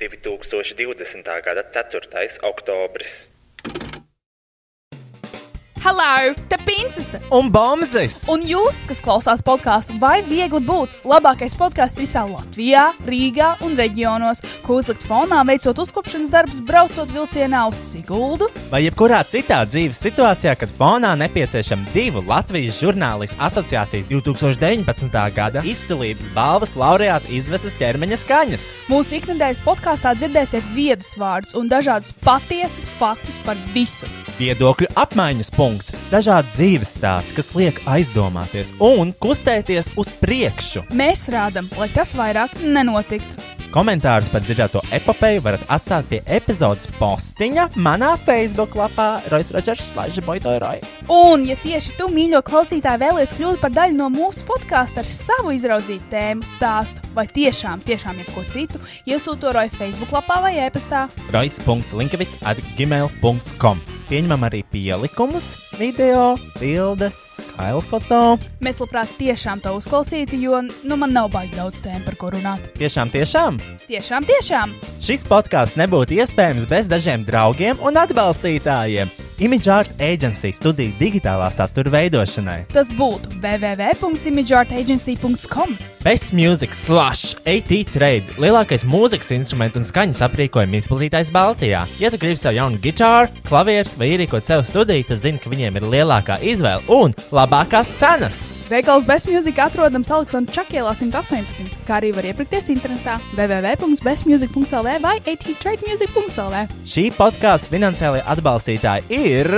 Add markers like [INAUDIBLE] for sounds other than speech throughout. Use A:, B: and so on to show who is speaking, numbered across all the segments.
A: 2020. gada 4. oktobris.
B: Hello, te princese!
C: Un bombzis!
B: Un jūs, kas klausās podkāstu, vai viegli būt labākais podkāsts visā Latvijā, Rīgā un reģionos, ko uzlikt fonā, veicot uzkopšanas darbus, braucot vilcienā uz Siguldu?
C: Vai jebkurā citā dzīves situācijā, kad fonā nepieciešama divu Latvijas žurnālistu asociācijas 2019. gada izcilības balvas laureāta izvestas ķermeņa skaņas?
B: Mūsu ikdienas podkāstā dzirdēsiet viedus vārdus un dažādus patiesus faktus par visu.
C: Viedokļu apmaiņas punkts, dažādi dzīves stāsti, kas liek aizdomāties un kustēties uz priekšu.
B: Mēs rādām, lai tas vairāk nenotiktu.
C: Komentārus par dzirdēto epopeju varat atstāt pie epizodes postiņa manā Facebook lapā Roisas Rodžers Slaža Boitoroj.
B: Un, ja tieši tu, mīļo klausītāj, vēlies kļūt par daļu no mūsu podkāsta ar savu izraudzītu tēmu, stāstu vai tiešām, tiešām jebko citu, iesūto to roju Facebook lapā vai e-pastā.
C: rois.linkavits atgmail.com. Pieņemam arī pielikumus, video, bildes, kailfoto.
B: Mēs labprāt tiešām to uzklausītu, jo nu, man nav baigi daudz tēmu, par ko runāt.
C: Tiešām, tiešām!
B: Tiešām, tiešām!
C: Šis podkāsts nebūtu iespējams bez dažiem draugiem un atbalstītājiem. Image Art Agency studija digitālā satura veidošanai.
B: Tas būtu www.imageartagency.com.
C: Best Music Slash AT Trade - lielākais mūzikas instrumentu un skaņas aprīkojuma izplatītājs Baltijā. Ja tu gribi sev jaunu gitāru, klavierus vai ierīkot sev studiju, tad zini, ka viņiem ir lielākā izvēle un labākās cenas.
B: Veikals Bestmusic atrodams Aleksandra Čakielā 118, kā arī var iepirkties internetā www.bestmusic.lv vai attrademusic.lv.
C: Šī podkāstu finansiālajie atbalstītāji ir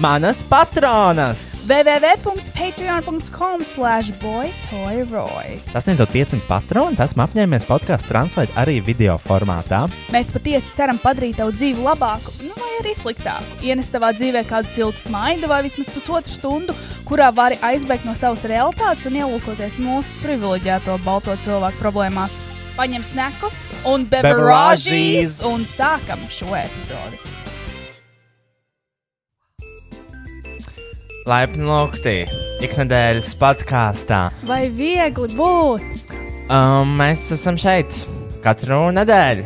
C: manas patronas.
B: www.patreon.com slash boytoyroy.
C: Sasniedzot 500 patronus, esmu apņēmies podkāstu translēt arī video formātā.
B: Mēs patiesi ceram padarīt tavu dzīvi labāku, nu vai arī sliktāku. Ienest tavā dzīvē kādu siltu smaidu vai vismaz pusotru stundu, kurā vari aizbēgt no savas realitātes un ielūkoties mūsu privileģēto balto cilvēku problēmās. Paņem snekus un beverāžīs
C: Beverāžīs!
B: un sākam šo epizodi.
C: Laipni lūgti iknedēļas podkāstā.
B: Vai viegli būt?
C: Um, mēs esam šeit katru nedēļu.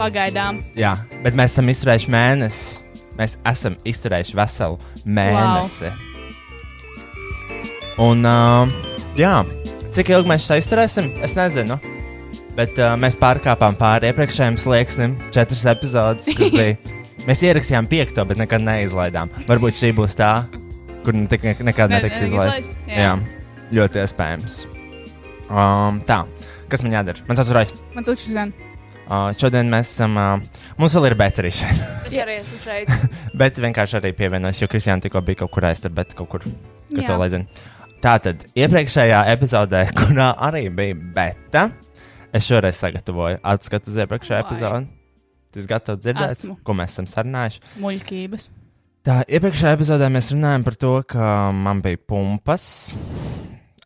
B: Pagaidām.
C: Jā, bet mēs esam izturējuši mēnesi. Mēs esam izturējuši veselu mēnesi. Wow. Un, um, jā, cik ilgi mēs šeit izturēsim, es nezinu. Bet uh, mēs pārkāpām pāri iepriekšējiem slieksnim, četras epizodes,
B: [LAUGHS]
C: kas bija. mēs ierakstījām piekto, bet nekad neizlaidām. Varbūt šī būs tā, kur ne, ne, nekad
B: Ne-
C: netiks
B: ne-
C: izlaista.
B: izlaist,
C: Jā. jā,
B: jā.
C: ļoti iespējams. Um, tā, kas man jādara? Man sauc Rojas.
B: Man sūta šis zem.
C: Uh, šodien mēs esam. Uh, mums vēl ir baterija šeit. [LAUGHS]
D: Es arī esmu
B: [LAUGHS]
D: šeit.
C: bet vienkārši arī pievienojos, jo Kristiāna tikko bija kaut kur aiztur, bet kaut kur. Kas
B: Jā.
C: to lai zina? Tā tad iepriekšējā epizodē, [LAUGHS] kurā arī bija beta, es šoreiz sagatavoju atskatu uz iepriekšējo
B: Vai.
C: epizodi. Tas gatavs dzirdēt,
B: Esmu.
C: ko mēs esam sarunājuši.
B: Muļķības.
C: Tā iepriekšējā epizodē mēs runājām par to, ka man bija pumpas.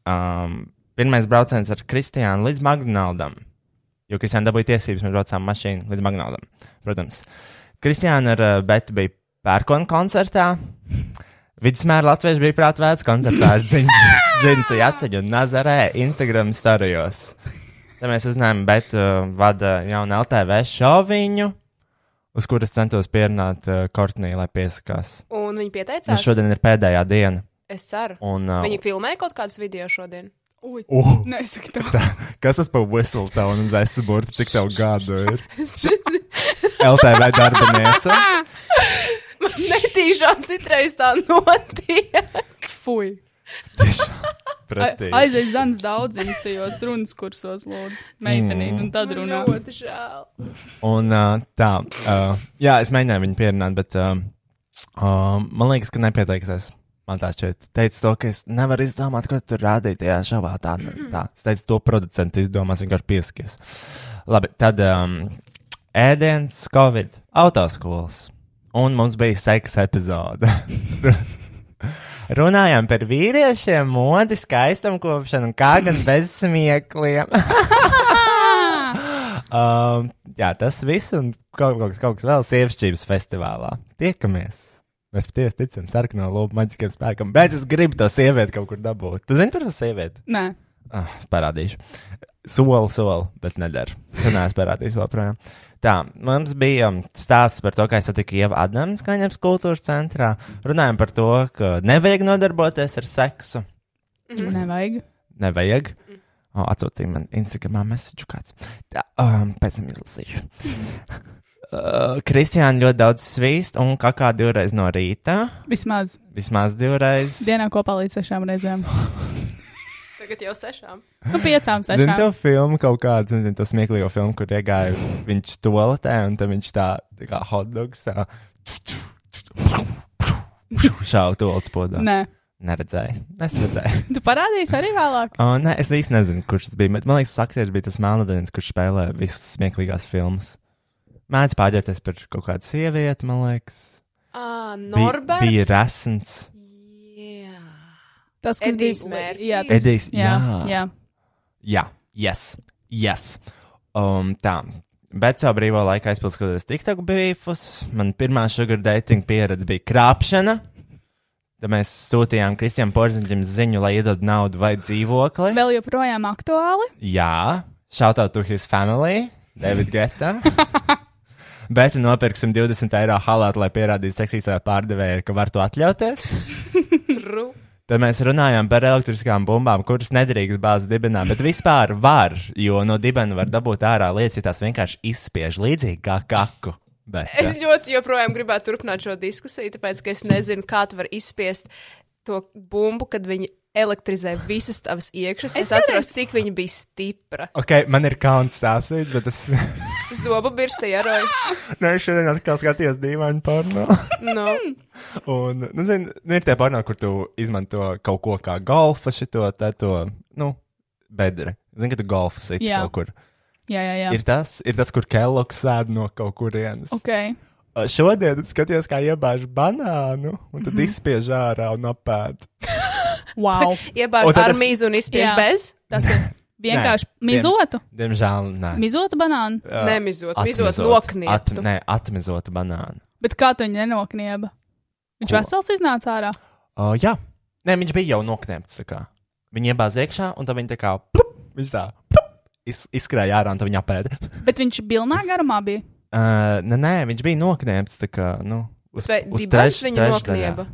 C: Um, pirmais brauciens ar Kristiānu līdz Magnaldam. Jo Kristiāna dabūja tiesības, mēs braucām mašīnu līdz Magnaldam. Protams, Kristiāna ar uh, Betu bija pērkona koncertā. Vidusmēra Latvijas bija prātvēts koncertā ar [LAUGHS] Džinsu Jaceņu un Nazarē Instagram starijos. Tad mēs uzzinājām, bet uh, vada jaunu LTV šoviņu, uz kuras centos pierunāt uh, Kortnī, lai piesakās.
D: Un viņi pieteicās.
C: Tas šodien ir pēdējā diena.
D: Es ceru.
C: Un, uh,
D: Viņi filmēja kaut kādus video šodien. [LAUGHS]
B: Ui,
C: uh,
B: nesaki to.
C: kas tas par Whistletone un Zēsburgu? Cik tev gadu ir?
D: Es nezinu.
C: LTV darbiniece.
D: Man netīšām citreiz tā notiek.
B: Fui.
C: Tiešām pretī.
B: Aizies Zanis daudzos tajos runas kursos, lūdzu. Meitenīt, un tad runā.
D: Mm. Man ļoti žēl.
C: Un uh, tā, uh, jā, es mēģināju viņu pierunāt, bet uh, uh, man liekas, ka nepieteiksies. Man tā šķiet, teica to, ka es nevaru izdomāt, ko tur rādīt tajā šovā. Tā, nu, tā. Es teicu, to producentu izdomās, vienkārši pieskies. Labi, tad um, ēdiens, covid, autoskolas. Un mums bija seksa epizode. [LAUGHS] Runājām par vīriešiem, modi, skaistumu kopšanu, un kā gan bez smiekliem. um, jā, tas viss un kaut, kaut, kas, kaut kas vēl sievišķības festivālā. Tiekamies! Mēs patiesi ticam sarkanā lūpa maģiskajam spēkam, bet es gribu to sievieti kaut kur dabūt. Tu zini par to sievieti?
B: Nē,
C: Ah, parādīšu. Soli, soli, bet nedara. Tu neesi parādījis joprojām. Tā, mums bija um, stāsts par to, kā es satiku Ievu Adams Kaņepes kultūras centrā. Runājam par to, ka nevajag nodarboties ar seksu.
D: Mm. Mhm.
B: Nevajag.
C: Nevajag. O, atsūtīja man Instagram mēsīču kāds. Tā, um, pēc tam izlasīšu. Uh, Kristiāna ļoti daudz svīst, un kā kā divreiz no rīta,
B: Vismaz
C: vismaz divreiz.
B: dienā kopā līdz sešām reizēm.
D: Tagad jau sešām.
B: Nu, piecām,
C: Zini,
B: sešām.
C: to filmu kaut kādu, zini, to smieklīgo filmu, kur iegāja viņš toaletē, un tam viņš tā, tā kā hotdogs tā. Šādu toaletes podā.
B: Nē,
C: Neredzēju. Es redzēju.
B: tu parādīsi arī vēlāk.
C: O, nē, es īsti nezinu, kurš tas bija. bet Man liekas, tas aktieris bija tas melnodienis, kurš spēlē visas smieklīgās filmas. Mēdz pārģērties par kaut kādu sievieti, man liekas.
D: Ah,
C: Bija-
D: Norberts.
C: Bija resns.
D: Jā.
B: Tas, kas bija
D: Edijs Mērfijs.
B: Jā, tas-
C: Edijs.
B: jā,
C: Jā.
B: jā.
C: Jā, yes, yes. Um, tā. Bet savā brīvā laikā aizpildījušos TikTok brīvus. Man pirmā sugar dating pieredze bija krāpšana. Tad mēs sūtījām Kristijam Porziņam ziņu, lai iedod naudu vai dzīvokli.
B: Vēl joprojām aktuāli.
C: Jā, shout out to his family, David Geta. Bet nopirksim 20 eiro halātu, lai pierādītu seksīgā pārdevējai, ka var to atļauties.
D: True.
C: Tad mēs runājām par elektriskām bumbām, kuras nedrīkst bāzt dibenā, bet vispār var, jo no dibena var dabūt ārā lietas, ja tās vienkārši izspiež līdzīgi kā kaku. Bet,
D: Es ļoti joprojām gribētu turpināt šo diskusiju, tāpēc ka es nezinu, kā tu vari izspiest to bumbu, kad viņi elektrizē visas tavas iekšas. Es, es atceros, cik viņa bija stipra.
C: Ok, man ir kauns stāstīt, bet es [LAUGHS]
D: Zobu birsta jāroja.
C: ne, šodien atkal skatījos dīvainu porno.
D: No.
C: Un, nu, zini, nu, ir tie porno, kur tu izmanto kaut ko kā golfa, šito, tā, to, nu, bedri. Zini, ka tu golfu siti
B: Jā.
C: kaut kur.
B: Jā, jā, jā.
C: Ir tas, ir tas, kur Kelloks sēd no kaut kurienes.
B: Ok.
C: Uh, Šodien es skatījos, kā iebāž banānu, un
B: Mhm.
C: tad mm -hmm. izspiež ārā un apēd.
B: Wow.
D: [LAUGHS] Iebāž
C: O, tad
D: ar
C: es-
D: mīzu un izspiež
B: Jā.
D: bez.
B: Tas ir vienkārši
C: [LAUGHS] Nē,
B: mizotu.
C: Diemžēl nē.
B: Mizotu banānu.
C: Uh,
D: Nemizot, mizot
C: atmizot. At,
D: noknietu.
C: nē, atmizot banānu.
B: Bet kā tu viņu nenoknieba? Viņš
C: Ko?
B: vesels iznāca ārā.
C: Uh, jā, nē, viņš bija jau noknēpts. tā kā. Viņa iebāz iekšā, un tad viņa tā kā plup, viņš tā plup, iz, izskrēja ārā, un tad viņa apēda.
B: Bet viņš bilnā garumā bija.
C: Uh, nē, nē, viņš bija noknēpts. tā Kā, nu, uz,
D: Vai
C: uz
D: dibens
C: treš-
D: viņu
C: trešdaļā.
D: noknieba?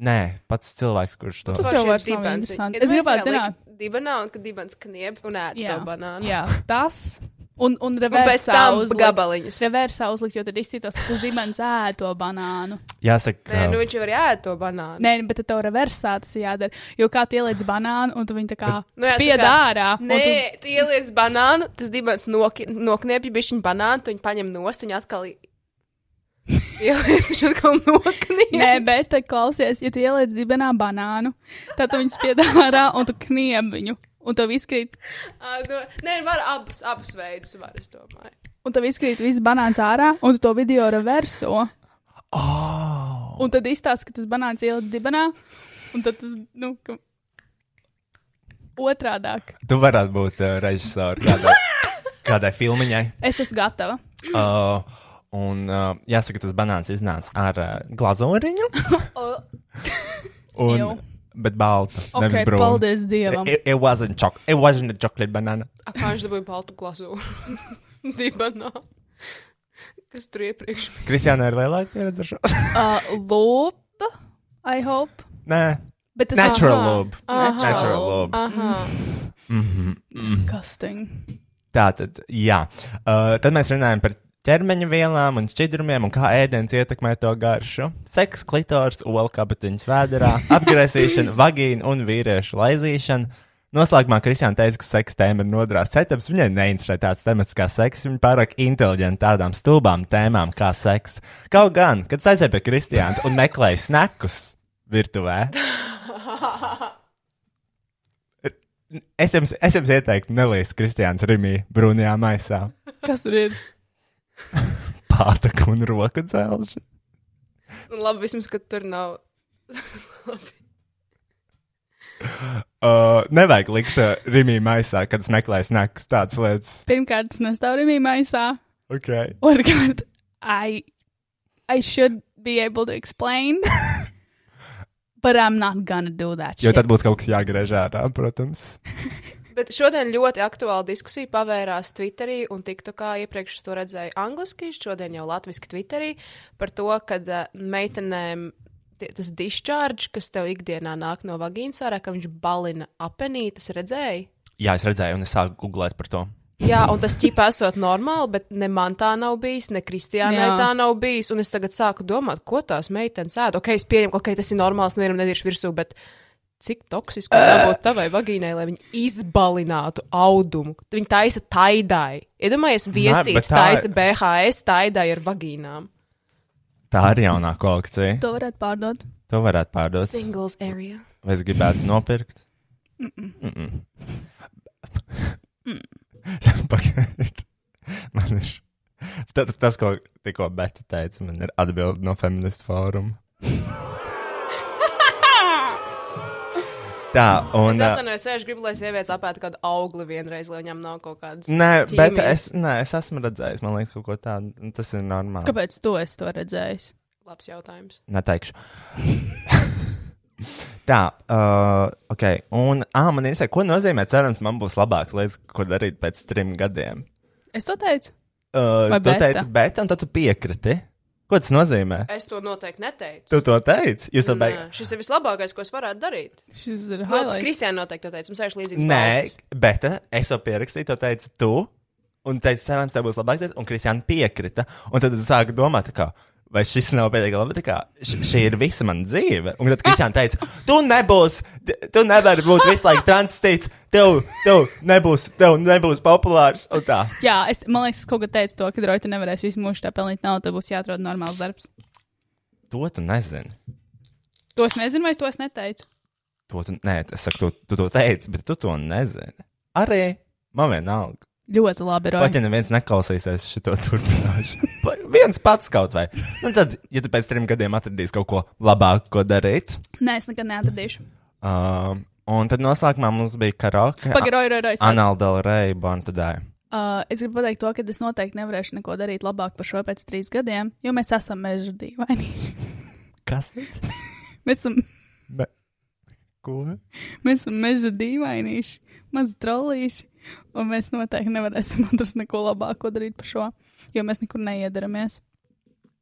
C: Nē, pats cilvēks, kurš to
B: Tas jau vairs nav interesanti. Es gribētu zināt.
D: Dibanā, un ka dibens knieb un ēd to banānu.
B: jā, tas. Un, un
D: Un pēc
B: reversā
D: tam
B: uzlikt.
D: gabaliņus.
B: Reversā uzlikt, jo tad izstītos, ka uz dibens ēd to banānu.
C: jāsaka.
D: Nē, nu
C: uh,
D: viņš jau arī ēd to banānu.
B: Nē, bet tad tev reversā tas jādara. Jo kā tu ieliec banānu un tu viņu tā kā
D: Nu jā, tā
B: spied
D: kā-
B: ārā. un
D: Nē,
B: tu-
D: tu, tu ieliec banānu, tas dibens nok, nokniepja bišķiņu banānu, tu viņu paņem nost, viņa atkal i-
B: [LAUGHS]
D: ieliec, viņš atkal nokniepja.
B: Nē, bet tā, klausies, ja tu ieliec dibenā banānu, tad tu viņu spied ārā un tu knieb viņu. Un tev izkrīt,
D: Ā, nu, Nē, var abus, abus veidus, var es domāju.
B: un tev izkrīt viss banāns ārā, un tu to video reverso.
C: oh!
B: Un tad izstāsta, ka tas banāns ielicis dibenā, un tad tas, nu, ka... otrādāk.
C: Tu varētu būt uh, režisors kādai,
B: [LAUGHS]
C: kādai filmiņai.
B: Es esmu gatava.
C: Uh, un uh, jāsaka, tas banāns iznāca ar uh, glazūriņu.
D: O,
C: Un,
B: Jau.
C: bet baltu. Okay,
B: Ok,
C: nevis E, brūnu.
B: paldies Dievam.
C: It, it, wasn't choc- it wasn't a chocolate banana.
D: a kā viņš dabūja baltu glazūru? [LAUGHS] Dibanā. Kas tur iepriekš bija?
C: Kristiāna ir lielāka pieredze ar šo. [LAUGHS]
B: Uh, Lūpa, I hope.
C: Nē,
B: Bet tas
C: natural lube.
D: Aha.
C: Natural lube. Mhm.
D: Aha.
B: disgusting.
C: Tā tad, jā. Uh, tad mēs runājam par ķermeņa vielām un šķidrumiem un kā ēdiens ietekmē to garšu. Seks, klitors, olkapatiņas vēderā, apgrēsīšana, vagīna un vīriešu laizīšana. Noslēgumā Kristiāna teica, ka seksa tēma ir nodrās setups. Viņai neinteresē tāds temats kā seks, viņa pārāk inteliģenta tādām stulbām tēmām kā seks. Kaut gan, kad es aizēju pie Kristiānas un meklēju snakus virtuvē, es jums, es jums ieteiktu neliest Kristiānas rimī brūnajā maisā.
B: Kas tur ir?
C: Pātaku un roku dzelžu.
D: Nu, [LAUGHS] Labi, vismaz, ka tur nav. Labi.
C: Uh, nevajag likt uh, rimī maisā, kad es meklēju snakus tādas lietas.
B: Pirmkārt, tas nestāv rimī maisā.
C: Okay.
B: Otrkārt, I, I should be able to
C: [LAUGHS]
B: explain. But I'm not gonna do that.
C: Jo
B: shit.
C: tad būtu kaut kas jāgriež ārā, protams.
D: Bet šodien ļoti aktuāla diskusija pavērās Twitterī un TikTokā. Iepriekš es to redzēju angliski, šodien jau latviešu Twitterī par to, ka meitenēm tie- tas discharge, kas tev ikdienā nāk no vagīnas ārā, ka viņš balina apenī, tas redzēji.
C: Jā, es redzēju, un es sāku googlēt par to.
D: Jā, un tas ķipa esot normāli, bet ne man tā nav bijis, ne Kristiānai
B: Jā.
D: tā nav bijis. Un es tagad sāku domāt, ko tās meitenes ēd. Ok, es pieņemu, ok, tas ir normāls, nevienam nediršu virsū, bet cik toksiski jābūt tavai vagīnai, lai viņi izbalinātu audumu. Viņi taisa taidai. Iedomājies,
C: bet
D: viesīts
C: tā-
D: taisa BHS taidai ar vagīnām.
C: Tā ir jaunā kolekcija.
B: To varētu pārdot.
C: To varētu pārdot.
D: Singles area.
C: Vai es gribētu nopirkt? [LAUGHS] Pagaidiet, man ir. Tas, tas ko tikko Beta teica, man ir atbilde no feministu fóruma. Tā,
D: Es
C: un. uh, ā,
D: atvainojos, es gribu, lai sievietes apēta kādu augli vienreiz, lai viņām nav kaut kādas.
C: Nē, bet
D: ķīmijas.
C: es, nē, es esmu redzējis, man liekas, kaut ko tādu. un Tas ir normāli.
B: Kāpēc to es to redzēju?
D: Labs jautājums.
C: Neteikšu. [LAUGHS] Tā, uh, ok. Un, ah, man ir jāsaka, ko nozīmē, cerams, man būs labāks lietas, ko darīt pēc trim gadiem.
B: Es to teicu.
C: Uh,
B: Vai
C: tu
B: beta?
C: teici, bet, un tad tu piekriti. Ko tas nozīmē?
D: Es to noteikti neteicu.
C: Tu to teici? Jūs to
D: Nē,
C: beigās.
D: Šis ir vislabākais, ko es varētu darīt.
B: Šis ir
D: No,
B: highlights.
D: Nu, Kristiāna noteikti to teica. Mums ir līdzīgs.
C: Nē,
D: balsis.
C: bet eh, es to pierakstīju, to teici tu. Un teicu, cerams, tev būs labāks lietas, un Kristiāna piekrita. Un tad es sāku domāt, tā kā. Vai šis nav pietiekami labi? tā Kā, š- šī ir visa mana dzīve. Un tad Kristiāna teica, tu nebūsi, tu nevari būt visu laiku transistīts, tev, tev nebūs, tev nebūs populārs. Un tā.
B: Jā, es, man liekas, es kaut kad teicu to, ka Roja nevarēs visu mūžu tā pelnīt naudu, tad būs jāatrod normāls darbs.
C: To tu nezini.
B: To es nezinu, vai es to es neteicu.
C: To tu, nē, es saku, tu, tu to teici, bet tu to nezini. Arī man vienalga.
B: Ļoti labi,
C: Pat
B: Roja.
C: ja neviens neklausīsies šo turpināšanu, Vai viens pats kaut vai. Nu, tad, ja tu pēc trim gadiem atradīsi kaut ko labāku, ko darīt,
B: Nē, es nekad neatradīšu.
C: um, un tad noslēgumā mums bija karaoke.
B: Pagaid, Roja, Roja, Roja. saka.
C: Anāla Del Rey, Bontadai.
B: Uh, es gribu pateikt to, ka es noteikti nevarēšu neko darīt labāk par šo pēc trīs gadiem, jo mēs esam meža dīvainīši. [LAUGHS]
C: Kas?
B: Mēs esam,
C: Be... Ko?
B: mēs esam meža dīvainīši, mazi trollīši, un mēs noteikti nevarēsim atrast neko labāko darīt par šo, jo mēs nekur neiedaramies.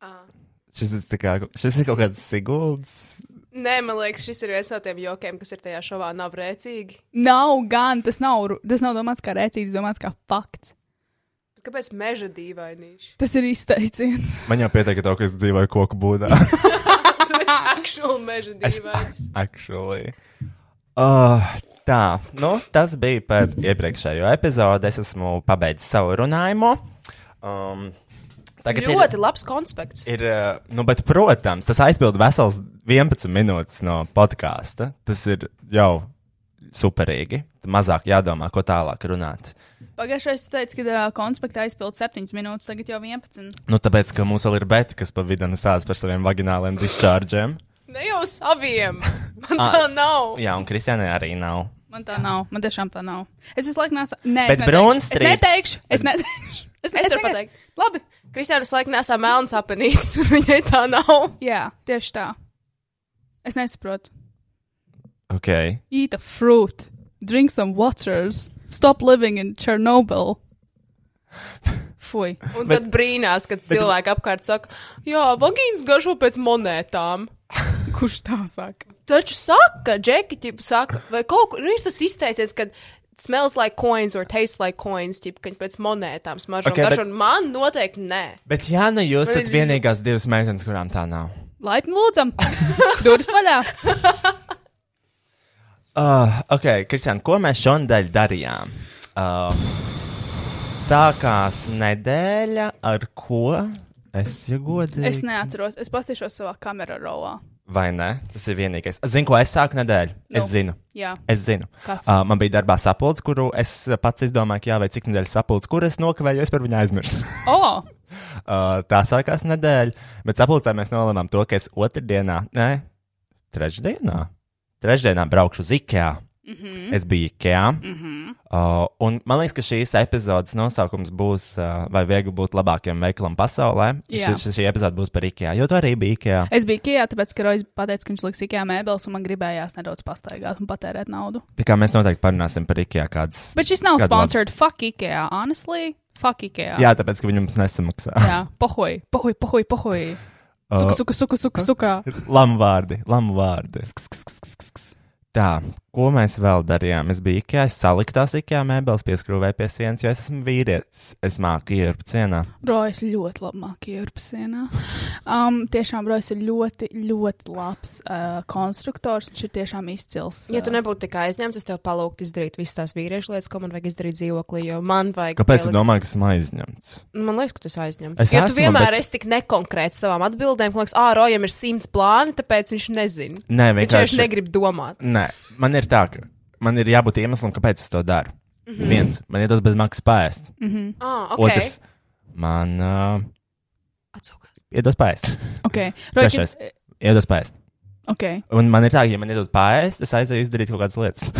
D: Ā.
C: Šis ir, tā kā, šis ir kaut kāds Sigulds.
D: Nē, man liekas, šis ir viens no tiem jokiem, kas ir tajā šovā nav rēcīgi.
B: Nav gan, tas nav, ru- tas nav domāts kā rēcīgs, domāts kā fakts.
D: Kāpēc meža [LAUGHS] dīvainīši?
B: Tas ir izteiciens. [LAUGHS]
C: Man jau pieteikta to, ka es dzīvoju koku būdā.
D: Tu esi aktuāli meža
C: Es-
D: dīvains.
C: Actually. Uh, tā, nu, tas bija par iepriekšējo epizodi. Es esmu pabeidzis savu runājumu. Um, tagad ir,
D: Ļoti labs konspekts.
C: ir, uh, nu, bet, protams, tas aizpild vesels 11 minūtes no podkāsta. Tas ir jau superīgi. Mazāk jādomā, ko tālāk runāt.
B: Pagājušajā es teicu, ka uh, konspekta aizpildīja 7 minūtes, tagad jau 11.
C: Nu, tāpēc, ka mums vēl ir beta, kas pa vidu stāsta par saviem vagināliem
B: [LAUGHS]
C: dischargiem.
D: Ne jau
C: [LAUGHS]
D: saviem. Man tā
C: Ah.
D: nav.
C: Jā, un Kristiānai arī nav.
B: Man tā nav, man tiešām tā nav. Es visu laiku nesu. Nē,
C: Bet
B: es neteikšu.
C: Brownstrīts-
B: Es neteikšu, es neteikšu. Es,
D: Es varu
B: vienkārši-
D: pateikt.
B: Labi,
D: Kristiāna visu laiku nesā melns apenītis, [LAUGHS] un viņai tā nav.
B: jā, tieši tā. Es nesaprotu.
C: Ok.
B: Eat a fruit, drink some waters, stop living in Chernobyl. Fui.
D: Un
C: Bet-
D: tad brīnās, kad cilvēki apkārt saka, jā, vagīns garšo pēc monētām.
B: Kurš tā saka?
D: Taču saka, Džeki, ķip, saka, vai kaut kur, nu, ir tas izteicies, ka smells like coins or tastes like coins, ķip, ka viņi pēc monētām smaržo
C: Okay,
D: okay, garšu,
C: bet-
D: bet... un man noteikti nē.
C: Bet, ja nu jūs
D: Man
C: esat
D: ir-
C: vienīgās divas meitenes, kurām tā nav,
B: Laipni lūdzam, durvis vaļā.
C: Uh, ok, Kristian, ko mēs šodien darījām? Uh, sākās nedēļa, ar ko es jau godīgi.
B: Es neatceros, es pastīšos savā kamerā rolā.
C: Vai ne? Tas ir vienīgais. Zinu, ko es sāku nedēļu. No.
B: Nu.
C: Es zinu.
B: Jā,
C: Es zinu.
B: Kas?
C: Uh, man bija darbā sapulce, kuru es uh, pats izdomāju, ka jāveic cik nedēļas sapulce, kur es nokavēju, jo es par viņu aizmirsu.
B: o,
C: Uh, tā sākās nedēļa, bet sapulcē mēs nolēmām to, ka es otrdienā, nē, trešdienā, trešdienā braukšu uz IKEA
B: Mhm.
C: Es biju Ikea. Uh, un man liekas, ka šīs epizodes nosaukums būs, uh, vai viegli būt labākiem veikalam pasaulē.
B: Jā.
C: Šī, šī epizode būs par Ikea, jo tu arī biji Ikea.
B: Es biju Kijā, tāpēc, ka Rojas pateica, ka viņš liks Ikea mēbeles, un man gribējās nedaudz pastaigāt un patērēt naudu.
C: Tā kā mēs noteikti parunāsim par Ikea kādas.
B: Bet šis nav
C: Kādu
B: sponsored. Fuck Ikea, honestly. Fuck Ikea.
C: Jā, tāpēc, ka viņi mums nesamaksā.
B: Jā, [LAUGHS] pohoj, pohoj, pohoj, pohoj.
C: Uh,
B: Suka, suka, suka, suka, suka.
C: Lamu vārdi, lamu vārdi.
B: Sk, sk, sk, sk, sk.
C: Tā, ko mēs vēl darījām? Es biju Ikea, es saliku tās Ikea mēbeles, pieskrūvēju pie sienas, jo es esmu vīrietis. Es māku ieru cienā.
B: Rojas ļoti labi mākslinieks Eiropasienā. Um, tiešām Rojas ir ļoti, ļoti labs uh, konstruktors. Viņš ir tiešām izcils. uh,
D: Ja tu nebūtu tik aizņemts, es tev palūgtu izdarīt visas tās vīriešu lietas, ko man vajag izdarīt dzīvoklī, jo man vajag.
C: Kāpēc
D: pielikt-
C: tu domā, ka esmu aizņemts?
D: Man liekas, ka tu esi aizņemts.
C: Es
D: Es jo tu
C: esmu,
D: vienmēr
C: bet-
D: bet... esi tik nekonkrēts savām atbildēm. ka Liekas, ah, Rojam ir simts plāni, tāpēc viņš nezina.
C: Nē,
D: Viņš vienkārši
C: vienkārši.
D: negrib domāt.
C: Nē, man ir tā, ka man ir jābūt iemeslam, kāpēc es to daru. Mm -hmm. Viens, man ir tas bez maksas pēst. Mm -hmm.
B: mhm.
D: Ah, Mhm. ok.
C: Otrs, man uh,
D: Atsūkās.
C: iedos pēst.
B: Okay.
C: Trešais,
B: e-
C: iedos pēst.
B: Okay.
C: Un man ir tā, ka, ja man iedod pēst, es aizēju izdarīt kaut kādas lietas.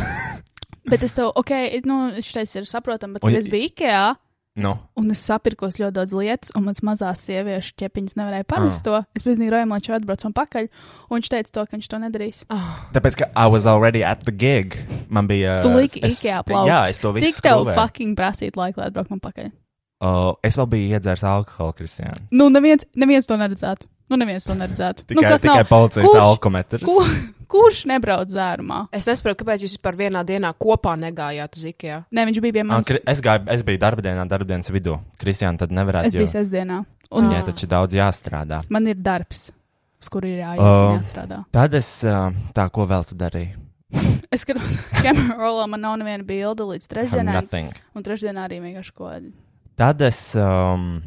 B: Bet es tev, ok, es- nu, šis ir saprotams, bet
C: O,
B: kad
C: ja-
B: es biju Ikea.
C: nu,
B: Un es sapirkos ļoti daudz lietas, un mans mazās sieviešu ķepiņas nevarēja
C: Ah.
B: panākt to. Es paziņoju, Rojam, lai viņš atbrauc man pakaļ, un viņš teica, to, ka viņš to nedarīs.
D: Ah,
C: tāpēc, ka I was already at the gig. Man bija.
B: Tu liki
C: Uh, es-
B: Ikea plaukts.
C: Jā, es to visu.
B: Cik tev
C: skrūvēju.
B: fucking prasīt laiku, lai atbrauc man pakaļ?
C: Uh, es vēl biju iedzēris alkoholu, Kristija.
B: Nu, neviens, neviens to neredzētu. Nu, neviens to neredzētu. nu,
C: Tikai,
B: kas
C: tikai
B: nav?
C: policijas
B: Kurš-
C: alkometrs.
B: Ko, kurš nebrauc zērumā?
D: Es nesaprotu, kāpēc jūs vispār vienā dienā kopā negājāt uz Ikea.
B: Nē, viņš bija pie
C: Ah,
B: manis.
C: Kri- Es, gāju, es biju darba dienā, darba dienas vidū. Kristija, tad nevarētu.
B: Es biju
C: jo
B: sestdienā. Un
C: Viņai taču daudz jāstrādā.
B: man ir darbs, uz kuru ir jāiet
C: Oh.
B: un jāstrādā.
C: Tad es. uh, Tā, ko vēl tu darīji?
B: Es skatos, [LAUGHS] kamerā rolā man nav neviena bilde līdz
C: Have
B: trešdienai.
C: nothing.
B: Un trešdienā arī vienkārši ko.
C: Tad es um,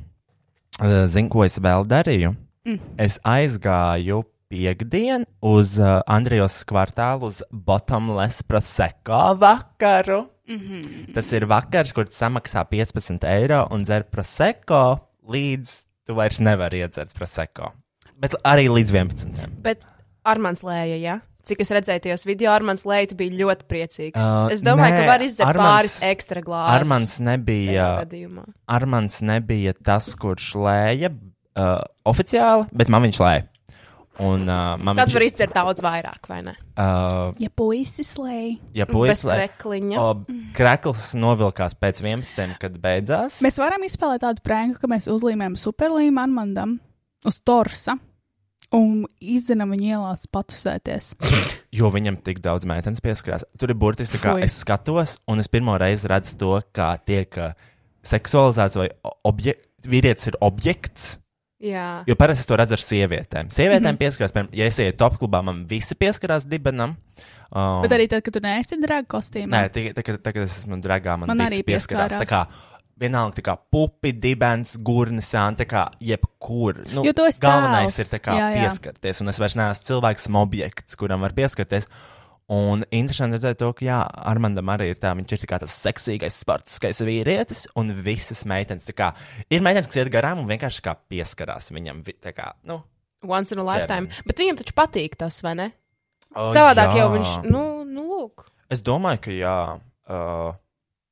C: uh, zinu, ko es vēl darīju. Mm. Es aizgāju piekdienu uz uh, Andrijas kvartālu, uz Bottomless Prosecco vakaru. Mm
B: mhm.
C: -hmm. Tas ir vakars, kur tu samaksā 15 eiro un dzer Prosecco līdz tu vairs nevari iedzert Prosecco. Bet arī līdz 11.
D: Bet Armāns Lēja, ja? cik es redzēju, tajos video Armāns Lēja bija ļoti priecīgs.
C: Uh,
D: Uh, es domāju,
C: nē,
D: ka var izdzert
C: Armands-
D: pāris ekstra glāzes.
C: Armāns nebija.
D: gadījumā.
C: Armāns nebija tas, kurš lēja uh, oficiāli, bet man viņš lēja. Un, uh, man
D: Tad
C: viņš,
D: var izdzert daudz vairāk, vai ne?
C: uh,
B: Ja puisis lēja.
C: ja
D: Bez
C: puisis lēja,
D: krekliņa.
C: o, krekls novilkās pēc 11, kad beidzās.
B: Mēs varam izspēlēt tādu prēnku, ka mēs uzlīmējam superlīmu Armandam uz torsa un izdzenam viņu ielās patusēties.
C: Jo viņam tik daudz meitenes pieskarās. Tur ir burtiski, tā kā
B: Fui.
C: es skatos, un es pirmo reizi redzu to, kā tiek uh, seksualizēts vai objekts. Vīrietis ir objekts,
D: Jā.
C: jo parasti es to redzu ar sievietēm. Sievietēm
B: Mhm.
C: pieskarās, piemēram, ja es eju topklubā, man visi pieskarās dibenam. Um,
B: Bet arī tad, kad tu neesi drag kostīmā,
C: Nē, tikai tagad, tagad es esmu dragā, man,
B: Man
C: man
B: arī
C: arī pieskarās.
B: pieskārās.
C: Tā kā vienalga, tā kā pupi, dibens, gurnisāni, tā kā jebkur. Nu,
B: Jo tu esi
C: galvenais
B: tēls.
C: ir tā kā
B: Jā, jā.
C: pieskarties, un es vairs neesmu cilvēks, esmu objekts, kuram var pieskarties. Un interesanti redzēt to, ka, jā, Armandam arī ir tā, viņš ir tā kā tas seksīgais, sportiskais vīrietis, un visas meitenes, tā kā, ir meitenes, kas iet garām un vienkārši kā pieskarās viņam, vi- tā kā, nu.
D: Once in a lifetime.
C: Ķermeni.
D: Bet viņam taču patīk tas, vai ne?
C: o,
D: Savādāk jau
C: jā.
D: viņš, nu, nu lūk.
C: Es domāju, ka jā. Uh,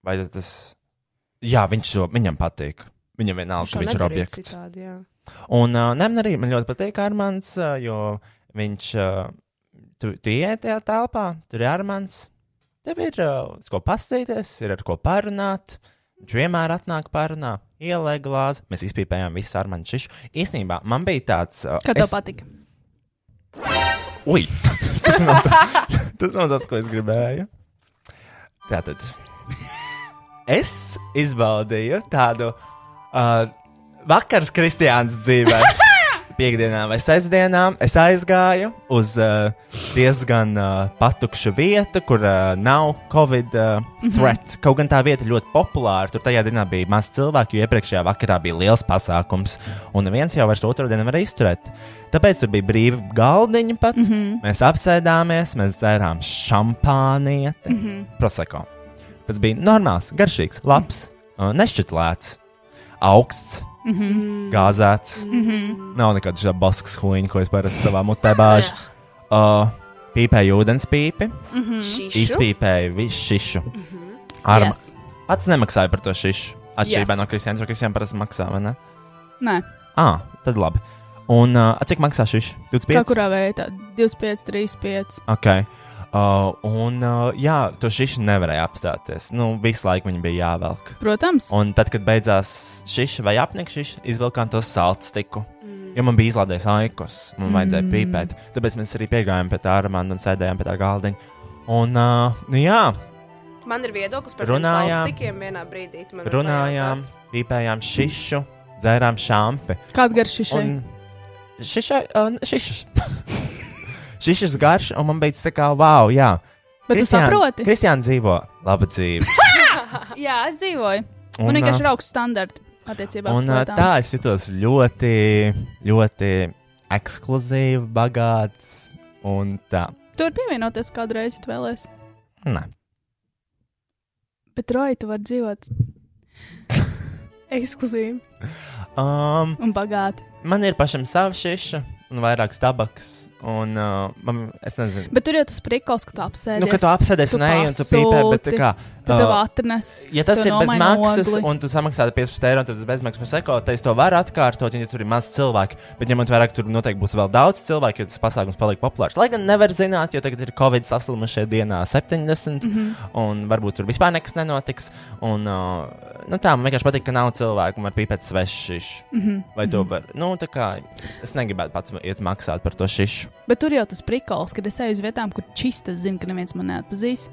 C: vai tad tas. Jā, viņš to viņam patīk. Viņam vienalga,
D: to
C: ka viņš ir
D: nedarītu
C: objekts.
D: Citādi, jā.
C: Un uh, nē, man arī man ļoti patīk Armāns, uh, jo viņš. Uh, tu tu ienāc tajā telpā, tur ir Armāns. Tev ir uh, uz ko paskatīties, ir ar ko parunāt. Viņš vienmēr atnāk parunā, ielēja glāzi. Mēs izpīpējām visu Armānu šišu. Īsnībā man bija tāds. Uh,
B: kad tev patika.
C: Ui! [LAUGHS] tas, nav tā, [LAUGHS] tas nav tas, ko es gribēju. Tātad. Es izbaudīju tādu uh, vakaru Kristiānas dzīvē. Piektdienā vai sestdienā es aizgāju uz uh, diezgan uh, patukšu vietu, kur uh, nav covid uh, threat. Mm -hmm. Kaut gan tā vieta ļoti populāra, tur tajā dienā bija maz cilvēku, jo iepriekšējā vakarā bija liels pasākums, un neviens jau vairs otru dienu nevar izturēt. Tāpēc tur bija brīvi galdiņi pat. Mm -hmm. Mēs apsēdāmies, mēs dzērām šampānieti,
B: Mhm.
C: mm
B: Mm-hmm.
C: -hmm. proseko. Tas bija normāls, garšīgs, labs, uh, nešķitlēts, augsts, mm
B: Mm-hmm.
C: -hmm.
D: Mhm.
C: Mhm. gāzēts. Mm -hmm. Nav nekāda šāda baskas huīņa, ko es parasti savā mutē bāžu. Uh, Pīpēju ūdenspīpi,
D: Mhm. Šīšu.
C: izpīpēju visu šišu. Ar, yes.
B: Yes.
C: Pats nemaksāju par to šišu. Atšķirībā
D: Yes.
C: no Kristiānas, jo Kristiāna parasti maksā, vai ne?
B: Nē,
C: Ah, tad labi. Un uh, cik maksā šis?
B: kā
C: 25.
B: kurā veidā? 25, 35.
C: Okay. Uh, un uh, jā, to šis nevarēja apstāties. Nu, visu laiku viņam bija jāvelk.
B: Protams.
C: Un tad, kad beidzās šis vai apnikšķis, izvilkām to salcetiku.
D: Mm-hmm.
C: Jo man bija izlādējis aikus, man vajadzēja
B: Mm.
C: mm. pīpēt. Tāpēc mēs arī piegājām pie tā ar mani un sēdējām pie tā galdiņa. Un, uh, nu jā,
D: Man ir viedoklis par
C: Runājām.
D: tikiem vienā brīdī. tu man vari
C: runājām,
D: [LAUGHS] pajautāt.
C: pīpējām šišu, dzērām šampi.
B: Kāds garš šis ir?
C: Un šišai, uh, šišas. [LAUGHS] šišas garš, un man beidzas tā kā, wow, jā.
B: Bet tu
C: Kristiāna-
B: saproti?
C: Kristiāna dzīvo labu
B: [LAUGHS]
C: dzīvi.
D: Ah!
B: Jā, es dzīvoju. Un,
C: uh,
B: un vienkārši ir augsts standarts attiecībā
C: Un uh,
B: uz
C: tā es jutos ļoti, ļoti ekskluzīvi, bagāts un tā.
B: Tur pievienoties kādreiz, ja tu vēlēsies.
C: Nē.
B: Bet roji tu vari
C: [LAUGHS]
B: dzīvot ekskluzīvi
C: Um,
B: un bagāti.
C: man ir pašam savs šiša un vairāks tabaks. Un uh, man, es nezinu,
B: Bet tur jau tas prikals, ka tu apsēdies.
C: nu, ka tu apsēdies
B: tu
C: un ej un tu pīpē, bet tā kā.
B: Tu tev atnes.
C: Ja tas
B: tu
C: ir bez
B: nomaini
C: maksas,
B: ogli.
C: un tu samaksā 15 eiro, un tad tas bez maksas par seko, tad es to varu atkārtot, ja tur ir maz cilvēku. Bet ņemot vērā, ka tur noteikti būs vēl daudz cilvēku, jo tas pasākums paliek populārs. Lai gan nevar zināt, jo tagad ir Covid saslimušie dienā 70, mm -hmm.
B: Mhm.
C: un varbūt tur vispār nekas nenotiks. Un, uh, nu, tā man vienkārši patīk, ka nav cilvēku, un var pīpēt svešu. Mm -hmm.
B: Mhm.
C: Vai to var? Nu, tā kā es negribētu pats iet maksāt par to šišu.
B: Bet tur jau tas prikals, kad es eju uz vietām, kur čistas zinu, ka neviens man neatpazīs.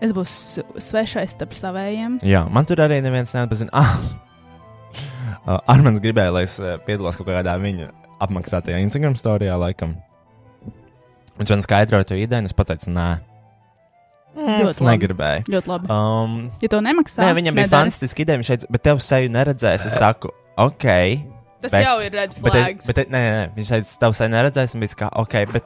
B: Es būšu s- svešais starp savējiem.
C: Jā, man tur arī neviens neatpazina. Ah! [LAUGHS] Uh, Armāns gribēja, lai es uh, piedalos kaut kādā viņa apmaksātajā Instagram storijā, laikam. Viņš man skaidroja to ideju, un es pateicu, nē,
B: Mm. Ļoti
C: es
B: labi.
C: negribēju.
B: Ļoti labi.
C: Um,
B: Ja to nemaksā,
C: nē, viņam bija
B: nedari.
C: fantastiska ideja. Viņš teica, bet tev seju neredzēs. Es saku, ok.
B: Tas
C: bet-
B: jau ir red
C: Bet, es,
B: flags.
C: bet es- nē, nē, nē, viņš teica, tev seju neredzēs, un bija kā, ok. Bet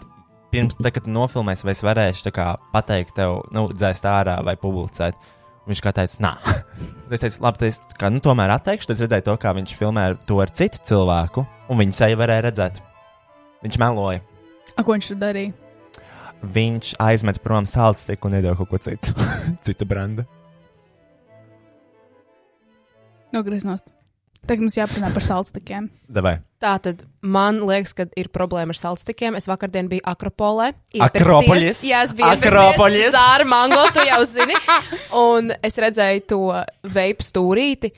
C: pirms tam, kad tu nofilmēsi, vai es varēšu tā kā, pateikt tev, nu, dzēst ārā vai publicēt. Viņš kā teica, nē, [LAUGHS] es teicu, labi, tad es kā, nu, tomēr atteikšu. Tad es redzēju to, kā viņš filmē ar- to ar citu cilvēku, un viņa seju varēja redzēt. Viņš meloja.
B: A, ko viņš tur darīja?
C: Viņš aizmet prom sālstiku un iedod kaut ko citu. [LAUGHS] Cita branda.
B: Nogriznost. Tagad mums jāparunā par salcetikiem.
C: Davai.
D: Tā tad man liekas, ka ir problēma ar salcetikiem. Es vakardien biju Akropolē.
C: Akropolis?
D: Iepirkties. Jā, es biju
C: Akropolis?
D: Akropolis. Zāra mango, tu jau zini. Un es redzēju to veidu stūrīti.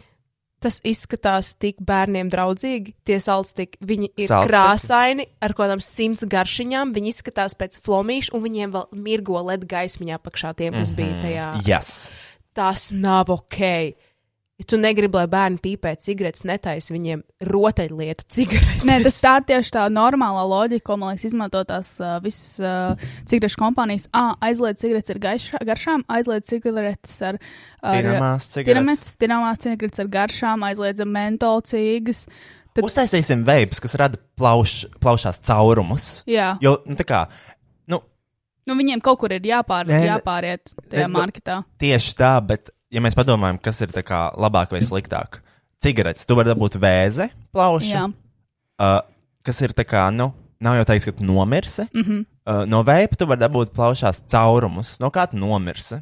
D: Tas izskatās tik bērniem draudzīgi. Tie salcetiki, viņi
C: Salcetiki?
D: ir salcetiki. krāsaini, ar kaut kādām simts garšiņām. Viņi izskatās pēc flomīša, un viņiem vēl mirgo led gaismiņā apakšā tiem,
C: Mhm.
D: kas mm -hmm. bija tajā
B: Ah.
C: Yes.
D: tas nav ok. Ja tu negribi, lai bērni pīpē cigaretes, netaisa viņiem rotaļlietu cigaretes.
B: Nē, tas tā ir tieši tā normālā loģika, ko man liekas, izmanto tās uh, visas uh, cigarešu kompānijas. Ah, aizliedz cigaretes ar gaišā, garšām, aizliedz cigaretes ar uh,
C: Tīramās cigaretes.
B: tiramitas, tirāmās cigaretes ar garšām, aizliedz mentolu cīgas. Tad,
C: Uztaisīsim veidus, kas rada plauš, plaušās caurumus.
B: jā,
C: Jo, nu, tā kā
B: nu, viņiem kaut kur ir jāpār,
C: Nē, nu,
B: ne,
C: ne-
B: jāpāriet tajā
C: ne-
B: ne, marketā.
C: tieši tā, bet, ja mēs padomājam, kas ir tā kā labāk vai sliktāk, cigaretes, tu vari dabūt vēzi, plaušu,
B: Jā,
C: uh, kas ir tā kā, nu, nav jau teiks, ka tu nomirsi. Mm
B: Mhm.
C: -hmm. uh, no vēja tu vari dabūt plaušās caurumus, no kā tu nomirsi.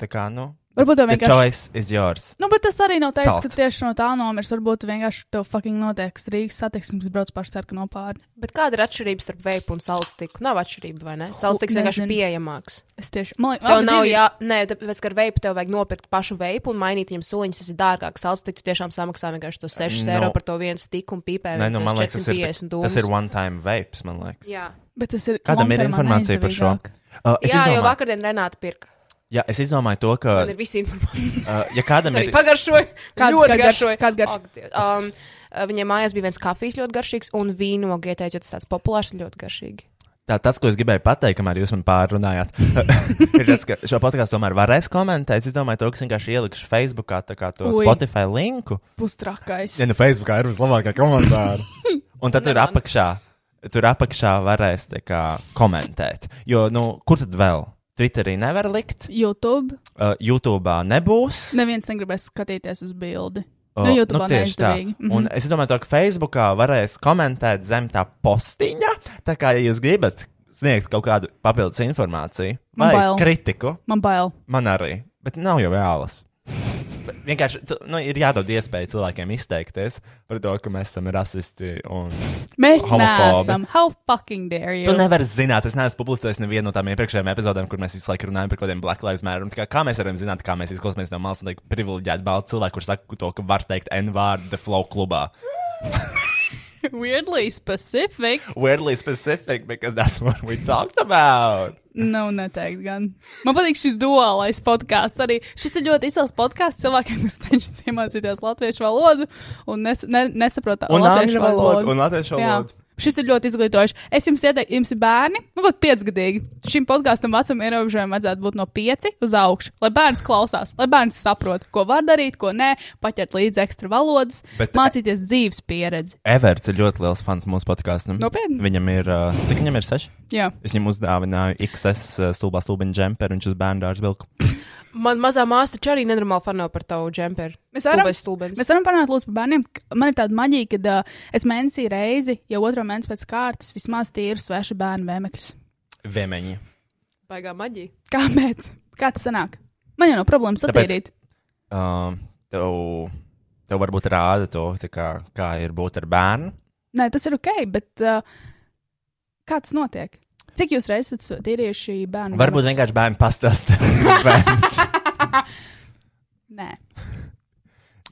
C: Tā kā, nu,
B: varbūt jau
C: the
B: vienkārši.
C: choice is yours.
B: Nu, bet tas arī nav teicis,
C: Salt.
B: ka tieši no tā nomirs. Varbūt vienkārši tev fucking notiek Rīgas satiksmes brauc pār sarkano pāri.
D: Bet kāda ir atšķirība starp veidu un salcetiku? Nav atšķirība, vai ne? Salcetiks vienkārši
B: nezinu.
D: pieejamāks.
B: Es tieši. Man liekas,
D: Tev nav jā, nē, tāpēc, ka ar veidu tev vajag nopirkt pašu veidu un mainīt viņam suliņas. Tas ir dārgāk. Salcetiku tu tiešām samaksā vienkārši tos 6
C: No.
D: no. eiro par to vienu stiku un pīpē.
C: Nu. Nē, nu,
D: tos
C: man liekas, tas ir,
D: 450
C: tas ir one time vapes, man liekas.
D: Jā,
B: Bet tas ir.
C: Kādam ir
B: long-termā
C: informācija par šo?
B: neizdevīgāk.
C: Uh, es,
D: jā
C: izdomāju,
D: jau vakardien Renāta pirka.
C: jā, es izdomāju to, ka,
D: Man ir visi informācija.
C: uh, ja kādam
D: Es arī
C: ir.
D: pagaršoju.
B: Kādu-
D: ļoti
B: kādu garš-
D: garšoju.
B: kādu garšu?
D: Ak, Dievs. um, Viņai mājās bija viens kafijas ļoti garšīgs, un vīnogu ieteicu, jo tas tāds populārs ir ļoti garšīgi.
C: Tā, tas, ko es gribēju pateikt, kamēr jūs man [LAUGHS] pārrunājāt, ir tas, ka šo podkāstu tomēr varēs komentēt. Es domāju, to, ka es vienkārši ielikšu Facebookā tā kā to
B: Ui.
C: Ui. Spotify linku.
B: Pustrakais.
C: Ja nu Facebookā ir vislabākā komentāra. [LAUGHS] Un tad tur
D: Neman.
C: apakšā, tur apakšā varēs tā kā komentēt. Jo, nu, kur tad vēl? Twitterī nevar likt,
B: YouTube.
C: uh, YouTube nebūs.
B: Neviens negribēs skatīties uz bildi.
C: Uh,
B: Nu, YouTube
C: tieši tā.
B: neizdevīgi. Mhm.
C: Un es domāju, to, ka Facebookā varēs komentēt zem tā postiņa. Tā kā, ja jūs gribat sniegt kaut kādu papildus informāciju
B: Man
C: vai
B: bail.
C: kritiku,
B: Man bail.
C: man arī, bet nav jau vēlas. Bet Vienkārši cil- nu, ir jādod iespēja cilvēkiem izteikties par to, ka mēs esam rasisti. Un...
B: Mēs
C: Homofobi.
B: neesam. How fucking dare you?
C: Tu nevari zināt, es neesmu publicējis nevienu no tām iepriekšējām epizodēm, kur mēs visu laiku runājam par kaut kādiem Black Lives Matter. Un tā Kā, kā mēs varam zināt, kā mēs izklausāmies no malas, un tā privileģēti balti cilvēki, kurš saka to, ka var teikt N vārdu The Flow klubā.
B: Weirdly specific.
C: Weirdly specific, because that's what we talked about.
B: Nu, neteikti gan. Man patīk šis duālais podkāsts. Arī šis ir ļoti izcils podkāsts cilvēkiem, kas cenšas iemācīties latviešu valodu un nes, ne, nesaprot
C: Un
B: latviešu
C: angļu valodu, un latviešu
B: Jā.
C: valodu.
B: Šis ir ļoti izglītojošs. Es jums ieteiktu, jums ir bērni, nu, pat piecgadīgi. Šim podkāstam vecuma ierobežojumam vajadzētu būt no pieci uz augšu, lai bērns klausās, lai bērns saprot, ko var darīt, ko nē, paķert līdzi ekstra valodas,
C: Bet-
B: Bet, mācīties dzīves pieredzi.
C: Everts ir ļoti liels fans mūsu podkāstam.
B: Nopietni?
C: Viņam ir, uh, cik viņam ir seši?
B: Jā.
C: Es viņam uzdāvināju XS stulbā stūbiņu džemperu, viņš uz bērnu dārza vilku.
D: Man mazā māsa taču arī nenormāli fano par tavu džemperu.
B: Mēs varam-
D: Stulbais stulbens.
B: Mēs varam parunāt lūdzu, par bērniem. K- Man ir tāda maģija, ka uh, es mēnesī reizi, jau otro mēnesi pēc kārtas, vismaz tīru svešu bērnu vēmekļus.
C: Vēmeņi.
D: Baigā maģija.
B: Kāpēc? Kā tas sanāk? Man jau nav problēmas
C: Tāpēc-
B: attīrīt.
C: Um, tev, tev varbūt rāda to, tā kā, kā ir būt ar bērnu.
B: Nē, tas ir ok, bet uh, kā tas notiek? Cik jūs reizes esat sve- tīrījuši bērnu?
C: Varbūt
B: vēmekļus?
C: vienkārši bērnu
B: [LAUGHS]
C: pastāsta. Bērns.
B: Nē,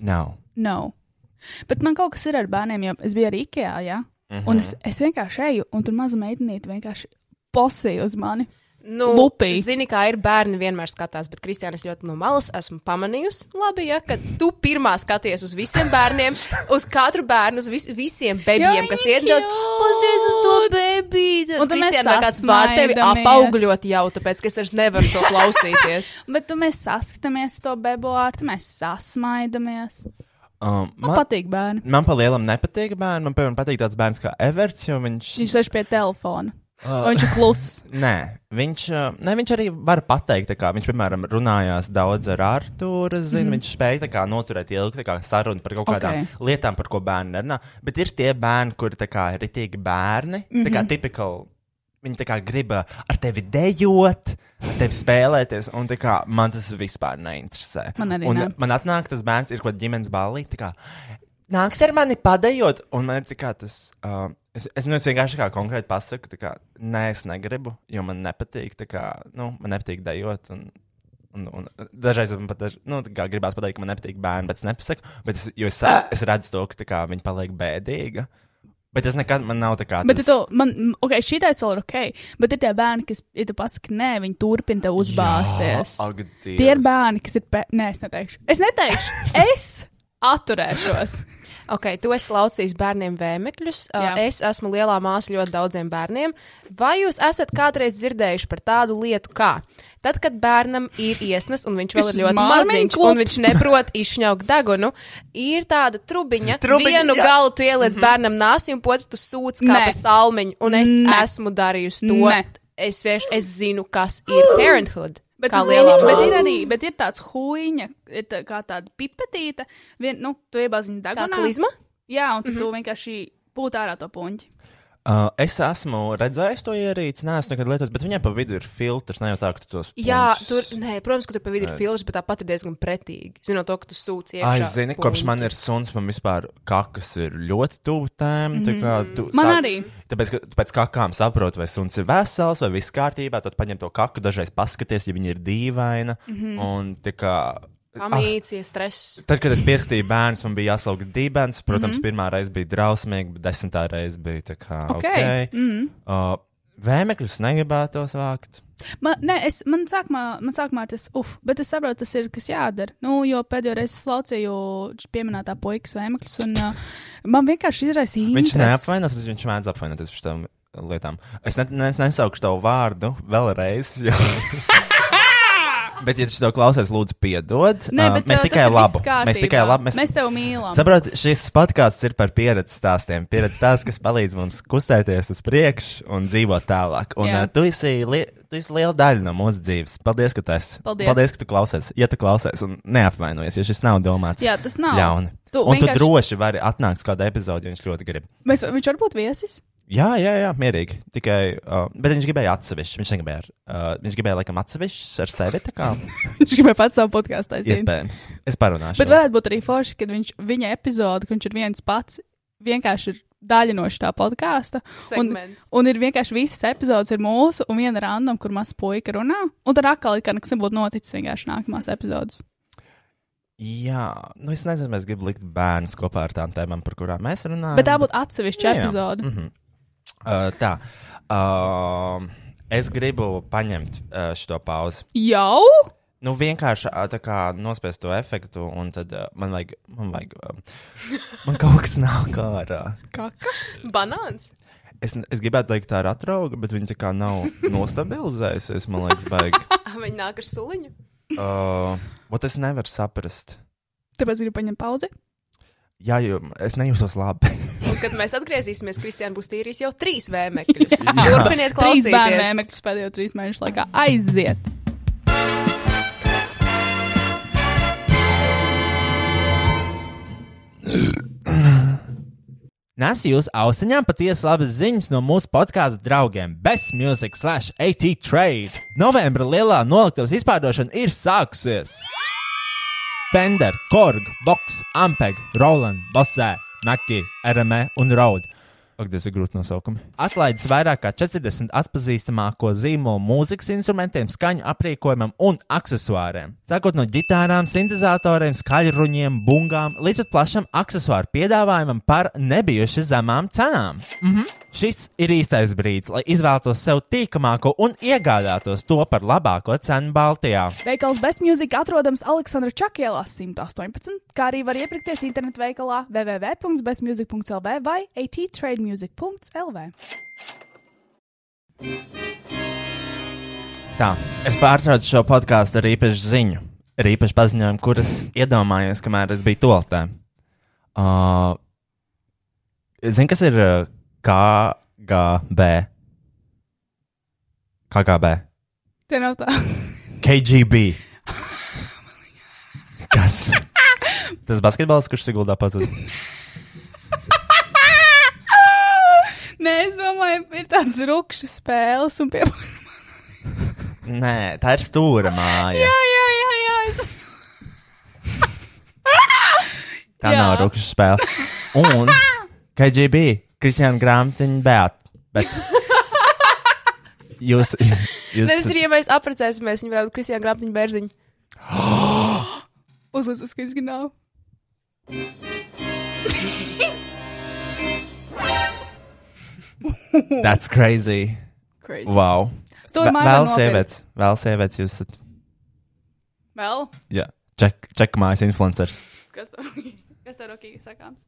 C: Nav.
B: no. Bet man kaut kas ir ar bērniem, jo es biju arī Ikea, ja?
C: Mhm.
B: un es, es vienkārši eju, un tur maza meitenīte vienkārši posīja uz mani.
D: Nu,
B: Lupī.
D: Zini, kā ir bērni vienmēr skatās, bet Kristiāna es ļoti no malas esmu pamanījusi. Labi, ja ka tu pirmā skaties uz visiem bērniem, uz katru bērnu, uz vis visiem bebijiem,
B: Jo
D: kas
B: viņi
D: iet daudz. Pasties uz to bebīti!
B: Un
D: Un
B: tad mēs
D: Kristiāna vēl kāds var tevi
B: sasmaidamies.
D: apaugļot jau, tāpēc, ka es vairs nevaru to klausīties.
B: Bet tu mēs saskatāmies to bebāru, mēs sasmaidamies.
C: Um,
B: Man
C: man,
B: patīk bērni.
C: man palielam nepatīk bērni. Man piemēram patīk tāds bērns kā Everts, jo viņš.
B: Viņš sēž pie telefona.
C: Ah.
B: Uh. Viņš ir
C: [LAUGHS]
B: kluss.
C: Nē, viņš, uh, ne, viņš arī var pateikt, tā kā viņš, piemēram, runājās daudz ar Arthuru. Zin, mm. Viņš spēja tā kā, noturēt ilgu tā kā, sarunu par kaut kādām okay. lietām, par ko bērni nerunā. Bet ir tie bērni, kuri tā kā, ir itīgi bērni, mm -hmm. tā kā tipikāli. Viņi tā kā grib uh, ar tevi dejot, ar tevi spēlēties, un tā kā, man tas vispār neinteresē.
B: Man arī
C: un,
B: ne.
C: man atnāk tas bērns, ir kaut kāda ģimenes ballīte. tā kā, Nāks ar mani padējot, un man ir tā kā tas. Uh, es, es, nu, es vienkārši tā kā konkrēti pasaku, tā kā, nē, es negribu, jo man nepatīk, tā kā, nu, man nepatīk dējot. Un, un, un dažreiz man pat, daž- nu, tā kā gribās pateikt, ka man nepatīk bērni, bet es nepasaku, bet es, jo es, es redzu to, ka tā kā viņi paliek bēdīgi. Bet es nekad, man nav tā kā.
B: Bet
C: tas-
B: tu, man, m, ok, šī taisa vēl ir ok. Bet ir tie bērni, kas, ja tu pasaki, nē, viņi turpina tev uzbāzties.
C: Jā, ak, Dievs.
B: Tie ir bērni, kas ir. Pe... Nē, es neteikšu. Es
C: [LAUGHS]
B: neteikšu. es atturēšos.
D: Ok, tu esi laucījis bērniem vēmekļus.
B: Jā.
D: Uh, es esmu lielā māsa ļoti daudziem bērniem. Vai jūs esat kādreiz dzirdējuši par tādu lietu, kā tad, kad bērnam ir iesnas un viņš vēl
B: Šis
D: ir ļoti
B: māmiņu
D: maziņš
B: klubs.
D: un viņš neprot izšņaukt degunu, ir tāda trubiņa,
C: Trubiņa,
D: vienu
C: jā.
D: galu tu ieliec mm -hmm. bērnam nāsī un otru tu sūc kā
B: Mhm. Nē.
D: pa salmiņu, un es
B: Nē.
D: esmu darījusi to.
B: Nē.
D: Es vienkārši es zinu, kas ir parenthood.
B: Bet,
D: kā
B: tu zini,
D: lielā
B: bet ir
D: māsa.
B: arī bet ir tāds huīņa, ir tā, kā tāda pipetīta. Vien, nu, tu iebāzi viņu
D: Kā
B: dagunā.
D: klizma? Mhm.
B: Jā, un tu, mm -hmm. tu vienkārši pūt ārā to puņķi.
C: Uh, es esmu redzējis to ierīci, neesmu nekad lietojis, bet viņai pa vidu ir filtrs, ne jau tā, ka tu tos.
D: Jā,
C: punktus-
D: tur, nē, protams, ka tur pa vidu ir filmas, bet tāpat ir diezgan pretīgi. Zinot to, ka tu sūci iekšā.
C: Ai, zini, kopš
D: punktu.
C: man ir suns, man vispār kakas ir ļoti tuvu tēm. Mm -hmm. tu,
B: Man
C: sāk-
B: arī.
C: Tāpēc, ka tu pēc kakām saprotu, vai suns ir vesels, vai viss kārtībā, tad paņem to kaku, dažreiz paskaties, ja viņa ir dīvaina. Mm -hmm. Un tā kā.
D: Amīcija, stress.
C: Tad, kad es pieskatīju bērnu, man bija jāsauga dibens. Protams, mm -hmm. pirmā reize bija drausmīga, bet desmitā reize bija tā kā.
B: Ok.
C: Okay. Mm -hmm. uh, Vēmekļus negribētos vākt.
B: Man, nē, es, man, sākumā, man sākumā ir tas, uf, bet es saprotu, tas ir kas jādara. Nu, jo pēdējo reizi es laucīju š- pieminētā puikas vēmekļus, un uh, man vienkārši izraisīja.
C: Viņš
B: interesi.
C: neapvainojas, tas viņš mēdz apvainoties par šīm lietām. Es ne, ne, nesaukšu tavu vārdu vēlreiz. Jo...
B: [LAUGHS]
C: bet, ja tu to klausies, lūdzu, piedod.
B: Nē,
C: Uh,
B: bet,
C: mēs
B: uh, tas
C: tikai
B: ir
C: labu.
B: viss kārtībā.
C: Mēs tikai labu. Mēs...
B: mēs tevi mīlam.
C: Saprotiet, šis podkāsts ir par pieredzi stāstiem. Pieredzi stāsts, kas palīdz mums kustēties uz priekšu un dzīvot tālāk. Un
B: Jā.
C: uh, tu, esi li tu esi liela daļa no mūsu dzīves. Paldies, ka tu esi.
B: Paldies.
C: Paldies, ka tu klausies. Ja tu klausies un neapvainojies, jo šis nav domāts
B: Jā, tas nav.
C: ļauni.
B: Tu
C: un tu
B: vienkārši-
C: droši vari atnākt uz kādu epizodi, ja viņš ļoti grib.
B: Mēs, viņš var būt viesis. [LAUGHS]
C: Jā, jā, jā, mierīgi. Tikai, uh, bet viņš gribēja atsevišķi. Viņš negribēja, ar, uh, viņš gribēja laikam atsevišķi ar sevi. Tā
B: [LAUGHS]
C: kā
B: Viņš gribēja pats savu podkāstu aiziet.
C: iespējams. Es parunāšu.
B: Bet varētu būt arī forši, kad viņš, viņa epizode, ka viņš ir viens pats, vienkārši ir daļa no šī podkāsta.
D: segments.
B: Un ir vienkārši visas epizodes ir mūsu, un viena random, kur mazs puika runā. Un tad atkal ir kā nekas nebūtu noticis vienkārši nākamās epizodes.
C: Jā, nu es nezinu, es gribu likt bērnus kopā ar tām tēmām, par kurām mēs runājam.
B: Bet tā būtu atsevišķa
C: Ah, Jā, jā.
B: epizode.
C: Mhm. Uh, tā. Uh, es gribu paņemt uh, šo pauzi.
B: Jau?
C: Nu, vienkārši ā, tā kā nospiest to efektu, un tad uh, man vajag, man vajag, um, man kaut kas [LAUGHS] nāk ārā.
B: Kaka.
D: [LAUGHS] Banāns.
C: Es, ne- es gribētu teikt, tā ir atrauga, bet viņa tā kā nav nostabilizējusies, man liekas, baigi.
D: Viņa Ah, nāk ar suliņu.
C: Uh, Ot, es nevaru saprast.
B: Tāpēc gribu paņemt pauzi.
C: Jā, jo es nejūtos [LAUGHS] labi.
D: Un, kad mēs atgriezīsimies, Kristiāna būs tīrījis jau trīs
C: [LAUGHS]
D: vēmekļus. [LAUGHS]
C: Jā.
D: Turpiniet
B: Trīs bērnu
D: klausīties.
B: mēmekļus pēdējo trīs mēnešu laikā aiziet.
C: Nesu jūs ausiņām patiesi labas ziņas no mūsu podkāstu draugiem Best Music slash AT Trade. Novembra lielā noliktavas izpārdošana ir sākusies! Fender, Korg, Vox, Ampeg, Roland, Bosē, Naki, RME E un Raud. Ak, tas ir grūti nosaukumi. Atlaidis vairāk kā 40 atpazīstamāko zīmolu mūzikas instrumentiem, skaņu aprīkojumam un aksesuāriem. Sākot no gitārām, sintēzatoriem, skaļruņiem, bungām līdz pat plašam aksesuāru piedāvājumam par nebijuši zemām cenām. Mhm. Šis ir īstais brīdis, lai izvēlētos sev tīkamāko un iegādātos to par labāko cenu Baltijā.
B: Veikals Best Music atrodams Aleksandra Čakielā 118, kā arī var iepirkties internetu veikalā www.bestmusic.lv vai attrademusic.lv.
C: Tā, es pārtraucu šo podkāstu ar īpašu ziņu, ar īpašu paziņojumu, kuras iedomājos, kamēr es biju toltē. Uh, Zini, kas ir uh, KGB? KGB.
B: Te nav tā.
C: KGB. kas? Tas basketbols, kurš siguldā pazudis.
B: [LAUGHS] Nē, es domāju, ir tāds rupšs spēles un pie.
C: Nē, tā ir stūra māja.
B: Jā, jā, jā, jā. Es... [LAUGHS]
C: Tā
B: Jā.
C: nav rupša spēle. Un KGB, Kristiāna grāmatiņa, bet. bet [LAUGHS] jūs. jūs
D: Tas ir, ja mēs apprecēsimies, viņa varētu Kristiāna grāmatiņu bērziņu.
B: Uzliekas, ka izgāju.
C: That's crazy.
B: Crazy.
C: Wow.
B: To ir
C: Vē- Vēl
B: māja var nopirkt.
C: sievietes. Vēl sievietes jūs esat.
B: Vēl?
C: Jā. Ček, ček mājas influenceris.
B: Kas tev, [LAUGHS] kas tev rokīgi sakāms?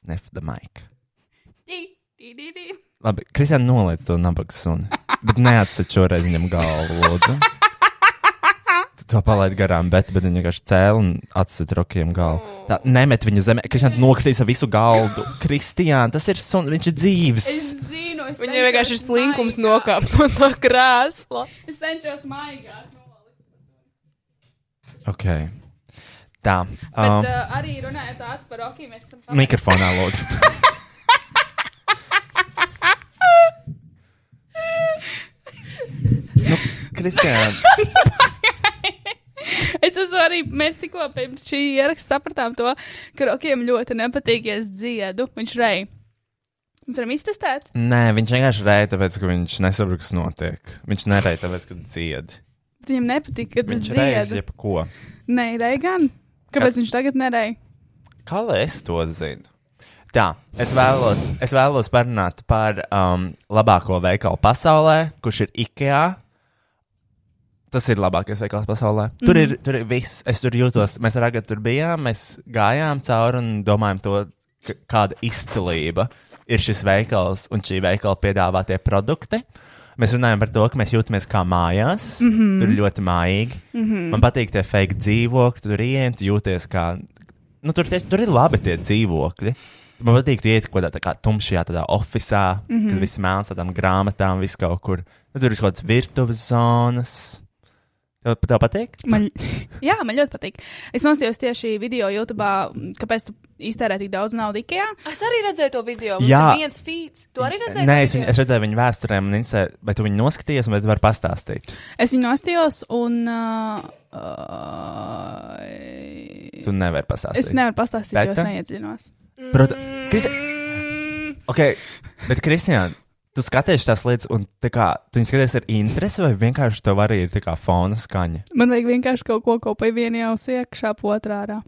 C: Sniff the mic.
B: Dī, dī, dī, dī.
C: Labi, Kristiāna noliec to nabaga suni. Bet neatsver šoreiz viņam galvu, lūdzu. Tu To palaid garām, bet, bet viņa vienkārši cēlīja un atsita rokiem galvu. Tā nemet viņu zemē. Kristiāna nokrita ar visu galdu. Kristiāna, tas ir suns, viņš ir dzīves.
B: Es zinu, es
D: Viņai vienkārši ir
B: cenšos
D: slinkums
B: maigā.
D: nokāpt no tā krēsla.
B: Es cenšos maigāk. nolikt.
C: Ok. Tā. Um,
B: Bet uh, arī runājot tā par rokiem, mēs esam pamanījuši.
C: mikrofonā lūdzu. nu, Kristiāna,
B: [LAUGHS] Es esmu arī, mēs tikko pirms šī ieraksta sapratām to, ka rokiem ļoti nepatīk, ja es dziedu. Viņš rei. Mēs varam iztestēt.
C: nē, viņš vienkārši rēja, tāpēc, ka viņš nesaprot, kas notiek. Viņš nerēja, tāpēc, ka dzied.
B: Bet Viņam nepatīk, kad es
C: Viņš
B: dziedu.
C: reizē jebko.
B: Nē, rei gan. Kāpēc
C: Kas?
B: Kas? viņš tagad nerei?
C: Kā lai es to zinu? Tā, es vēlos, es vēlos parunāt par um, labāko veikalu pasaulē, kurš ir IKEA. Tas ir labākais veikals pasaulē. Tur mm -hmm. ir, tur ir viss, es tur jūtos. Mēs ar Agatu tur bijām, mēs gājām cauri un domājām, to, k- kāda izcilība ir šis veikals un šī veikala piedāvātie produkti. Mēs runājam par to, ka mēs jūtamies kā mājās. Mm -hmm. Tur ir ļoti mājīgi. Mm -hmm. Man patīk tie fake dzīvokļi, tur ienākt, jūties kā nu, tur, tieši, tur ir labi tie dzīvokļi. Man patīk, ka iet kaut kādā tā kā tumšajā tādā oficiālā, mm
B: Mhm.
C: -hmm. kad viss mēlns tādām grāmatām, viss kaut kur. Nu, tur ir kaut kādas virtuves zonas. Tev, tev patīk?
B: Man, [LAUGHS] jā, man ļoti patīk. Es nostājos tieši video YouTube, kāpēc tu iztērē tik daudz naudas IKEA.
D: Es arī redzēju to video. Mums
C: Jā.
D: ir viens feeds. Tu arī redzēji?
C: Nē,
D: to
C: es, viņu,
D: video?
C: es redzēju viņu vēsturē, un Insta, vai tu viņu noskatījies, vai tu vari pastāstīt?
B: Es viņu nostājos un. Uh, uh,
C: Tu nevari pastāstīt.
B: es nevaru pastāstīt, jo es
C: Beta?
B: neiedzinos.
C: Protams, Kristi...
D: Mm,
C: ok, bet Kristiāna, tu skaties tās lietas, un tā kā, tu viņu skaties ar interesi, vai vienkārši tev arī ir tā kā fona skaņa?
B: Man vajag vienkārši kaut ko kopā vienā jau iekšā, otrā ārā.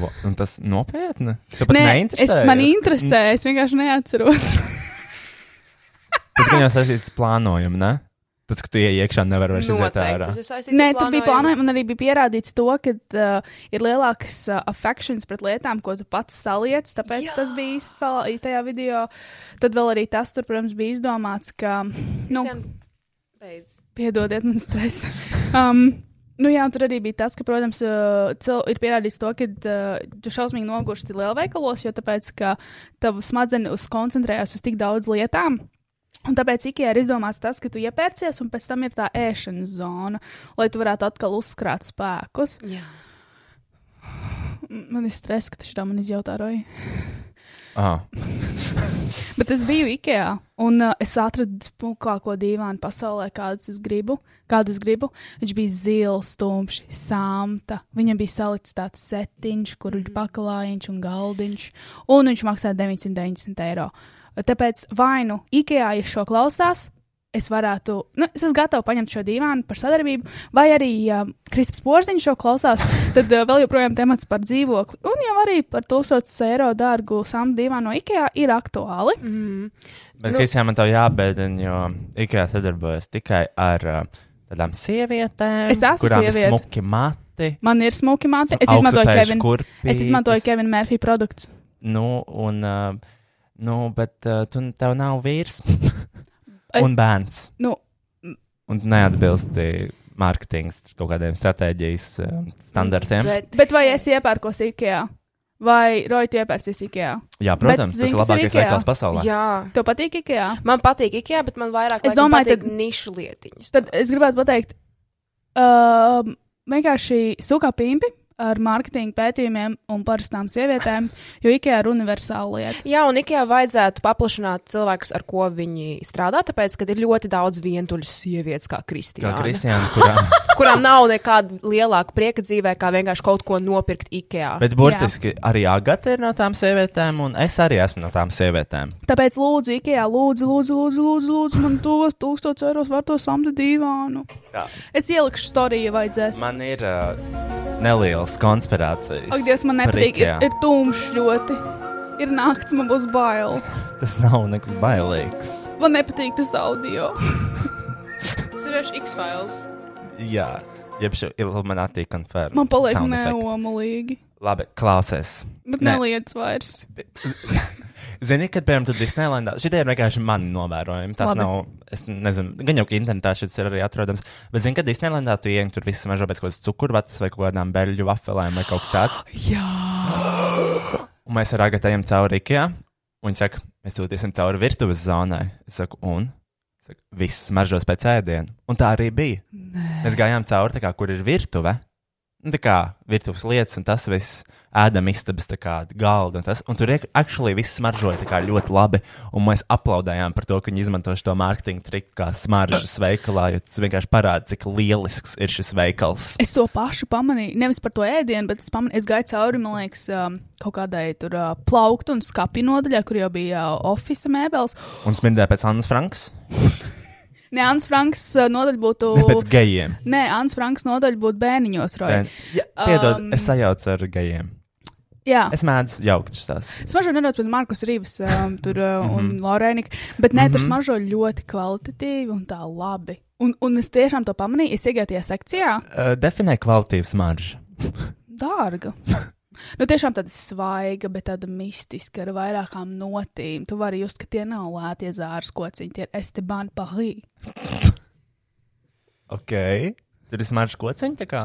C: Vo- Un tas nopietni. Tu pat
B: es,
C: neinteresējies.
B: man interesē, es vienkārši neatceros.
C: Tas gan jau saistīts ar plānojumu, ne? Tas, ka tu ej iekšā, nevar vairs iziet ārā.
D: tas ir saistīts
B: Nē,
D: ar
B: tur bija
D: plānojumu.
B: plānojumi, un arī bija pierādīts to, ka uh, ir lielāks uh, affekcijas pret lietām, ko tu pats saliec. Tāpēc
D: Jā.
B: Jā. tas bija īstenībā tajā video. Tad vēl arī tas, tur, protams, bija izdomāts, ka. Nu,
D: Kristian, beidz.
B: Piedodiet, man stress. Um, Nu jā, un tur arī bija tas, ka, protams, uh, cil- ir pierādīts to, ka uh, tu šausmīgi nogursti lielveikalos, jo tāpēc, ka tava smadzenes uz- koncentrējās uz tik daudz lietām. Un tāpēc Ikea ir izdomāts tas, ka tu iepērcies, un pēc tam ir tā ēšanas zona, lai tu varētu atkal uzkrāt spēkus.
D: Jā.
B: M- Man ir stress, ka šī tā man izjautā roja.
C: Ah,
B: Bet es biju Ikea, un uh, es atradu spilgtāko dīvainu pasaulē, kādu es gribu. Kādu es gribu. Viņš bija zils, tumšs, samta. Viņam bija salicis tāds setiņš, kur ir paklājiņš un galdiņš, un viņš maksāja 990 eiro. Tāpēc vainu Ikea, ja šo klausās. Es varētu, nu, es esmu gatava paņemt šo dīvānu par sadarbību, vai arī, ja Kristaps Porziņš šo klausās, tad uh, vēl joprojām temats par dzīvokli. Un jau arī par 1000 eiro dārgu samta dīvānu no IKEA ir aktuāli.
C: bet nu...
D: Nu-
C: Kristiāna man tev jābēdina, jo Ikea sadarbojas tikai ar ā, tādām sievietēm,
B: Es esmu
C: kurām
B: sieviete.
C: ir smuki mati.
B: Man ir smuki māte. Es
C: augstu
B: izmantoju
C: pēžu
B: Kevinu.
C: kurpītes.
B: Es izmantoju Kevinu Mērfiju produktu.
C: Nu, un, uh, nu bet uh, tu, tev nav
B: [LAUGHS]
C: vīrs un bērns.
B: Nu,
C: Un tu neatbilsti mārketings kaut kādiem stratēģijas uh, standartiem. Bet,
B: bet vai es iepērkos IKEA? Vai Roja iepērsies IKEA?
C: Jā, protams,
B: bet
C: bet, tas ir
B: zini, kas ir
C: labākais
B: IKEA?
C: veikals pasaulē.
D: Jā.
B: Tev patīk IKEA?
D: Man patīk IKEA, bet man vairāk
B: Es
D: laikam
B: domāju,
D: patīk
B: tad-
D: nišu lietiņas.
B: Tad es gribētu pateikt, um, vienkārši sūkā pimpi ar mārketinga pētījumiem un parastām sievietēm, jo IKEA ir universāla lieta.
D: Jā, un Ikea vajadzētu paplašināt cilvēkus, ar ko viņi strādā, tāpēc, ka ir ļoti daudz vientuļas sievietes, kā
C: Kā
D: Kristīna,
C: Kristiāna, kurā.
D: kurām nav nekāda lielāka prieka dzīvē, kā vienkārši kaut ko nopirkt Ikea.
C: [LAUGHS] Bet burtiski arī Agata ir no tām sievietēm, un es arī esmu no tām sievietēm.
B: Tāpēc lūdzu, IKEA, lūdzu, lūdzu, lūdzu, lūdzu, lūdzu man tos 1000 eiro var to samta divānu.
C: Jā.
B: Es ielikšu storiju, ja vajadzēs.
C: Man ir uh, nelielas konspirācijas.
B: Ak, Dievs, man
C: par
B: nepatīk. Ir,
C: IKEA.
B: ir tumšs ļoti. Ir naktis, man būs bail.
C: Tas nav nekas bailīgs.
B: Man nepatīk tas audio. tas ir vienkārši X-Files.
C: Jā, jeb šī iluminēta konference.
B: Man paliek neomalīgi.
C: Labi, klausies.
B: Bet
C: Nē.
B: ne. neliec vairs.
C: Zini, kad, piemēram, tur Disneylandā, šitie ir vienkārši mani novērojumi. Tas
B: Labi.
C: nav, es nezinu, gan jau ka internetā šis ir arī atrodams. Bet, zini, kad Disneylandā tu ienāk, tur viss smaržo pēc kaut kādas cukurvatas vai kaut kādām beļģu vafelēm vai kaut kas tāds.
B: [GASPS] Jā.
C: Un mēs ar Agatējam cauri Rikijā. Un viņi saka, mēs dodamies cauri virtuves zonai. Es saku, un? Saka, viss smaržos pēc ēdiena. Un tā arī bija.
B: Nē.
C: Mēs gājām cauri, tā kā, kur ir virtuve. Nu, tā kā virtuves lietas, un tas viss ēdam istabas tā kā, galda. Un, tas, un tur iek- actually viss smaržoja tā kā ļoti labi. Un mēs aplaudējām par to, ka viņi izmanto šo marķingu triku kā smaržas veikalā, jo tas vienkārši parāda, cik lielisks ir šis veikals.
B: Es to pašu pamanīju. Nevis par to ēdienu, bet es, pamanīju, es gāju cauri, man liekas, um, kaut kādai tur uh, plauktu un skāpju nodaļai, kur jau bija uh, oficiāla mēbeles.
C: Un smirdēja pēc Annas Franks,
B: Nē, Ants Franks uh, nodaļa būtu.
C: ne [LAUGHS] pēc gejiem.
B: Nē, Ants Franks nodaļa būtu bērniņos, Roja.
C: Bēn- Jā, piedod,
B: Um,
C: um, es sajaucu ar gejiem.
B: Jā.
C: Es mēdzu jaukt šīs.
B: Es mažoju nedaudz pēc Markus Rības um, tur, uh,
C: Mhm.
B: un Lorēnika, bet nē, tur smažo ļoti kvalitatīvi un tā labi. Un, un es tiešām to pamanīju, es iegāju tajā sekcijā,
C: Uh, definē kvalitātes smaržu. [LAUGHS]
B: dārga. Nu, tiešām tāda svaiga, bet tāda mistiska, ar vairākām notīm. Tu vari just, ka tie nav lētie zāles kociņi, tie ir Esteban Pahī.
C: Ok. Tur ir smaržu kociņi tā kā.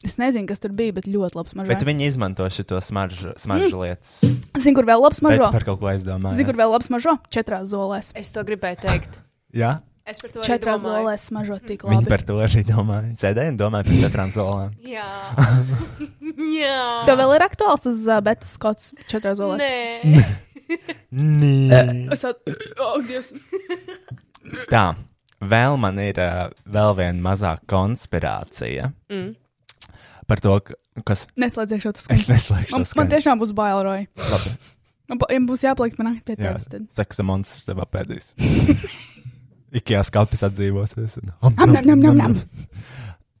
B: Es nezinu, kas tur bija, bet ļoti labs mažo.
C: Bet viņi izmanto šo smaržu, smaržu mm. lietas.
B: Zinu, kur vēl labs
C: Bet
B: mažo.
C: par kaut ko aizdomājos.
B: Zinu, kur vēl labs mažo. Četrās zolēs.
D: Es to gribēju teikt.
C: Jā,
D: Es par to arī
B: Četrās
D: domāju.
B: zolēs smažot tik
C: Viņi
B: labi.
C: par to arī domāja. Sēdēja un domāja par četrām zolām.
D: Jā,
C: [LAUGHS]
D: [LAUGHS] jā.
B: Tev vēl ir aktuāls tas uh, Betas skots četrās zolēs.
D: Nē,
C: Nē.
B: Es at... oh, Dievs.
C: Tā, vēl man ir ā, vēl viena mazā konspirācija
D: Mm.
C: par to, ka- kas [LAUGHS]
B: Neslēdzies šo
C: es
B: skaņu. Man,
C: neslēgšu.
B: man tiešām būs bail, Roja. [LAUGHS]
C: labi.
B: Man pa- ja būs jāpaliek man naktī pie
C: Jā, Nu,
B: tevis. tad.
C: Saksamons tev apēdīs. [LAUGHS] Ikajā skalpis atdzīvosies. Un...
B: Am, nam, nam, nam,
C: nu,
B: nam.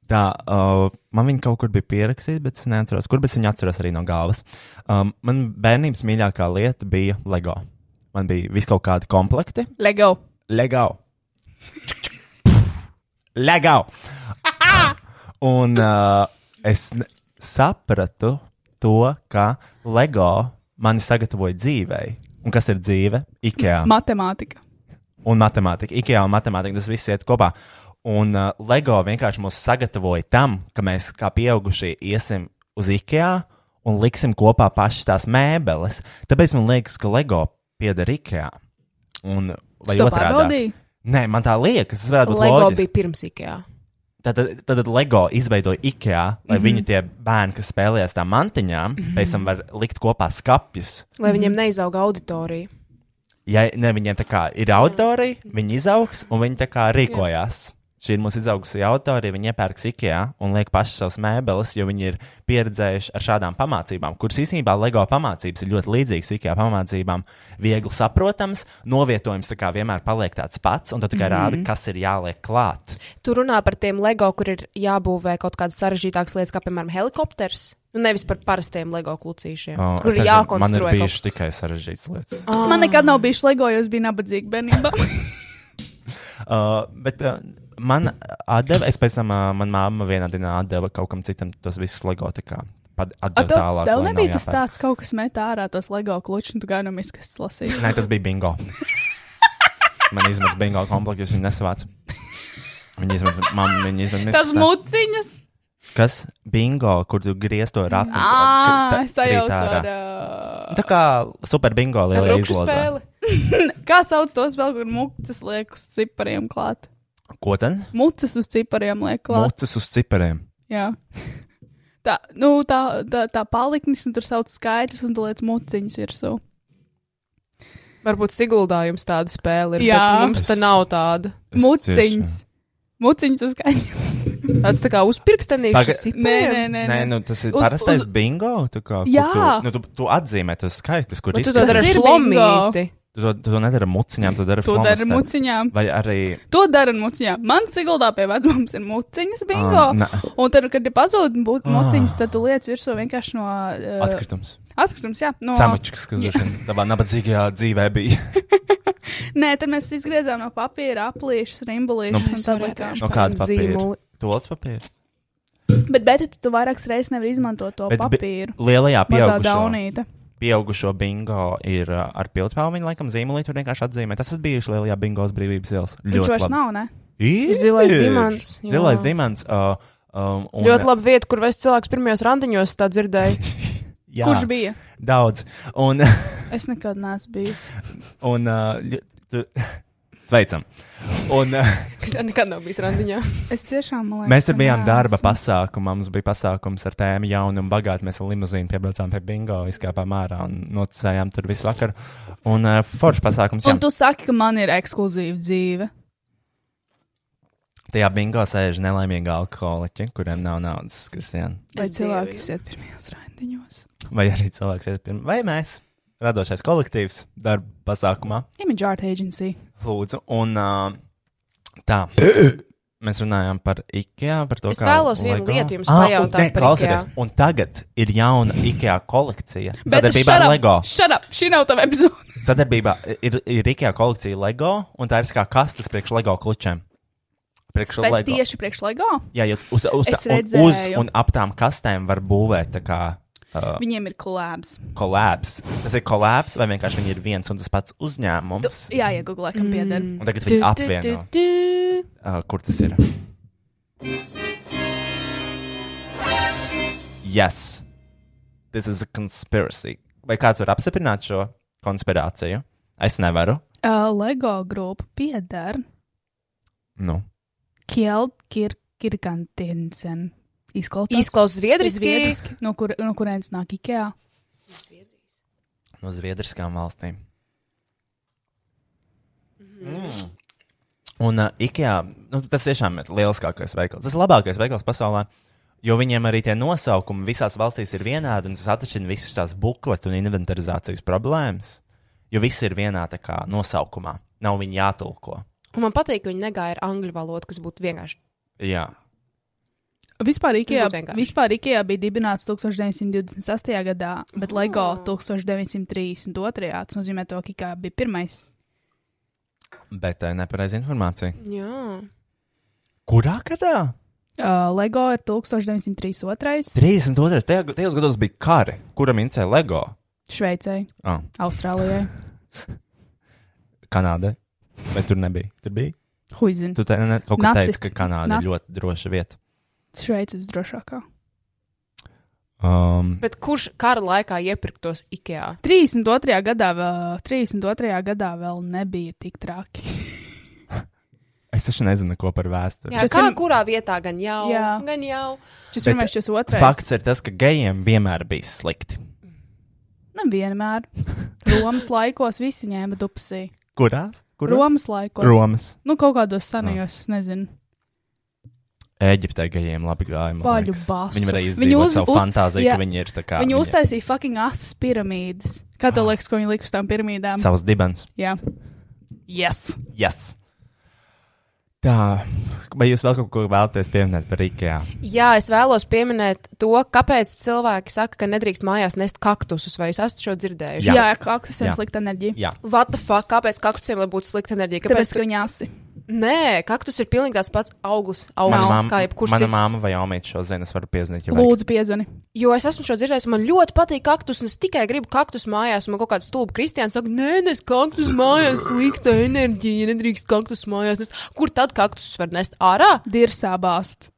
C: Tā, uh, man viņa kaut kur bija pierakstīta, bet es neatceros, kur, bet viņa atceras arī no galvas. Um, man bērnības mīļākā lieta bija LEGO. Man bija vis kaut kādi komplekti.
B: Lego.
C: LEGO! LEGO! Un uh, es ne- sapratu to, ka LEGO mani sagatavoja dzīvei. Un kas ir dzīve? Ikea
B: Matemātika.
C: un matemātika. Ikea un matemātika tas viss iet kopā. Un uh, LEGO vienkārši mūs sagatavoja tam, ka mēs kā pieaugušie iesim uz Ikea un liksim kopā pašas tās mēbeles. Tāpēc man liekas, ka LEGO pieder Ikea. Un, vai
B: Tu to
C: otrādi?
B: pārbaudīji?
C: Nē, man tā liekas, tas varētu būt
D: Lego
C: loģiski.
D: bija pirms IKEA.
C: Tad, tad, tad LEGO izveidoja IKEA, lai
B: Mhm.
C: mm -hmm. viņu tie bērni, kas spēlējās tā mantiņā, mm -hmm. pēc tam var likt kopā skapjus.
D: Lai viņiem neizauga auditorija.
C: Ja ne, viņiem tā kā ir auditorija, viņi izaugs un viņi tā kā rīkojās. Šī ir mūsu izaugusi auditorija, viņi iepērks IKEA un liek pašas savas mēbeles, jo viņi ir pieredzējuši ar šādām pamācībām, kuras īsnībā LEGO pamācības ir ļoti līdzīgas IKEA pamācībām. Viegli saprotams, novietojums tā kā vienmēr paliek tāds pats, un tad tikai mm -hmm.
D: Mhm.
C: rāda, kas ir jāliek klāt.
D: Tu runā par tiem LEGO, kur ir jābūvē kaut kādas sarežģītākas lietas, kā piemēram helikopters. Nu, nevis par parastiem LEGO klucīšiem,
C: O,
D: kur
C: es
D: ir
C: nezinu, Man ir
D: jākonstruē. kaut-
C: bijušas tikai sarežģītas lietas.
B: Man nekad nav bijis Lego, jo es biju nabadzīga
C: [LAUGHS]
B: bērnībā.
C: Uh, bet uh, man atdeva, es pēc tam uh, manā māma vienā dienā atdeva kaut kam citam tos visus LEGO. tā kā pat-
B: A,
C: Atdeva
B: tev,
C: tālāk.
B: tev
C: lai nav
B: nebija tas
C: jāpērk.
B: stāsts, kaut kas met ārā tos Lego klučus, un tu gan nomis, kas lasīja.
C: Nē, tas bija
B: [LAUGHS]
C: bingo. Man izmet bingo komplektu, jo viņi nesavāca. Viņi izmet, man viņa izmet.
B: Tas
C: miskastā.
B: muciņas!
C: Kas? Bingo, kur tu griez to ratu.
B: Ā,
C: Tā-
B: es sajaucu
C: krīt
B: ar.
C: ārā.
B: ā,
C: Tā kā super bingo lielā
D: Rupšu
C: izlozē.
D: spēle.
B: Kā sauc tos vēl, kur mucas liek uz cipariem klāt?
C: Ko tad?
B: Mucas uz cipariem liek klāt.
C: Mūcis uz cipariem.
B: Jā. Tā, nu, tā, tā, tā paliknis, un tur sauc skaitļus, un tu liec muciņas virsū.
D: Varbūt Siguldā jums tāda spēle ir.
B: Jā.
D: bet Mums tā nav tāda.
C: Es
B: Muciņas.
C: tieši-
B: Muciņas uz skaitļiem.
D: Tāds tā kā
C: Paga-
D: uzpirkstenīšs.
B: Nē, nē, nē.
C: Nē, nu, tas ir
B: Uz-
C: parastais uz...
B: uz-
C: bingo. Tu, kā, kur
B: Jā.
C: Tu, nu, tu, tu atzīmē tos skaitļus, kurus
D: Bet tu to
B: Tas
D: dari ar
B: ir
D: flomīti.
C: Tu to, tu to nedari ar muciņām, tu dari
B: To dara
C: flomasteriem.
B: muciņām.
C: Vai arī.
B: To dara muciņām. Man siguldā pie vecmāmas ir muciņas bingo.
C: Ah, nē.
B: un tad, kad ir pazūd būt muciņas, tad tu liec virsū vienkārši no uh,
C: Atkritums.
B: atkritums. Jā, no
C: Samačs, kas
B: Jā.
C: droši
B: [LAUGHS]
C: vien tavā nabadzīgajā dzīvē bija.
B: Nē, tad mēs izgriezām no papīra aplīšus, rimbulīšus
C: Nu,
B: un tā tālāk.
C: No kāda papīra? Tols papīra.
B: Bet, bet tu vairākas reizes nevari izmantot to
C: Bet bi-
B: papīru.
C: Lielajā
B: Mazā
C: pieaugušo,
B: daunīte.
C: pieaugušo bingo ir uh, ar pildspalviņu, laikam, zīmolī tur vienkārši atzīmē. Tas ir bijis lielajā bingo uz brīvības ielas.
B: Viņš
C: Ļoti
B: vairs
C: labi.
B: nav, ne?
C: Ir!
D: Zilais dimants, jā.
C: Zilais dimants. Uh, um, un,
D: Ļoti laba vieta, kur vest cilvēks pirmajos randiņos, tā
C: [LAUGHS]
D: dzirdēju.
C: Jā,
B: Kurš bija?
C: Daudz. Un,
B: Es nekad neesmu bijis.
C: un uh, ļo- tu... [LAUGHS] sveicam. Un, uh,
D: Kas tā nekad nav bijis randiņā.
B: Es tiešām man liekas.
C: Mēs tur
B: ka
C: bijām darba
B: neesmu.
C: pasākumā. Mums bija pasākums ar tēmu jaunu un bagātu. Mēs ar limuzīnu piebraucām pie bingo, izkāpām ārā un nocēlām tur visu vakaru. Un uh, foršs pasākums. Jā,
B: Un tu saki, ka man ir ekskluzīva dzīve.
C: tajā bingo sēž nelaimīgi alkoholiķi, kuriem nav naudas, Kristiāna.
B: Vai
D: Es
B: cilvēki
D: dievinu.
B: iet pirmajos randiņos?
C: Vai arī cilvēks ir pirms, vai mēs, radošais kolektīvs, darba pasākumā.
B: Image Art Agency.
C: Lūdzu, un uh, [CLEARS THROAT] tā. Mēs runājām par IKEA, par to,
D: Es
C: kā
D: vēlos vienu
C: LEGO.
D: lietu jums
C: Ā, un
D: pajautāt
C: nē,
D: par
C: klausieties,
D: IKEA.
C: Ah, Un tagad ir jauna IKEA
D: [LAUGHS]
C: kolekcija.
B: Bet
C: Sadarbībā ar LEGO.
B: Shut up! Šī nav tava epizode.
C: Sadarbībā ir, ir Rīgā kolekcija LEGO, un tā ir kā kastes priekš LEGO klučiem. Priekš
B: Bet
C: LEGO.
B: tieši priekš LEGO
C: Jā, jo uz, uz,
B: Es
C: un, uz
B: redzēju.
C: un ap tām kastēm var būvēt tā kā uh,
B: viņiem ir kolēbs.
C: kolēbs. Tas ir kolēbs, vai vienkārši viņi ir viens un tas pats uzņēmums.
B: Jā, iegūlē, kam pieder.
D: Mm.
C: Un tagad viņi apvieno, uh, kur tas ir. Yes, this is a conspiracy. Vai kāds var apstiprināt šo konspirāciju? Es nevaru.
B: Uh, LEGO grupa pieder
C: Nu.
B: Kjeld Kir Kirkantinsen. Izklausās.
D: Izklausās zviedriski.
B: Zviedriski. No, kur, no kurienes nāk Ikea?
C: No zviedriskām valstīm. Mm. Un uh, Ikea, nu, tas tiešām ir lieliskākais veikals. Tas ir labākais veikals pasaulē, jo viņiem arī tie nosaukumi visās valstīs ir vienādi, un tas atrisinās visas tās bukletu un inventarizācijas problēmas. Jo viss ir vienā tā kā nosaukumā, nav viņa jātulko.
D: Un man patīk, ka viņi negāja ar angļu valodu, kas būtu vienkārši.
C: Jā,
B: Vispār Ikea,
D: būtu vienkārši.
B: vispār Ikea bija dibināts 1928. gadā, bet LEGO 1932. Tas nozīmē, to, ka Ikea bija pirmais.
C: bet tā ir nepareiza informācija.
D: Jā,
C: Kurā gadā?
B: Uh, LEGO ir 1932.
C: 32. Tajā- Tajos gados bija kari, kuram incēja LEGO.
B: Šveicē,
C: Ah,
B: Austrālijai.
C: Kanāda. Vai tur nebija? Tur bija.
B: Huizina.
C: Tu te ne, kaut kā teici,
B: Nacisti.
C: ka Kanāda
B: Nac-
C: ir ļoti droša vieta.
B: Šveice visdrošākā.
C: Um,
D: bet kurš kara laikā iepirktos IKEA?
B: 32. gadā vēl, 32. gadā vēl nebija tik traki.
C: es taču nezinu, ko par vēsturi.
D: Jā,
B: Tas
D: kā
B: pirm-
D: kurā vietā gan jau? Jā,
B: Jā.
D: gan jau.
B: Šis
C: Bet
B: pirmais, šis otrais.
C: Fakts ir tas, ka gejiem vienmēr bija slikti.
B: Nevienmēr. Romas laikos visi ņēma dupsī.
C: Kurās? Kurās?
B: Romas laikos.
C: Romas.
B: Nu, kaut kādos senajos,
C: Ah.
B: es nezinu.
C: Eģiptē gejiem labi gāja. man
B: Paļu
C: liekas.
B: basu.
C: Viņi varēja
B: Viņi
C: izdzīvot
B: uz-
C: uz, savu
B: uz-
C: uz, fantāziju,
B: jā.
C: jā, ka viņi ir tā kā.
B: Viņi uztaisīja fucking asas piramīdas. Kā tev liekas, ko viņi lika uz tām piramīdām?
C: savus dibens.
B: Jā. Yes.
C: Yes. Tā, vai jūs vēl kaut ko vēlaties pieminēt par Rīgā?
D: Jā, es vēlos pieminēt to, kāpēc cilvēki saka, ka nedrīkst mājās nest kaktusus, vai jūs esat šo dzirdējuši?
B: Jā,
C: Jā.
B: jā kaktusiem
C: Jā.
B: slikta enerģija.
C: Jā,
D: What the fuck? Kāpēc kaktusiem lai būtu slikta enerģija? Kāpēc?
B: Tāpēc, ka viņi asi.
D: Nē, kaktus ir pilnīgi tāds pats auglis,
C: Mana
D: auglis kā
C: mamma,
D: jebkurš
C: mana
D: cits.
C: mamma vai Almīte šo zina, es varu piezīmēt.
B: Lūdzu, piezvani.
D: Jo es esmu šo dzirdējis, un man ļoti patīk kaktus, un es tikai gribu kaktus mājās. Un man kaut kāds stulbs kristiāns saka, nē, nes kaktus mājās, slikta enerģija, nedrīkst kaktus mājās. Nest. Kur tad kaktus var nest ārā?
B: Dirsā bāzt.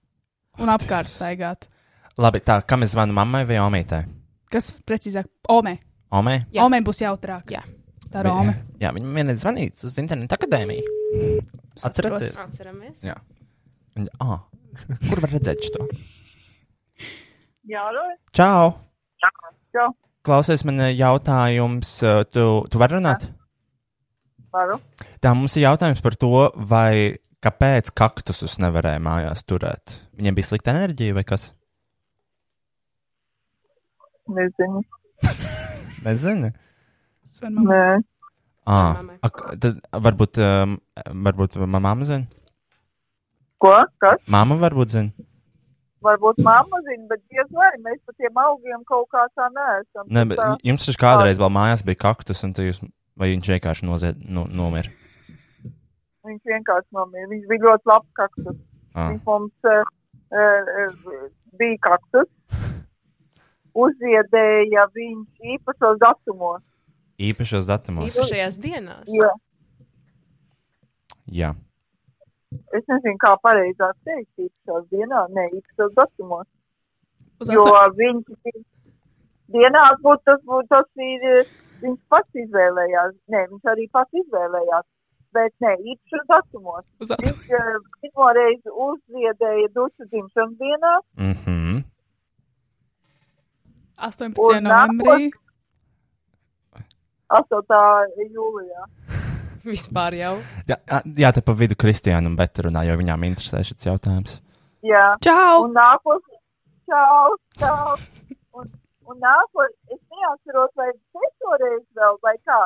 B: Un apkārt staigāt.
C: Labi, tā kā mēs zvanām mammai vai Almītei?
B: Kas precīzāk? Omē.
C: Omei?
D: Jā.
B: Omē būs jautrāk.
D: Jā.
B: Tā ir Omē.
C: Jā, viņam vienreiz zvanīja uz internetu akadēmiju. Atceraties?
D: Atceramies.
C: Jā. Viņa, ah, kur var redzēt šo?
E: Jā, Roja.
C: Čau!
E: Čau.
C: Klausies, man ir jautājums, eh, tu, tu vari runāt?
E: Varu.
C: Tā mums ir jautājums par to, vai kāpēc kaktusus nevarēja mājās turēt. Viņiem bija slikta enerģija vai kas?
E: Nezinu.
C: Nezinu.
B: Svenmam.
E: Nē,
C: Ah,
D: mammai.
C: ak, tad varbūt, um, varbūt mamma zina.
E: ko? Kas?
C: Māma varbūt zina.
E: Varbūt mamma zina, bet diez vai mēs par tiem augiem kaut kā tā neesam.
C: Ne, bet
E: tā,
C: jums taču kādreiz vēl mājās bija kaktus, un tu jūs, vai viņš vienkārši nozied, nu, nomira.
E: viņš vienkārši nomira. Viņš bija ļoti labs kaktus.
C: Ah.
E: Viņš mums uh, uh, bija kaktus. Uzziedēja viņš īpašos datumos.
C: Īpašos datumos.
D: Īpašajās dienās.
E: Jo
C: Jā,
E: es nezinu, kā pareizāk teikt, īpašās dienā, ne īpašos datumos.
B: Uz
E: Jo
B: asto-
E: viņš dienās būtu tas, būtu tas ir, eh, viņš pats izvēlējās. Nē, viņš arī pats izvēlējās. Bet nē, īpašos datumos.
B: uz asto-
E: Viņš eh, pirmo reizi uzziedēja dušu dzimšanas dienā.
C: mhm.
B: 18.
E: Un
B: novembrī.
E: 8. jūlijā.
D: Vispār jau.
C: jā, a, jā te pa vidu Kristiāna un Beta runā, jo viņām interesē šis jautājums.
E: Jā,
B: Čau!
E: un nākos, čau, čau. Un, un nākos, es neatceros, vai sesto reizi vēl, vai kā,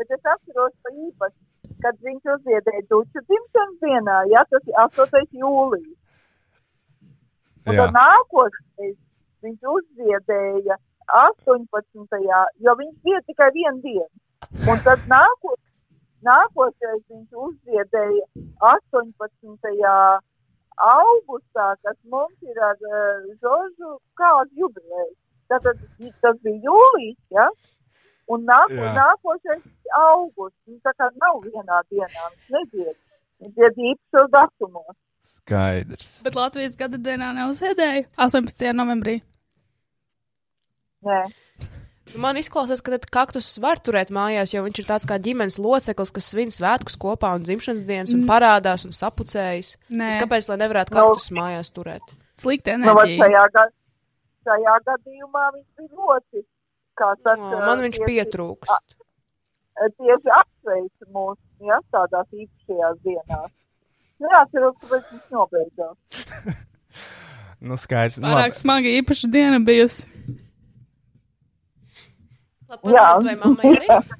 E: bet es atceros pa īpaši, kad viņš uzziedēja dušu dzimšanas dienā, jā, tas ir 8. jūlijā. Un
C: Jā.
E: tad nākošais viņš uzziedēja 18. jo viņš bija tikai vienu dienu. Un tad nāko, nākošais viņš uzziedēja 18. augustā, kas mums ir ar uh, Žožu kādu jubileju. Tātad i- tas bija jūlijas, ja? Un nāko,
C: Jā.
E: nākošais ir augusts. Viņš tā kā nav vienā dienā, viņš nezied. Viņš iet īpašos datumos.
C: Skaidrs.
B: Bet Latvijas gada dienā neuzēdēju. 18. novembrī.
E: Nē.
D: Nu, Man izklausās, ka tad kaktus var turēt mājās, jo viņš ir tāds kā ģimenes loceklis, kas svin svētkus kopā un dzimšanas dienas un parādās un sapucējas.
B: Nē.
D: Tad Kāpēc lai nevarētu kaktus mājās turēt?
B: Slikta
F: Nu, vat
B: enerģija.
F: šajā, ga- šajā gadījumā viņš bija ļoti, kā
D: O,
F: saka,
D: man viņš
F: tieši-
D: pietrūkst.
F: Eh, tieši apsveic mūs, ja tādās īpašajās dienās. Nu Neatceros, kāpēc viņš nobeidzās.
C: Nu, skaidrs. Nu,
B: Pārāk
C: labi.
B: smaga īpaša diena bijusi.
D: Labi,
F: Jā.
D: pazināt, vai mammai arī?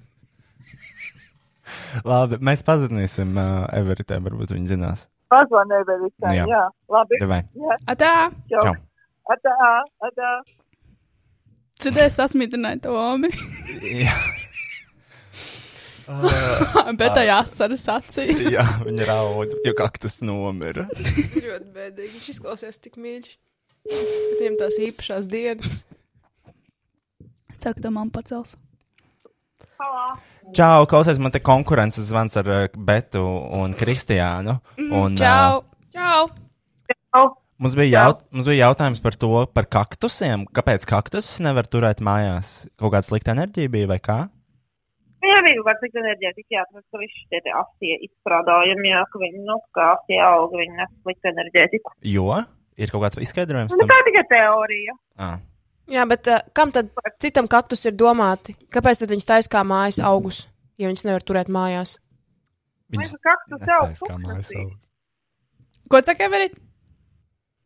C: labi, mēs pazīsim uh, Everitē, varbūt viņi zinās.
F: Pazvanē vēl visai,
C: Jā.
F: jā. Labi,
C: Vai?
F: jā,
B: Atā!
F: čau.
C: Čau.
F: Atā, atā.
B: Citēji sasmidināja to omi,
C: Jā,
B: [LAUGHS]
E: [LAUGHS]
B: bet tajā asaras acī.
C: jā viņa raud, jo kaktus nomira.
D: Ļoti bēdīgi. Viņš izklausās tik mīļš. Viņam tās īpašās dienas.
B: Es ceru, ka to man pacels.
C: Čau, klausies, man te konkurences zvans ar uh, Betu un Kristiānu.
E: Mm,
C: Un,
D: Čau!
B: Čau!
C: Mums bija, jaut, mums bija jautājums par to, par kaktusiem. Kāpēc kaktusus nevar turēt mājās? Kaut kāda slikta enerģija bija vai kā?
F: Jā, viņi var cik enerģētiski jāatrast, ka visi šie te astie izstrādājumi, jā, ka viņi, nu, kā astie auga, viņi neslikt enerģētiku.
C: Jo ir kaut kāds izskaidrojums
F: Nu,
C: tam.
F: tā tikai teorija.
C: Ah.
D: Jā, bet uh, kam tad citam kaktus ir domāti? Kāpēc tad viņš taisa kā mājas augus, ja viņš nevar turēt mājās?
C: Viņas
F: Viņas... Mēs kaktus aug
C: netais kā mājas
F: tūkstnesī.
C: augs.
B: Ko saka Everit?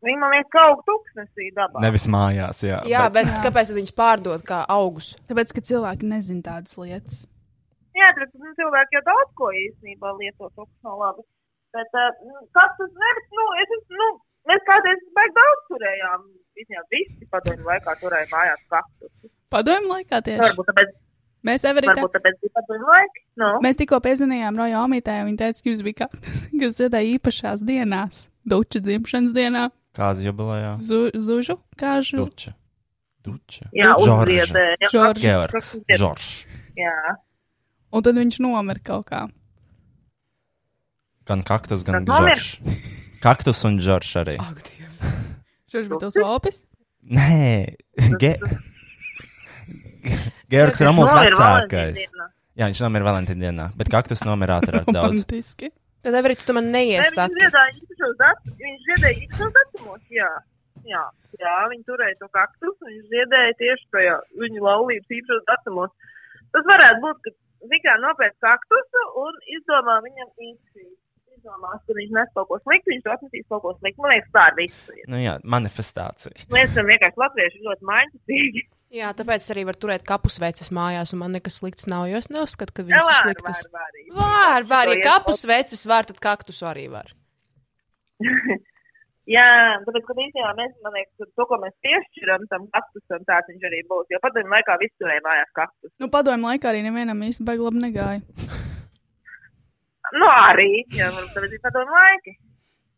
F: Viņi man liekas, ka aug tūkstnesī dabā.
C: Nevis mājās, jā.
D: Jā,
C: bet...
D: bet kāpēc tad viņš pārdod kā augus?
F: Jā, bet nu, cilvēki jau daudz ko īstenībā lieto tūkstnē labi. Bet uh, kaktus nevis, nu, es, es- nu, mēs kādreiz baigi daudz turējām. Viņam visi padomju laikā turēja mājās kaktus.
B: Padomju laikā tieši.
F: Varbūt tāpēc,
B: Mēs Everitā.
F: varbūt tāpēc bija padomju laiki. Nu.
B: Mēs tikko piezvanījām Roja Omītē, un viņa teica, ka jums bija kaktus, [LAUGHS] kas dziedāja īpašās dienās. Duča dzimšanas dienā,
C: Kāds jubilejā?
B: zu, zužu, kāžu.
C: Duča. Duča.
F: Jā,
C: Žorža.
F: uzziedēja.
B: Žorža.
C: Georgs.
F: Kaktus dzied-
C: Žorž.
F: Jā.
B: Un tad viņš nomira kaut kā.
C: Gan kaktus, gan
F: Tad nomira.
C: žorž. Kaktus un žorž arī.
D: Ak, Dievs!
B: Šurš bija tos opis?
C: Nē, Ge... Georgs Ramos
F: Nomira
C: vecākais.
F: Nu, Valentīna.
C: Jā, viņš nomira Valentīna dienā, bet kaktus nomira ātrāk daudz.
B: Romantiski.
D: Tad nevar tu man
F: Nē, Viņš
D: neiesaki.
F: dziedāja īpašos datus, viņš dziedāja īpašos datumos, jā. Jā, jā, viņi turēja to kaktus, un viņš dziedāja tieši tajā viņa laulības īpašos datumos. Tas varētu būt, ka Vikā nopēc kaktusu un izdomā viņam īsi. Izdomās, ka viņš nes kaut ko sliktu, viņš to atmetīs kaut ko sliktu. Man liekas, tā ir visu.
C: Nu jā, manifestācija.
F: Mēs esam vienkārši latvieši ļoti mainīgi.
D: Jā, tāpēc arī var turēt kapus veces mājās, un man nekas slikts nav, jo es neuzskatu, ka viņas ir
F: Elēna
D: sliktas.
F: var, var arī.
D: Var, var, ja
F: To
D: kapus veces var, tad kaktus arī var.
F: Jā, tāpēc, ka īstenībā mēs, man liekas, ka to, ko mēs piešķiram tam kaktusam, tāds viņš arī būs. Jo padomju laikā viss turēja mājās kaktus.
B: Nu, padomju laikā arī nevienam īsti baigi labi negāja.
F: Nu, arī. Jā, varbūt tāpēc ir padomu laiki.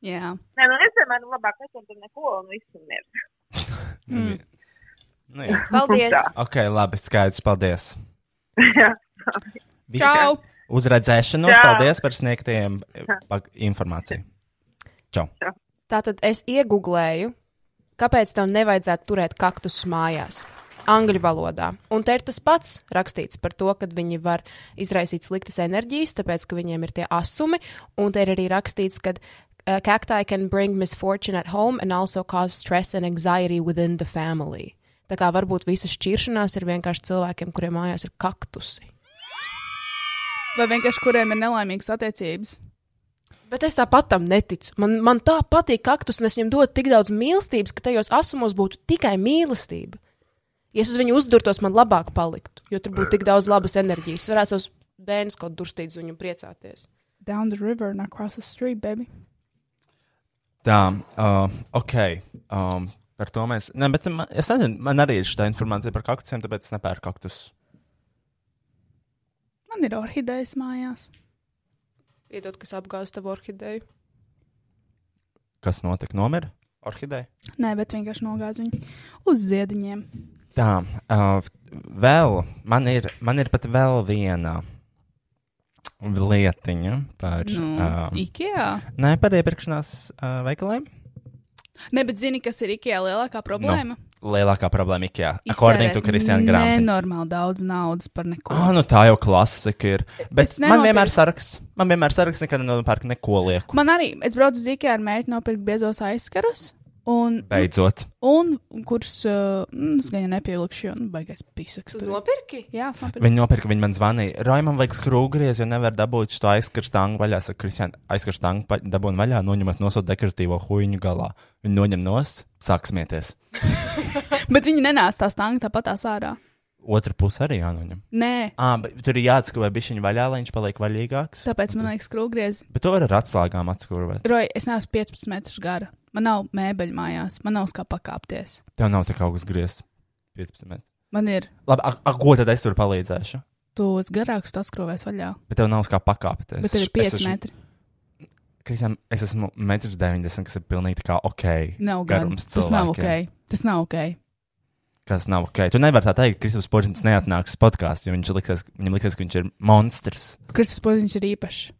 B: Jā.
F: Nē, nu es vienmēr nu, labāk nesam tur neko un viss ir miers.
C: Mm. Nu jā.
D: Paldies!
F: Tā.
C: Ok, labi, skaidrs, paldies.
F: Jā.
C: Visi-
B: Čau!
C: Uz redzēšanos,
F: Čau.
C: paldies par sniegtiem pag- informāciju.
D: Tātad es iegūlēju, kāpēc tev nevajadzētu turēt kaktus mājās. Angļu valodā. Un te ir tas pats rakstīts par to, ka viņi var izraisīt sliktas enerģijas, tāpēc, ka viņiem ir tie asumi. Un te ir arī rakstīts, ka uh, cacti can bring misfortune at home and also cause stress and anxiety within the family. Tā kā varbūt visas šķiršanās ir vienkārši cilvēkiem, kuriem mājās ir kaktusi.
B: Vai vienkārši kuriem ir nelaimīgas attiecības?
D: Bet es tāpat tam neticu. Man, man tā patīk kaktus, un es viņam dodu tik daudz mīlestības, ka tajos asumos būtu tikai mīlestība. Ja es uz viņu uzdurtos, man labāk paliktu, jo tur būtu tik daudz labas enerģijas. Es varētu savus bērnus kaut kur durstīt uz viņu un priecāties.
B: Down the river and across the street, baby.
C: Tā, uh, ok. Um, par to mēs. Nē, bet man, es nezinu, man arī ir šī informācija par kaktusiem, tāpēc es nepērku kaktus.
B: Man ir orhidejas mājās.
D: Piedod, kas apgāz tavu orhideju.
C: Kas notika? Nomira? Orhideja?
B: Nē, bet vienkārši nogāz viņu uz ziediņiem.
C: Tā, uh, vēl man ir, man ir pat vēl viena lietiņa par.
B: Nu,
C: um,
B: Ikea.
C: Nē, par iepirkšanās uh, veikaliem.
B: Ne, bet zini, kas ir Ikea lielākā problēma?
C: Lielākā problēma Ikea. According to Kristiāna Grāmata.
B: Nenormāli daudz naudas par neko.
C: Ah, nu tā jau klasika ir. Bet
B: Es
C: man
B: nenopirku.
C: vienmēr ir saraksts. Man vienmēr ir saraksts, nekad nenopērku neko lieku.
B: Man arī, es braucu uz Ikea ar mērķi nopirkt biezos aizskarus. Un,
C: Beidzot.
B: un kurus uh, mm, es gan jau nepievilkšu, jo nu, baigais pisaks.
D: Tu
B: tur ir.
D: nopirki?
B: Jā, es nopirku.
C: Viņa nopirka, viņa man zvanīja. Rai, man vajag skrūvgriezi, jo nevar dabūt šo aizkarstānu vaļā. Saka, Kristiāna, aizkarstānu dabūnu vaļā, noņemat nosūtīt dekoratīvo huīņu galā. Viņa noņem nost, sāk smieties.
B: Bet viņi nenāca tā stāvā tāpat tās ārā.
C: Otra puse arī jānoņem.
B: Nē,
C: Ah, bet tur ir jāatskūvē bišķiņa vaļā, lai viņš paliek vaļīgāks.
B: tāpēc man liekas, skrūvgriezi.
C: Bet to var ar atslēgām atskūvēt.
B: Roja, es neesmu 15 metrus gara. Man nav mēbeļu mājās, man nav uz kā pakāpties.
C: Tev nav tik augsts griezts. 15 metri.
B: Man ir
C: Labi, ak, ak, ko tad es tur palīdzēšu?
B: tos garākus, tas skrovēs vaļā.
C: Bet tev nav uz kā pakāpties.
B: Bet tur ir 5
C: Es,
B: metri.
C: esmu- Kristian, es esmu 1,90 m, kas ir pilnīgi tā kā ok.
B: Nav gan.
C: garums
B: Tas nav ok.
C: cilvēkiem.
B: Tas nav ok.
C: Kas nav ok. Tu nevari tā teikt, ka Kristofers Porziņš neatnāks uz podkāstu, jo viņš liksies, viņam liksies, ka viņš ir monstrs.
B: Kristus poziņš ir īpašs.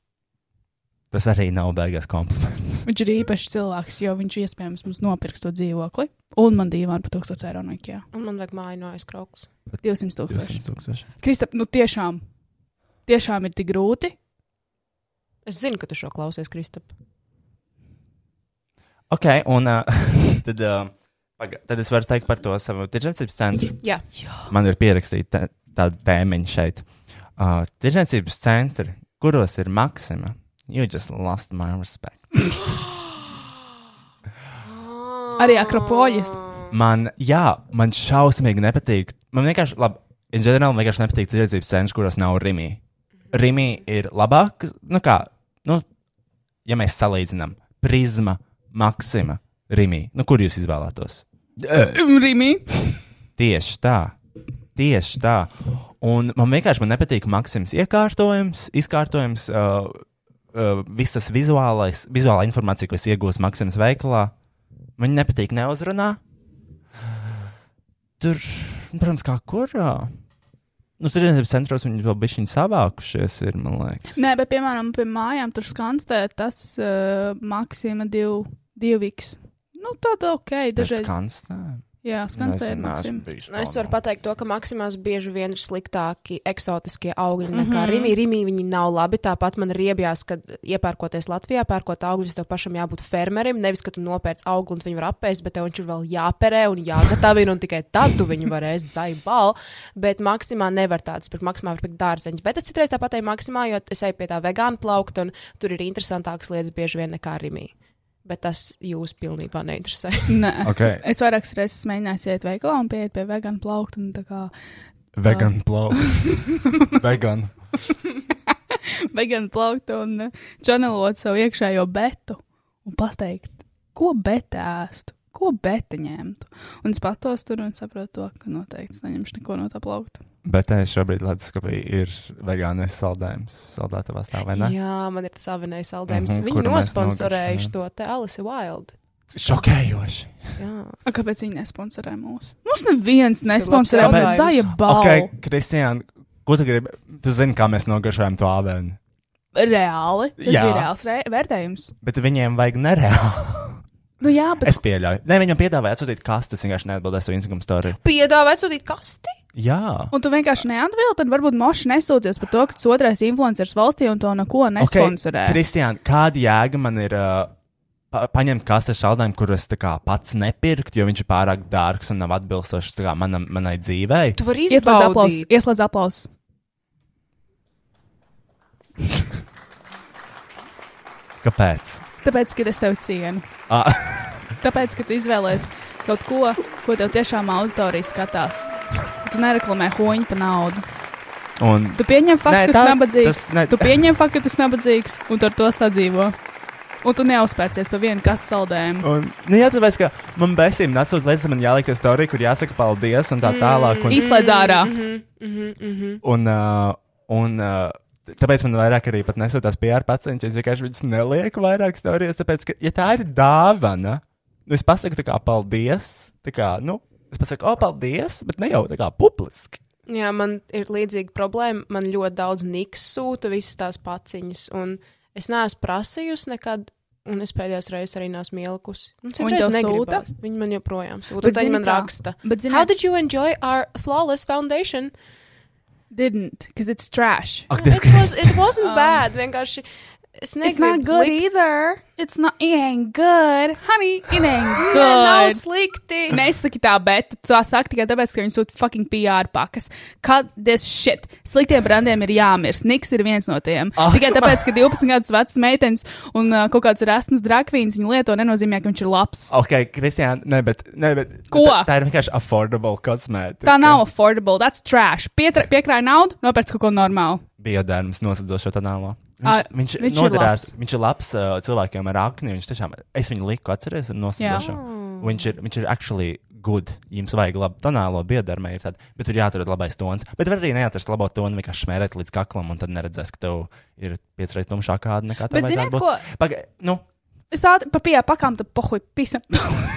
C: Tas arī nav beigās kompliments.
B: Viņš ir īpašs cilvēks, jo viņš iespējams mums nopirks to dzīvokli. Un man dīvaini par 1000 eiro no Ikea.
D: Un man vajag māju no aizkrauklas.
B: 200 [LAUGHS] tūkstoši.
C: 200 tūkstoši.
B: Kristap, nu tiešām, tiešām ir tik grūti.
D: Es zinu, ka tu šo klausies, Kristap.
C: Ok, un uh, [LAUGHS] tad, uh, paga, tad es varu teikt par to savu tirdzniecības centru.
D: Jā.
C: man ir pierakstīta tā- tāda tēmiņa šeit. Uh, Tirzniecības centri, kuros ir maksima, you just lost my respect.
B: Arī Akropoļis.
C: Man, jā, man šausmīgi nepatīk. Man vienkārši, labi, in general, man vienkārši nepatīk tirdzniecības centri, kuros nav rīmi. Rīmi ir labāk, nu kā, nu, ja mēs salīdzinām, prizma, maksima, rīmi. Nu, kur jūs izvēlētos?
B: Rimī.
C: Tieši tā. Tieši tā. Un man vienkārši man nepatīk Maksims iekārtojums, izkārtojums, uh, uh, viss tas vizuālais, vizuālā informācija, ko es iegūstu Maksims veikalā. Man nepatīk neuzrunā. Tur, nu, protams, kā kurā. Nu, tur ir centros, viņi vēl bišķiņi savākušies, ir, man liekas.
B: Nē, bet piemēram, pie mājām tur skanstē tas uh, maksima div, divīgs. Nu, tad ok, dažreiz.
C: skans.
B: Jā, skanstē ir maksima.
D: Nu, es varu pateikt, to, ka maksimās bieži vien ir sliktāki eksotiskie augļi nekā mm -hmm. rīmi. Rīmi viņi nav labi. Tāpat man riebjās, ka iepērkoties Latvijā, pērkot augļus, tev pašam jābūt fermerim. Nevis, ka tu nopērc augli un tu viņu var apēst, bet tev viņš ir vēl jāperē un jāgatavina, un tikai tad tu viņu varēsi zaibal. Bet maksimā nevar tādus pirkt, maksimā var pirkt dārzeņus. Bet es citreiz tāpat eju maksimā, jo es eju pie tā vegāna plaukta, un tur ir interesantākas lietas bieži vien nekā rīmi. Bet tas jūs pilnībā neinteresē.
B: Nē.
C: Okay.
B: Es vairākas reizes mēģināju iet veikalā un pieiet pie vegāna plaukta. un tā kā
C: Vegan plauks.
D: [LAUGHS]
C: Vegan.
B: vegāna plaukta un eh, čanelot savu iekšējo betu un pateikt, ko beta ēstu, ko beta ņemtu. Un es pastos tur un saprotu, to, ka noteikti es neņemšu neko no tā plaukta.
C: Bet es šobrīd leduskapī ir vegānais saldējums. Saldētavā stāv vai ne?
D: Jā, man ir tas avenais saldējums. Mm
C: Mhm,
D: -hmm,
C: kuru
D: Viņi
C: mēs
D: nosponsorējuši to te Alice Wild.
C: Šokējoši.
D: Jā,
B: A, kāpēc viņi nesponsorē mūsu? Mums neviens
D: ir
B: nesponsorē
D: labs
B: mūsu zaļa
D: jautājums.
B: balvu.
C: Okay,
B: Okay.
C: Kristija, ko tu gribi? Tu zini, kā mēs nogaršojam to avēnu.
B: Reāli. Tas
C: Jā.
B: jā. bija reāls re vērtējums.
C: Bet viņiem vajag nereāli.
B: Nu jā, bet
C: Es pieļauju. Nē, viņam piedāvāja atsūtīt kastes, vienkārši neatbildēs uz Instagram storiju.
D: piedāvāt sūtīt kasti.
C: Jā.
B: Un tu vienkārši neatbildi, tad varbūt Mošs nesūdzies par to, ka tas otrais influenceris valstī un to neko nesponsorē. Okay.
C: Kristija, kāda jēga man ir uh, pa paņemt kastes šaldējumu, kurus pats nepirkt, jo viņš ir pārāk dārgs un nav atbilstošs tā kā manam, manai dzīvei?
D: Tu vari
B: Ieslēdz aplausus.
D: izbaudīt.
B: Ieslēdz aplausus.
C: Kāpēc?
B: Tāpēc, ka es tevi cienu.
C: Ah.
B: [LAUGHS] Tāpēc, ka tu izvēlējies kaut ko, ko tev tiešām auditorija skatās. Tu nereklamē hoņu par naudu.
C: Un
B: Tu pieņem
C: Nē,
B: faktu, ka tu
C: tā-
B: esi nabadzīgs.
C: tas ne-
B: Tu pieņem faktu, ka tu esi nabadzīgs un tu ar to sadzīvo. Un tu neuzpērcies par vienu kastu saldējumu.
C: Un, nu, jā, tāpēc, ka man besīm nācot līdzi, man jāliek tā storija, kur jāsaka paldies un tā
B: Mm.
C: tālāk. Un,
B: Izslēdz ārā.
D: Mhm,
C: un, uh, un uh, tāpēc man vairāk arī pat nesūtās PR pacients, es vienkārši viņus nelieku vairāk storijas, tāpēc, ka, ja tā ir dāvana, nu, es pasaku tā kā paldies, tā kā, nu, es pasaku, o, paldies, bet ne jau tā kā publiski.
D: Jā, man ir līdzīga problēma. Man ļoti daudz niks sūta visas tās paciņas. Un es neesmu prasījusi nekad Un es pēdējās reizes arī neesmu ielikusi. Un
B: Un
D: citreiz
B: tev
D: negribas. Viņa man joprojām sūta.
B: Bet
D: Tad
B: zini
D: viņa man
B: kā?
D: raksta.
B: But zini,
D: How did you enjoy our
C: [LAUGHS]
D: flawless foundation?
B: didn't, because it's trash.
C: Ak,
D: It, was, it wasn't
B: Um,
D: bad. Vienkārši es
B: It's not
D: negribu
B: good
D: likt-
B: either. It's not, it ain't good. Honey,
D: [GASPS]
B: it ain't
D: Nē, Nav
B: good.
D: slikti.
B: [LAUGHS] Nesaki tā, bet tu tā saki tikai tāpēc, ka viņi sūta fucking PR pakas. Cut this shit. Sliktiem brandiem ir jāmirst. Niks ir viens no tiem.
C: Ah.
B: Oh. Tikai tāpēc, ka 12 gadus vecas meitenes un uh, kaut kāds rasnas drakvīns viņu lieto, nenozīmē, ka viņš ir labs.
C: Ok, Kristija, nē, bet. Nē, bet
B: Ko?
C: Tā, tā ir vienkārši affordable kosmētika.
B: Tā nav affordable, that's trash. Pietra, piekrāj naudu, nopērc kaut ko normālu.
C: Biodarbs nosacīts šo tēlu.
B: Ā,
C: Viņš, viņš,
B: viņš
C: viņš,
B: ir
C: noderās,
B: labs.
C: ir viņš ir labs uh, cilvēkiem ar akni. Viņš tiešām, es viņu liku atcerēties un nosacīšu. Viņš ir, viņš ir actually good. Jums vajag labu tonālo biodarbu, ir tāda, bet tur jāatrod labais tons. Bet var arī neatrast labo tonu, vienkārši smērēt līdz kaklam, un tad neredzēs, ka tev ir piecas reizes tumšākā kāda nekā
B: Bet
C: tev
B: ziniet,
C: vajadzētu
B: ko?
C: būt. Paga, nu,
B: Es ātri pa pieeja pakām, tad pohuj, pisam. [LAUGHS]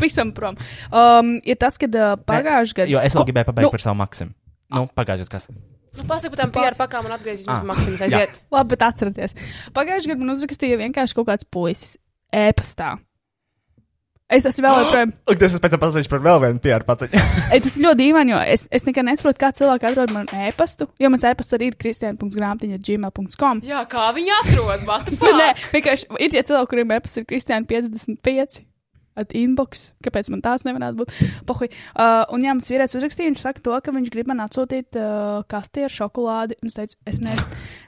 B: pisam prom. Um, ir tas, kad uh, pagājuši gadu.
C: jo es vēl gribēju pabeigt
B: Nu. Ah.
C: nu. par savu maksimu. Nu, pagājušajā gadā, kas
D: Nu, Pasaka par tām PR pakām un atgriezīsimies
C: Ah.
D: pie Maksimas
C: Jā.
D: aiziet.
B: Labi, bet atcerieties, pagājušajā gadā man uzrakstīja vienkārši kaut kāds puisis e-pastā. Es esmu vēl joprojām.
C: Un tas es pēc tam pasakšu par vēl vienu PR paciņu.
B: Ei, Tas ir ļoti dīvaini, jo es, es nekad nesaprotu, kā cilvēki atrod manu e-pastu. Jo mans e-pasts arī ir kristiāna.grāmatiņa.gmail.com.
D: Jā, kā viņi atrod? What [LAUGHS] the
B: Nē,
D: fuck?
B: vienkārši ir tie cilvēki, kuriem e-pasts ir kristiāna 55. At inbox, kāpēc man tās nevarētu būt? Pohuj. Uh, un jā, mans vīrietis uzrakstīja, viņš saka, to, ka viņš grib man atsūtīt uh, kasti ar šokolādi. Un es teicu, es, ne,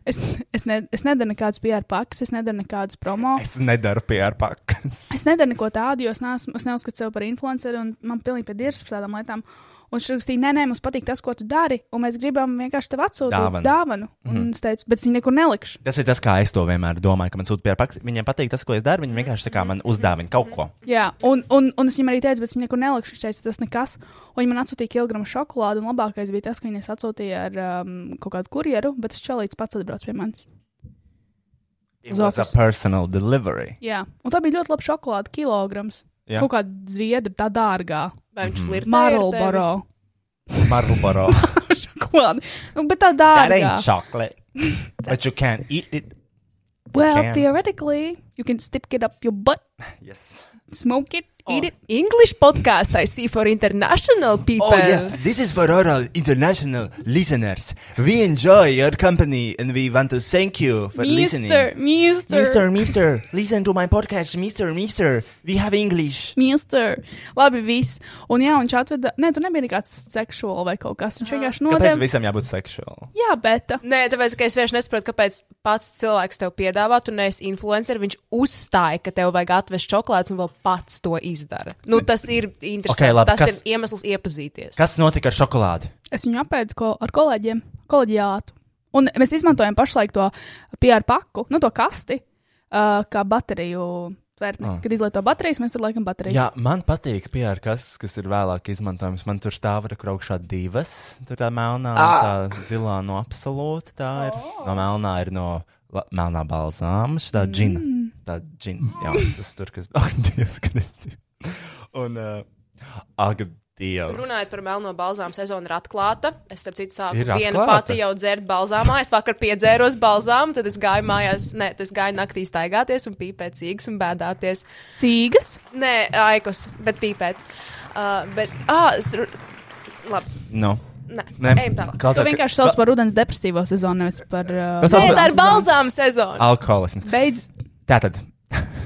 B: es, es, ne, es nedaru nekādas PR pakas, es nedaru nekādas promo.
C: [LAUGHS] Es nedaru PR pakas.
B: Es nedaru neko tādu, jo es, neesmu, es neuzskatu sevi par influenceru, un man pilnīgi pēdējais par tādām lietām. Un viņš rakstīja, nē, nē, mums patīk tas, ko tu dari, un mēs gribam vienkārši tev atsūtīt
C: Dāvanu.
B: dāvanu. dāvanu. Mm. Un es teicu, bet es viņu nekur nelikšu.
C: Tas ir tas, kā es to vienmēr domāju, ka man sūta PR pakas. Viņiem patīk tas, ko es daru. Viņi vienkārši tā kā man uzdāvina kaut ko.
B: Jā, un, un, un es viņam arī teicu, bet es viņu nekur nelikšu. Viņš teica, tas nekas. Un viņi man atsūtīja kilogramu šokolādi, un labākais bija tas, ka viņi es atsūtīja ar um, kaut kādu kurjeru, bet tas čelīts pats atbrauc pie manis.
C: It
B: Uz
C: was a
B: ofisu.
C: personal delivery.
B: Jā, un tā bija ļoti laba šokolāde, kilograms.
C: Jā.
B: Jā. Kaut kāda zviedra, tā dārgā.
D: Vai
C: Mm.
D: viņš flirtē? ar tevi?
B: Marlboro. [LAUGHS]
C: Marlboro.
B: šokolāde. Nu, Bet tā
C: That
B: dārgā.
C: ain't chocolate. But you can eat it.
B: Well,
C: can.
B: theoretically, you can stick it up your butt,
C: Yes.
B: smoke it,
C: Oh,
B: eat
D: Oh.
B: it.
D: English podcast I see for international people.
C: Oh, This is for oral international listeners. We enjoy your company and we want to thank you for
B: Mister, mister,
C: Mister, mister, listen to my podcast, mister, mister. We have English.
B: mister. Labi, viss. Un jā, viņš atveda, nē, tur nebija nekāds seksuāls vai kaut kas. Viņš vienkārši nodeva.
C: visam jābūt seksuālam?
B: Jā, bet.
D: Nē, tāpēc ka es vienkārši nesaprotu, kāpēc pats cilvēks tev piedāvā, tu neesi influencer. Viņš uzstāja, ka tev vajag atvest šokolādes un vēl pats to izdara. Nu, tas ir interesanti.
C: Ok, labi,
D: tas
C: kas-
D: ir iemesls iepazīties.
C: Kas notika ar šokolādi?
B: Es viņu apēdu ko ar kolēģiem, kolēģiātu. Un mēs izmantojam pašlaik to PR paku, nu, to kasti, uh, kā bateriju tvērtni.
C: Ah.
B: Oh. Kad izlieto baterijas, mēs tur laikam baterijas.
C: Jā, man patīk PR kases, kas ir vēlāk izmantojams. Man tur stāv ar augšā divas. Tur tā melnā, ah. tā zilā no absolūta. Tā ir. Oh. No melnā ir no la, melnā balzāma. Šī tā džina. Mm. Tā džins. Jā, tas tur, kas. Ak, Dievs, Kristi. Un. Uh, ak, Dievs.
D: Runājot par melno balzāmu, sezona ir atklāta. Es, starp citu, sāku
C: Ir
D: viena
C: atklāta?
D: pati jau dzert balzāmā. Es vakar piedzēros balzāmu, tad es gāju mājās, nē, tas gāju naktī staigāties un pīpēt cīgas un bēdāties.
B: Sīgas.
D: Nē, aikos, bet pīpēt. Uh, bet, ah, es. ru- Labi,
C: Nu.
D: nē,
C: Nē,
D: ejam tālāk.
B: To vienkārši sauc par rudens depresīvo sezonu, nevis par.
C: Tas
B: Uh,
C: sauc
D: Nē,
C: par-
D: tā ir balzāma sezona.
C: Alkoholisms.
B: beidz.
C: Tātad. [LAUGHS]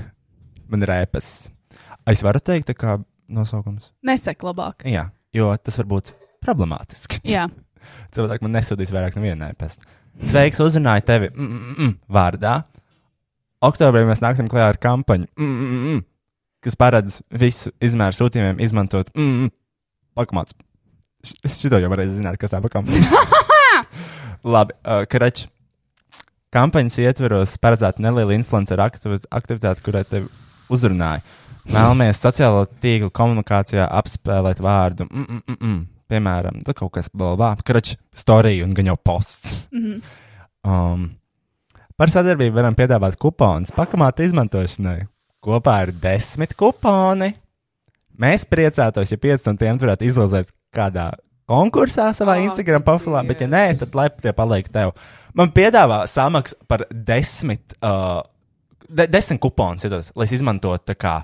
C: man ir ēpas. Es varu teikt, tā kā nosaukums.
B: Nesek labāk.
C: Jā, jo tas var būt problemātiski.
B: Jā,
C: Cilvēki man nesūtīs vairāk nevienai pēc. Sveiks, uzrunāju tevi mm, mm, mm, vārdā. Oktobrī mēs nāksim klajā ar kampaņu, mm, mm, mm, kas paredz visu izmēru sūtījumiem izmantot mm, mm, pakāpienas. Šito jau varēs zināt, kas tā pa kampaņa. Labi, uh, krač. Kampaņas ietveros paredzētu nelielu influenceru aktivi- aktivitāti, kurai tevi uzrunāja. Vēlamies sociālo tīklu komunikācijā apspēlēt vārdu. Mm, mm, mm, mm. Piemēram, tur kaut kas blakus, grafiski, storija un gan jau posts. Mm -hmm. um, par sadarbību varam piedāvāt kuponus pakamāta izmantošanai. Kopā ir desmit kuponi. Mēs priecātos, ja pieci no tiem varētu izlozēt kādā konkursā savā oh,
D: Ak,
C: Instagram profilā, bet, ja nē,
D: Dievs.
C: tad lai tie paliek tev. Man piedāvā samaksu par desmit uh, de, desmit kuponus, iedos, lai es izmantotu tā kā,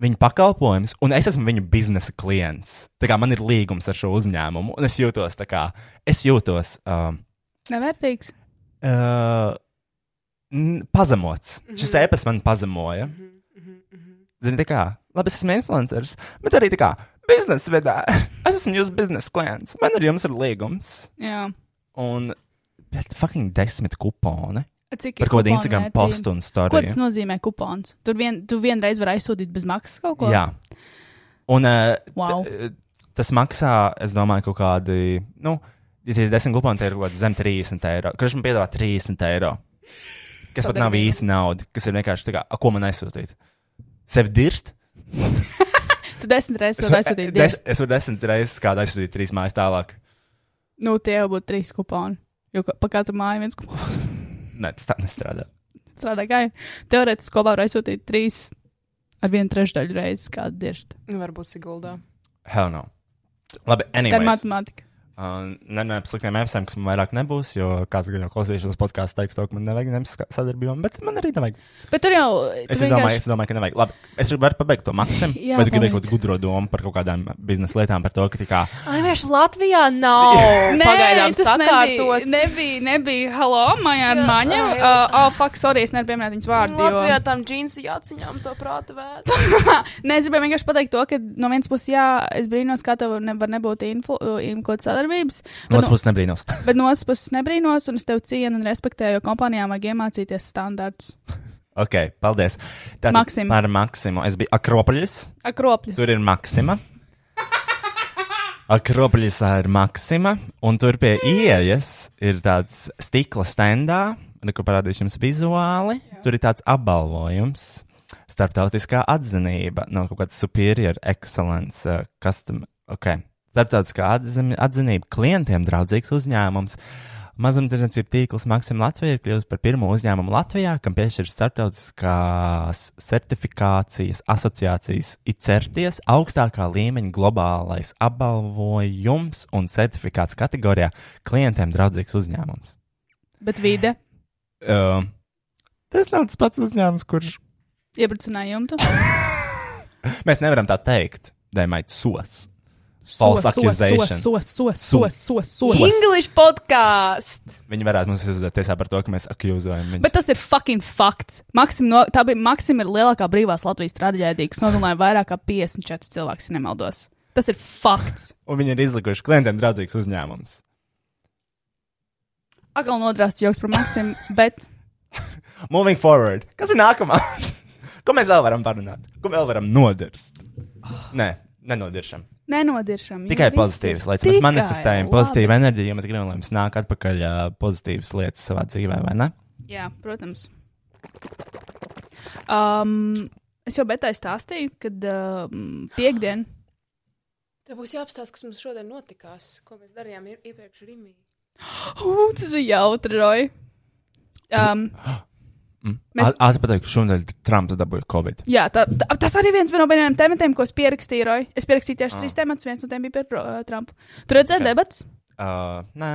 C: viņu pakalpojumus, un es esmu viņu biznesa klients. Tā kā man ir līgums ar šo uzņēmumu, un es jūtos tā kā, es jūtos um,
B: Nevērtīgs.
C: uh, n- pazemots. Mm -hmm. Šis ēpas man pazemoja. Mm -hmm. Zini, tā kā, labi, es esmu influenceris, bet arī tā kā biznesa vidē. [LAUGHS] Es esmu jūsu biznesa klients, man ar jums ir līgums.
B: Jā.
C: Un, bet fucking desmit kuponi.
B: Cik ir
C: Par kaut kādu
B: kuponu
C: Instagram
B: vērtība?
C: postu un
B: Ko
C: stāstu.
B: tas nozīmē kupons? Tur vien, tu vienreiz vari aizsūtīt bez maksas kaut ko.
C: Jā. Un uh,
B: Wow.
C: tas maksā, es domāju, kaut kādi, nu, ja tie ir desmit kuponi, tie ir kaut kādi zem 30 eiro. Kurš man piedāvā 30 eiro? Kas pat nav īsti nauda, kas ir vienkārši tā kā, "A, ko man aizsūtīt? Sevi dirst?
B: Tu desmit reizes
C: varu-
B: vari aizsūtīt.
C: des,
B: divas.
C: es varu desmit reizes kādā aizsūtīt trīs mājas tālāk.
B: Nu, tie jau būtu trīs kuponi. Jo ka- pa katru māju viens kupons
C: Nē, tas tā nestrādā.
B: [LAUGHS] strādā gāja. Teorētiski kopā var aizsūtīt trīs ar vienu trešdaļu reizes kādu dirstu.
D: Nu, Varbūt Siguldā.
C: Hell no. Labi,
B: Tā ir
C: anyway.
B: matemātika.
C: Uh, Nē, nē, sliktiem apstākļiem, kas man vairāk nebūs, jo kāds gan jau klausīšanās podkāstā teiks, to, ka man nevajag nevis sadarbībām, bet man arī nevajag.
B: Bet tur jau. tu
C: Es
B: vienkārši-
C: domāju, es domāju, ka nevajag. Labi, es varu pabeigt to maksim,
B: [LAUGHS] Jā,
C: bet gribēju kaut
B: pabeidz.
C: kādu gudro domu par kaut kādām biznesa lietām, par to, ka tā kā
D: Ai, vienkārši Latvijā nav
B: Nē,
D: pagaidām
B: tas
D: sakārtots.
B: Nebija, nebija, nebija hello, maija ar maņa.
D: ai,
B: Uh, oh, fuck, sorry, es nevaru pieminēt viņas vārdu. jo-
D: Latvijā tam džinsu jāciņām to prāta vērtību.
B: Nē, es gribēju vienkārši pateikt to, ka no vienas puses, jā, es brīnos, kā tev nevar nebūt influ, im, kaut kāda sadarbības.
C: no
B: Bet
C: otras puses nebrīnos.
B: bet no otras puses, nebrīnos, un es tevi cienu un respektēju, jo kompānijām vajag iemācīties standarts.
C: ok, paldies. Tātad
B: Maksim.
C: Par maksimu. Es biju Akropolis,
B: Akropļus.
C: tur ir maksima. Akropolis ir maksima, un tur pie ieejas ir tāds stikla standā, ar ko parādīšu jums vizuāli. Jā. Tur ir tāds apbalvojums. Startautiskā atzinība no kaut kāda superior excellence, uh, custom, ok. Startautiskā atzim- atzinība klientiem draudzīgs uzņēmums. Mazumtirdzniecība tīkls Maksim Latvija ir kļuvusi par pirmo uzņēmumu Latvijā, kam piešķir startautiskās certifikācijas asociācijas ICERTIES augstākā līmeņa globālais apbalvojums un certifikāts kategorijā klientiem draudzīgs uzņēmums.
B: Bet vide
C: Uh, tas nav tas pats uzņēmums, kurš
B: iebricināja jumtu.
C: Mēs nevaram tā teikt. They might sos. False accusation.
B: Sos.
C: Sos.
D: English podkāsts!
C: Viņi varētu mums izdot tiesā par to, ka mēs akjūzojam viņus.
B: Bet tas ir fucking fakts. Maksim, no, tā bija Maksim ir lielākā brīvās Latvijas traģēdija, kas nogalināja vairāk kā 54 cilvēkus, ja nemaldos. Tas ir fakts.
C: Un viņi ir izlikuši klientiem draudzīgs uzņēmums.
B: Akal nodrāsts joks par Maksimu, bet
C: Moving forward. Kas ir nākamā? [LAUGHS] Ko mēs vēl varam parunāt? Ko vēl varam nodirst? Nē, nenodiršam.
B: nenodiršam. jo
C: Tikai
B: viss
C: pozitīvas
B: ir-
C: lietas. Mēs
B: Tikai
C: manifestējam
B: labi.
C: pozitīvu enerģiju, ja mēs gribam, lai mums nāk atpakaļ uh, pozitīvas lietas savā dzīvē, vai ne?
B: Jā, protams. Um, es jau betai stāstīju, kad um, piekdien.
D: Tev būs jāapstāsta, kas mums šodien notikās, ko mēs darījām ie- iepriekš Rīgā.
B: Uh, tas bija jautri, Roja. Um,
C: Mēs...
B: Mēs-
C: Atpateikšu, šodien Trumps dabūja Covid.
B: jā, tā, tā, tas arī viens no maniem tematiem, ko es pierakstīju, Roja. Es pierakstīju tieši trīs tematus, viens no tiem bija par pro- uh, Trumpu. Tur
C: Ah.
B: redzēju
C: Ok.
B: okay. debats.
C: Uh, nē,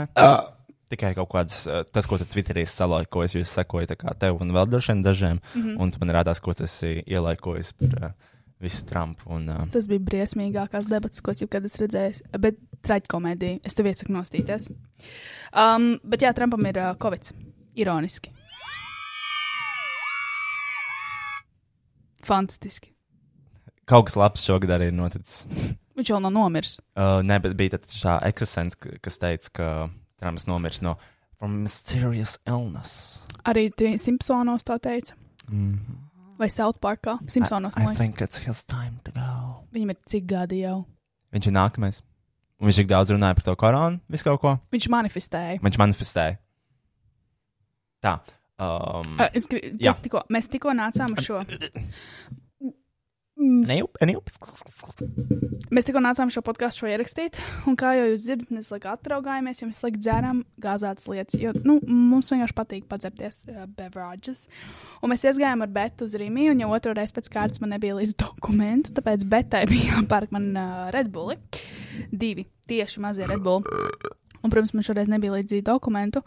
C: tikai kaut kāds, uh, tas, ko tu Twitterī salaiķi, ko es jūs sekoju, tā kā tev un vēl droši vien dažiem, mm -hmm. un tu man rādās, ko tas ielaikojis par uh, visu Trumpu. Un, uh,
B: Tas bija briesmīgākais debats, ko es jebkad esmu redzējis. Bet traģikomēdija. Es tev iesaku nostīties. Um, bet jā, Trumpam ir uh, Covid. Ironiski. Fantastiski.
C: kaut kas labs šogad arī ir noticis.
B: Viņš vēl nav nomiris.
C: Uh, nē, bet bija tāds tā eksistents, kas teica, ka Trumps nomirs no from mysterious illness.
B: Arī tie Simpsonos tā teica.
C: Mm.
B: Vai South Parkā? Simpsonos
C: I, I
B: man liekas.
C: think it's his time to go.
B: Viņam ir cik gadi jau.
C: Viņš ir nākamais. Un viņš tik daudz runāja par to koronu, visu kaut ko.
B: Viņš manifestēja.
C: Viņš manifestēja. Tā. Um,
B: Uh, es gribu,
C: Jā.
B: tas tikko, mēs tikko nācām uz šo.
C: Nejūp, nejūp.
B: Mēs tikko nācām šo podkāstu šo ierakstīt, un kā jau jūs dzirdat, mēs laikam atraugājāmies, jo mēs laikam dzērām gāzētas lietas. Jo nu, mums vienkārši patīk padzerties uh, beverages. Un mēs iesgājām ar Betu uz Rīgā, un jau otru reizi pēc kārtas man nebija līdz dokumentu, tāpēc Betai bija jāpērk man uh, redbuli. Divi tieši mazie redbuli. Un, protams, man šoreiz nebija līdzi dokumentu,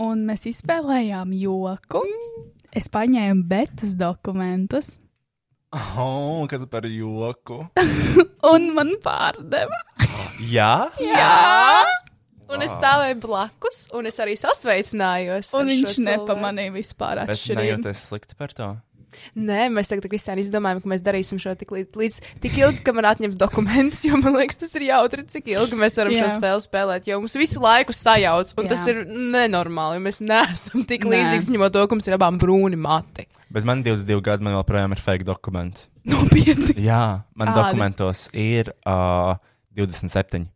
B: un mēs izspēlējām joku. Es paņēmu betas dokumentus,
C: Oh, kas par joku?
B: un man pārdeva.
C: Jā,
D: Jā! Un es stāvēju blakus, un es arī sasveicinājos. ar
B: Un
D: šo
B: viņš
D: cilvēku.
B: nepamanīja vispār
C: bet
B: atšķirību.
C: nejūties slikti par to.
D: Nē, mēs tagad, Kristiāna, izdomājām, ka mēs darīsim šo tik līdz, līdz tik ilgi, kamēr atņems dokumentus. Jo man liekas, tas ir jautri, cik ilgi mēs varam
B: Jā.
D: šo spēli spēlēt. Jo mums visu laiku sajauc, un
B: Jā.
D: Jā. tas ir nenormāli. jo Mēs neesam tik
B: Nē.
D: līdzīgi, ņemot to, ka mums ir abām brūni mati.
C: Bet man 22 gadi, man joprojām ir fake dokumenti.
B: Nopietni.
C: Jā, man
B: Kādi?
C: Kādi? dokumentos ir uh, 27.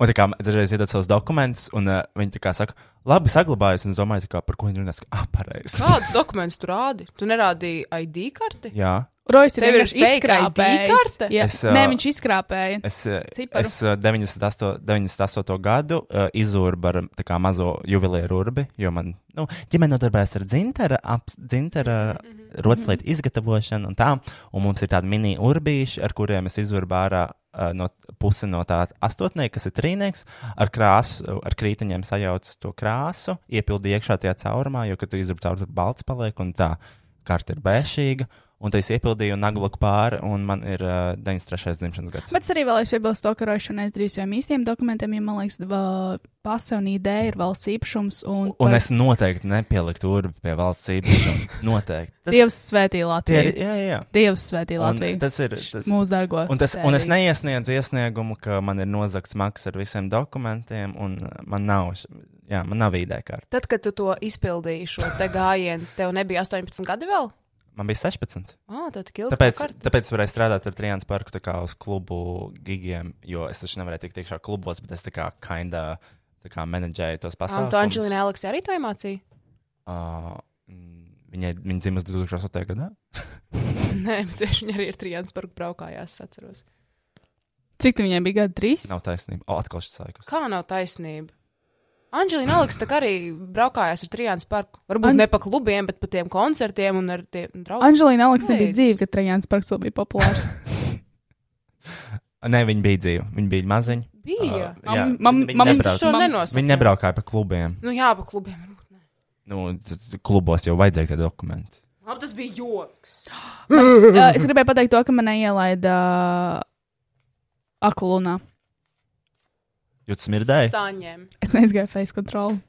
C: Un tā kā es dažreiz iedodu savus dokumentus, un uh, viņi tā kā saka, labi, saglabājas. Un es domāju, tā kā, par ko viņi runās, ah, pareizi.
D: Kādus dokumentus tu rādi? Tu nerādīji ID karti?
C: Jā,
B: Rojas ir
D: Tev ir
B: vienkārši
D: fake ID
B: izkrāpējis.
D: karte?
B: Jā,
C: Es,
B: Nē,
C: ā,
B: viņš izkrāpēja.
C: es, uh,
B: Ciparu.
C: es uh, 98, 98. gadu uh, izurbu ar tā kā, mazo juvelieru urbi, jo man nu, ģimene nodarbojas ar dzintara, ap, dzintara mm -hmm. rotaslietu izgatavošanu un tā. Un mums ir tādi mini urbīši, ar kuriem es izurbu ārā. uh, No pusi no tā astotnieka, kas ir trīnieks, ar krāsu, ar krītiņiem sajauc to krāsu, iepildīja iekšā tajā caurumā, jo, kad tu izrauc caur, tur balts paliek un tā karte ir bēšīga. Un tas iepildīju naglaku pāri, un man ir uh, 93. dzimšanas gads.
B: Bet es arī vēlēšu piebilst to, ka Rojas un es drīz jau īstiem dokumentiem, ja man liekas, va- pase un ideja ir valsts īpašums.
C: Un
B: Un, par-
C: es noteikti nepieliktu urbi pie valsts īpašuma. Noteikti. Tas
B: Dievs svētī
C: tie ir.
B: Latviju.
C: Jā, jā.
B: Dievs svētī
C: Un
B: Latviju.
C: tas ir. Tas,
B: Mūsu dargo.
C: un, tas, un es
B: tēviņu.
C: neiesniedzu iesniegumu, ka man ir nozagts maksas ar visiem dokumentiem, un uh, man nav, š- jā, man nav īdē kārta.
D: Tad, kad tu to izpildīji, šo te gājienu, tev nebija 18 gadi vēl?
C: Man bija 16.
D: Ah, tev tik ilgi.
C: Tāpēc,
D: tā karte.
C: tāpēc es varēju strādāt ar Trījānu parku, tā kā uz klubu gigiem, jo es taču nevarēju tikt iekšā klubos, bet es tā kā kinda tā kā menedžēju tos
D: Ah, Un
C: pasākumus.
D: tu Anģelīna Aleksa arī to iemācīja? [LAUGHS]
C: Uh, viņa viņa dzimusi 2008. gadā.
D: Nē, bet tieši viņa arī ir Trijāns par braukājās, es atceros.
B: Cik tam viņai bija gadi? Trīs?
C: Nav taisnība. O, atkal šis laiks.
D: Kā nav taisnība? Anģelīna Aleksa tā kā arī braukājās ar Trijāns parku. Varbūt
B: An-
D: An... ne pa klubiem, bet pa tiem koncertiem un ar tiem draugiem.
B: Anželīna Aleks nebija
D: Kāpēc?
B: dzīva, kad Trajāns Parks vēl bija populārs. [LAUGHS]
C: Nē, viņa bija dzīva. Viņa bija maziņa. Ā,
D: Bija.
C: jā,
B: Nu, Mam-
C: viņa- viņa
B: mam-
D: Es
B: Nebrauc.
D: to
C: nebrauca.
B: Mam-
D: nenosaucu.
C: Viņa nebraukāja pa klubiem.
D: Nu jā, pa klubiem. varbūt ne.
C: Nu, t- t- klubos jau vajadzēja tie dokumenti.
D: Labi, tas bija joks.
B: Uh, es gribēju pateikt to, ka man neielaida akulūnā.
C: Jūtas smirdēji.
D: Saņem.
B: Es neizgāju face kontroli.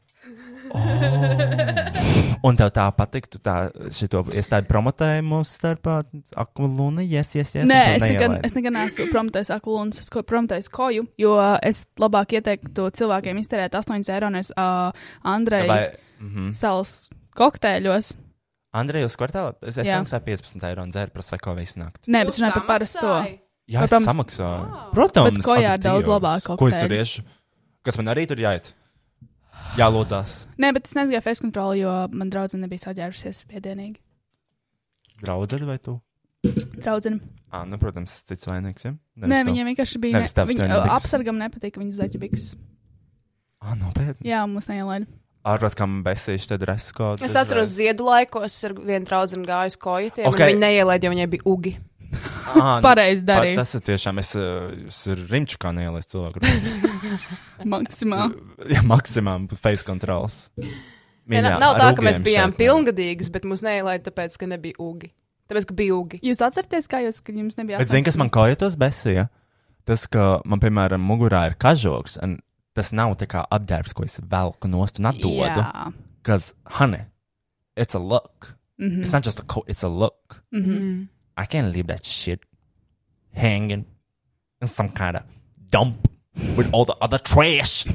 C: Un tev tā patiktu, tā šito iestādi promotēja mūsu starpā. Akumulūna, yes, yes, yes.
B: Nē, es nekad, es nekad neesmu promotējis akulūnas, es ko promotēju koju, jo uh, es labāk ieteiktu cilvēkiem iztērēt 8 eiro nevis uh, Andreja
C: Vai, mhm.
B: salas kokteļos.
C: Andrejus kvartālā, es, es
B: Jā.
C: maksāju 15 eiro un dzēru prosecco visu nakti.
B: Nē, bet es runāju par parasto.
C: Jā, es
B: Protams.
C: samaksāju. Protams.
B: Bet kojā ir
C: ak,
B: daudz
C: Dievs.
B: labāk
C: Ko es tur
B: kokteļi.
C: iešu? Kas man arī tur jāiet? Jā, lūdzās.
B: Nē, bet es neizgāju face kontroli, jo man draudzene nebija saģērusies piedienīgi.
C: Draudzene vai tu?
B: Draudzene.
C: Ah, nu, protams, cits vainīgs. Ja?
B: Nē, viņiem vienkārši bija.
C: Nevis
B: Ne,
C: tavs
B: viņa,
C: trendibiks.
B: apsargam nepatika viņas zaķibiks.
C: Ah, nopietni.
B: Jā, mums neielaida.
C: Ārprāt, kā man besīšu, tad resko.
D: Es [LAUGHS] atceros ziedu laikos, ar vienu draugu gāju uz kojotiem.
C: Ok.
D: Okay. Viņa neielēja, jo viņai bija ugi.
C: Ah, nu,
B: Pareizi darīja.
C: Tas ir tiešām, es, eh, es ir rimču kā neielēs cilvēku.
D: [LAUGHS]
B: Maksimāli.
C: [LAUGHS] Jā, maksimām face controls.
D: Jā,
C: Mīļā,
D: nav
C: ar
D: tā, ka mēs
C: ugiem
D: bijām
C: šeit, nē.
D: pilngadīgas, bet mūs neielaida tāpēc, ka nebija ugi. Tāpēc, ka bija ugi.
B: Jūs atceraties, kā jūs, kad jums nebija
C: Bet zini, kas man kojotos besīja? Tas, ka man, piemēram, mugurā ir kažoks, un tas nav tā kā apģērbs, ko es velku nost un atdodu.
B: Jā.
C: Kas, honey, it's a look.
B: Mhm.
C: It's not just a coat, it's a look.
D: Mm.
B: Mhm.
C: I can't leave that shit hanging in some kind of dump with all the other trash.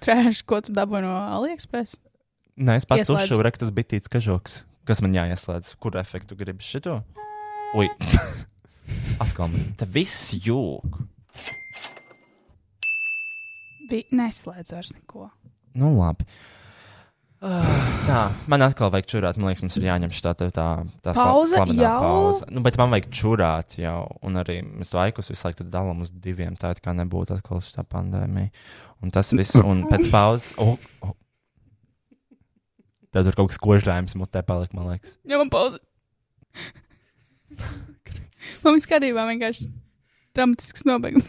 B: Trēš, ko tu dabūji no AliExpress?
C: Nē, es pats
B: Ieslēdz.
C: uzšuvu rektas bitīts kažoks. Kas man jāieslēdz? Kur efektu gribi šito? Ui, [LAUGHS] atkal man. Te viss jūg.
B: Bija neslēdz vairs neko.
C: Nu labi. Ah, Tā, man atkal vajag čurāt. Man liekas, mums ir jāņem šī tā, tā, tā sla-
B: Pauze
C: slavenā
B: jau?
C: pauze. Nu, bet man vajag čurāt jau. Un arī mēs laikus visu laiku tad dalām uz diviem. Tā it kā nebūtu atkal šī pandēmija. Un tas viss, un
B: [LAUGHS]
C: pēc pauzes. Oh, oh. Tad tur kaut kas kožģājums mutē palika, man liekas.
B: Ņemam [LAUGHS] pauzi. man viss kārtībā vienkārši dramatisks nobeigums.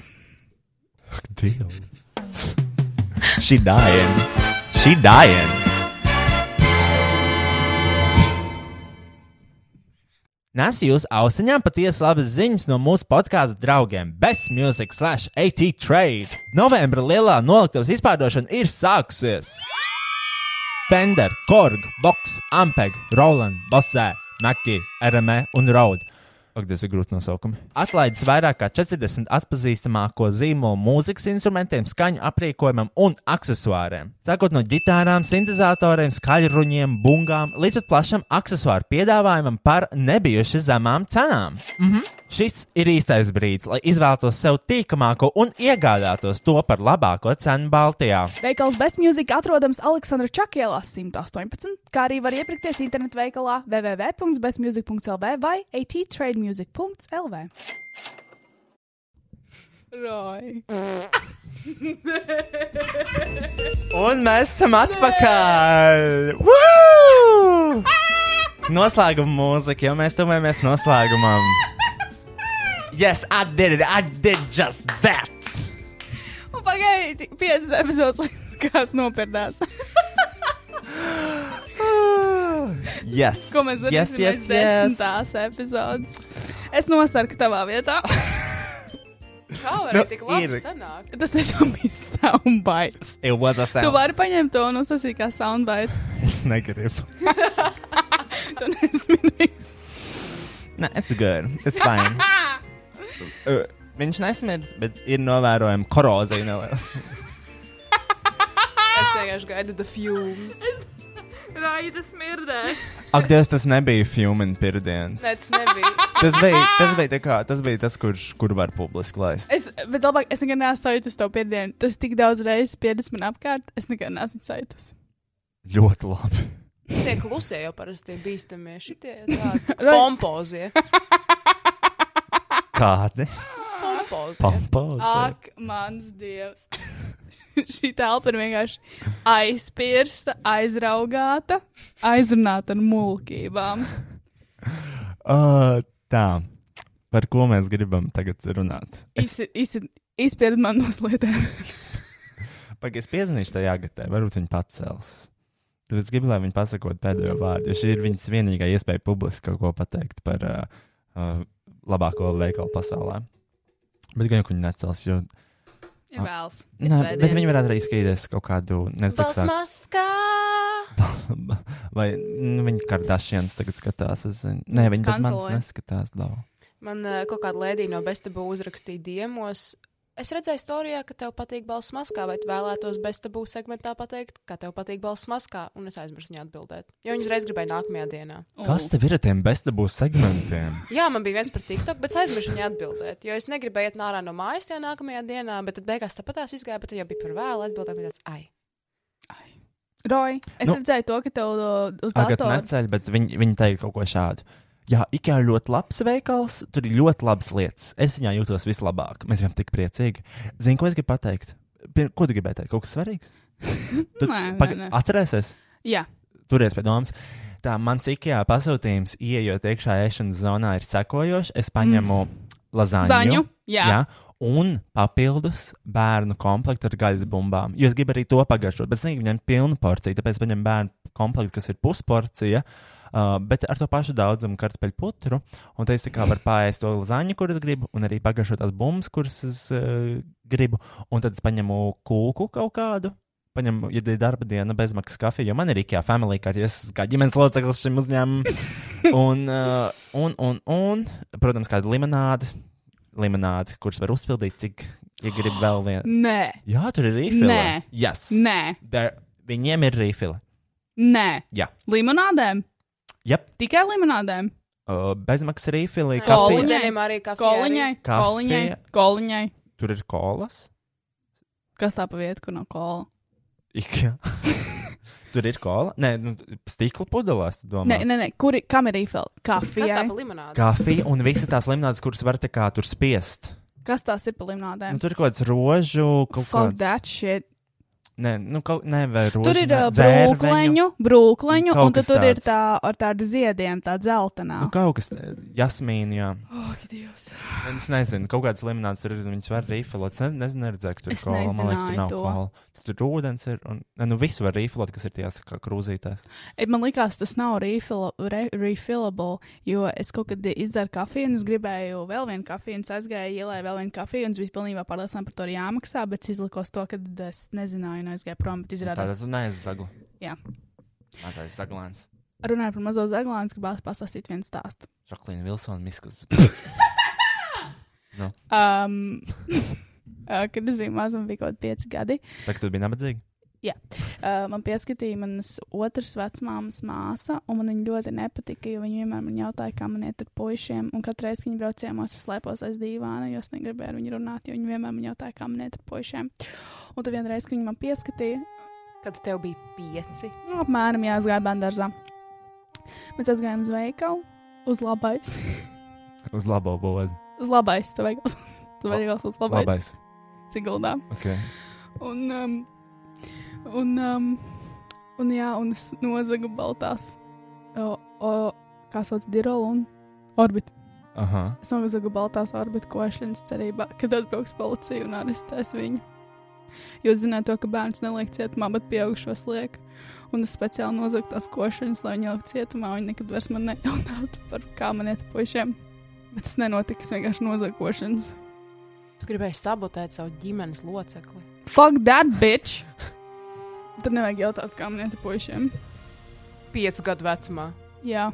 C: Ak, Dievs! Šī dāja! Šī dāja! Nesu jūs ausiņām patiesi labas ziņas no mūsu podkāstu draugiem Best Music slash AT Trade. Novembra lielā noliktavas izpārdošana ir sākusies! Fender, Korg, Vox, Ampeg, Roland, Bosē, Naki, RME E un Raud. Ak, tas ir grūti nosaukumi. Atlaidis vairāk kā 40 atpazīstamāko zīmolu mūzikas instrumentiem, skaņu aprīkojumam un aksesuāriem. Sākot no gitārām, sintēzatoriem, skaļruņiem, bungām līdz pat plašam aksesuāru piedāvājumam par nebijuši zemām cenām. Šis ir īstais brīdis, lai izvēlētos sev tīkamāko un iegādātos to par labāko cenu Baltijā.
B: Veikals Best Music atrodams Aleksandra Čakielā 118, kā arī var iepirkties internetu veikalā www.bestmusic.lv vai attrademusic.lv. Roj.
C: Un mēs esam atpakaļ! Woo! Noslēguma mūzika, jo mēs tuvojamies noslēgumam. Yes, I did it! I did just that!
B: Un pagaidi, piecas epizodes, līdz kāds
C: [LAUGHS]
B: nopirdās.
C: Yes!
B: Ko mēs
C: yes, yes,
B: darīsim yes,
C: yes.
B: desmitās epizodes? Es nosarku tavā vietā.
D: Kā
C: Nu,
D: var tik labi
C: ir.
D: sanākt?
B: Tas tiešām bija soundbites.
C: It was a
B: Tu
C: sound.
B: vari paņemt to un uztaisīt kā soundbite.
C: Es negribu.
B: Tu nesmini.
C: Nē, it's good. It's
B: [LAUGHS]
C: fine. Uh, Viņš nesmird, bet ir novērojama korozija. neliela.
D: Es vienkārši gaidu the fumes.
G: Raida smirdē.
C: Ak, Dievs, tas nebija Fuman pirmdienas.
D: Nē, tas nebija.
C: Tas bija, tas bija, tā kā, tas bija tas, kurš kur var publiski laist.
B: Es, bet labāk, es nekad neesmu sajūtis to pirmdienu. Tu esi tik daudz reizes pieredzējis man apkārt, es nekad neesmu sajūtis.
C: Ļoti labi.
D: Tie klusie jau parasti ir bīstamie. Šitie [LAUGHS] tādi
B: Rai-
D: pompozie.
C: Kādi?
D: Pompozie.
C: Pampos.
B: Ak, mans dievs! [LAUGHS] Šī telpa ir vienkārši aizpirsta, aizraugāta, aizrunāta ar mulkībām.
C: Uh, tā, par ko mēs gribam tagad runāt?
B: Isi- isi- Izpird man no sliedēm.
C: Pagaidzi, es piezīmēšu tajā gatē, varbūt viņa pacels. Tad es gribu, lai viņa pasakot pēdējo vārdu, jo šī ir viņas vienīgā iespēja publiski kaut ko pateikt par uh, uh, labāko veikalu pasaulē. Bet gan jau ka viņa necels, jo.
B: Ir vēls.
C: Ah. Nē, bet viņi varētu arī skatīties kaut kādu
D: Valsts
C: Netflix
D: maskā.
C: [LAUGHS] vai nu, viņa kardāšanas tagad skatās. Es zinu, nē, viņa pēc manis
B: Kancelē.
C: neskatās. Labu.
D: Man ā, kaut kāda lēdija no bestabu uzrakstīja diemos. Es redzēju, storijā, ka tev patīk balss maskā, vai tu vēlētos bestabu segmentā pateikt, ka tev patīk balss maskā, un es aizmirsu viņai atbildēt. Jo viņas reiz gribēja nākamajā dienā.
C: Kas tev ir ar tiem bestabūs
B: [LAUGHS]
C: segmentiem?
D: Jā, man bija viens par TikTok, bet es aizmirsu viņai atbildēt. Jo es negribēju iet ārā no mājas tajā nākamajā dienā, bet tad beigās tāpatās izgāja, bet tad jau bija par vēlu atbildēt. bija Tāds, ai,
B: Roj, es
C: Nu.
B: nu, redzēju to, ka tev uh, uz
C: Tagad
B: datora
C: neceļ, bet viņi, viņi teica kaut ko šādu. Jā, Ikea ir ļoti labs veikals, tur ir ļoti labas lietas. Es viņā jūtos vislabāk. Mēs bijām tik priecīgi. Zini, ko es gribu pateikt? Pir- Ko tu gribēji teikt? Kaut kas svarīgs? Tu Ah.
B: Nē, nē,
C: paga-
B: nē.
C: Atcerēsies,
B: Jā,
C: turies pie domas. Tā mans Ikea pasūtījums, ieejot iekšā ēšanas zonā, ir sekojošs. Es paņemu mm. lazaņu.
B: zaņu. Jā, jā.
C: Jā. Un papildus bērnu komplektu ar gaļas bumbām. Jo es gribu arī to pagaršot, bet es negribu ņemt pilnu porciju. Tāpēc paņem bērnu komplektu, kas ir pusporcija, uh, bet ar to pašu daudzumu kartupeļu putru. Un te es tā kā varu pāriest to lazaņu, kuras gribu, un arī pagaršot tās bumbas, kuras es uh, gribu. Un tad es paņemu kūku kaut kādu. Paņemu, ja ir darba diena, bezmaksas kafija, jo man ir īkā familija, kā arī es esmu kā ģimenes loceklis šim
B: [LAUGHS]
C: uzņēmumam. Un, uh, un, un, un, protams, kāda limonāde limonādi, kurus var uzpildīt, cik ja
B: [GASPS]
C: gribi vēl vienu.
B: nē,
C: Jā, tur ir rīfila.
B: Nē.
C: yes.
B: nē,
C: There, viņiem ir rīfila.
B: nē.
C: Jā.
B: Limonādēm,
C: Yep.
B: tikai limonādēm.
C: Uh, bezmaksas rīfila, kafija.
B: Koliņa.
D: koliņiem arī kā
B: Koliņai,
C: Kafija.
B: koliņai, koliņai.
C: Tur ir kolas.
B: Kas tā pa vietu, kur nav kola? [LAUGHS]
C: Ikea. tur ir kola. Nē, nu, stikla pudelēs. tu domā?
B: Nē, nē, nē, kuri, kam ir īfēl?
D: Kas tā
B: Kafija.
D: pa limonādu?
C: Kafija un visas tās limonādes, kuras var te kā tur spiest.
B: Kas tās ir pa
C: Nu,
B: limonādēm?
C: tur ir kaut kāds rožu, kaut
B: Fuck
C: kāds.
B: that shit.
C: Nē, nu, kaut kā rožu.
B: Tur ir
C: nē,
B: uh,
C: dzērveņu.
B: brūkleņu, brūkleņu,
C: Kaut
B: un tad
C: kas
B: tur ir
C: tāds.
B: tā ar tādu ziediem, tā dzeltenā.
C: Nu, kaut kas, jasmīna, jā.
B: Oh, Dievs.
C: Es nezinu, kaut kādas limonādes tur ir. Viņas var rīfilot. Es ne- nezinu, redzēju, ka tur
B: Es
C: kola. Man liekas, tur
B: nezināju
C: nav
B: to.
C: kola. Tu tur ūdens ir. Un, ne, nu, visu var rīflot, kas ir tajās kā krūzītēs.
B: Et Man liekas, tas nav refilla- re- refillable, jo es kaut kad izdzeru kafiju, un es gribēju vēl vienu kafiju, un es aizgāju, ielēju vēl vienu kafiju, un es biju pilnībā pārliecināta par to, arī jāmaksā, bet es izlikos to, ka es nezināju, un aizgāju prom, bet izrādās.
C: Tātad tu neesi zagla.
B: Jā.
C: Mazais zaglāns.
B: Runāju par mazo zaglānu, gribētu pastāstīt vienu stāstu.
C: Žaklīna Vilsona miskas. [LAUGHS]
B: Um, [LAUGHS] uh, kad es biju maza, man bija kaut kādi pieci gadi.
C: Tagad tu biji nabadzīga.
B: Uh, man pieskatīja manas otras vecmāmas māsa, un man viņa ļoti nepatika, jo viņa vienmēr man jautāja, kā man iet ar puišiem. Un katru reizi, kad viņi brauc ciemos, es slēpos aiz dīvāna, jo es negribēju ar viņu runāt, jo viņi vienmēr man jautāja, kā man iet ar puišiem. Un tad vienreiz, kad viņi man pieskatīja,
D: Kad tev bija pieci,
B: nu, apmēram jāsgāja bērngārzā. Mēs aizgājām uz veikalu, uz labais, [LAUGHS]
C: Uz labo bodu.
B: uz labais, tu veikals, [LAUGHS] tu veikals uz labais,
C: Labais.
B: Siguldā.
C: Okay.
B: Un, um, un, um, un, jā, un es nozagu baltās, o, o, kā sauc Dirolu un orbitu.
C: Aha.
B: Es nozagu baltās orbitu košļiņas cerībā, kad atbrauks policija un arestēs viņu. Jūs zināt to, ka bērns neliek cietumā, bet pieaugušos liek. Un es speciāli nozagu tās košļiņas, lai viņi liek cietumā, un viņi nekad vairs man nejautātu par kā man iet ar puišiem. Bet tas nenotika, es vienkārši nozagu košļiņas.
D: tu gribēji sabotēt savu ģimenes locekli.
B: Fuck that bitch! Tad nevajag jautāt, kā man iet ar puišiem.
D: Piecu gadu vecumā.
B: Jā,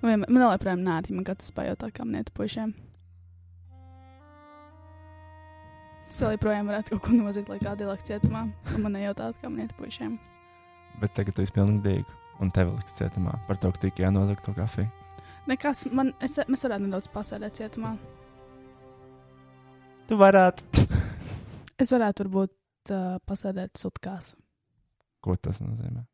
B: man vienmēr- man joprojām nāca, man katrs pajautā, kā man iet ar pušiem. Es vēl joprojām varētu kaut ko noziegt, lai kādā ielikt cietumā, un man nejautātu, kā man iet ar pušiem.
C: Bet tagad tu esi pilngadīga. Un tev liks cietumā par to, ka tikai jānozag to kafiju.
B: Nekas, man, es, mēs varētu nedaudz pasēdēt cietumā.
C: Tu varētu.
B: Es varētu varbūt uh, pasēdēt sutkās.
C: [LAUGHS] Ko tas nozīmē?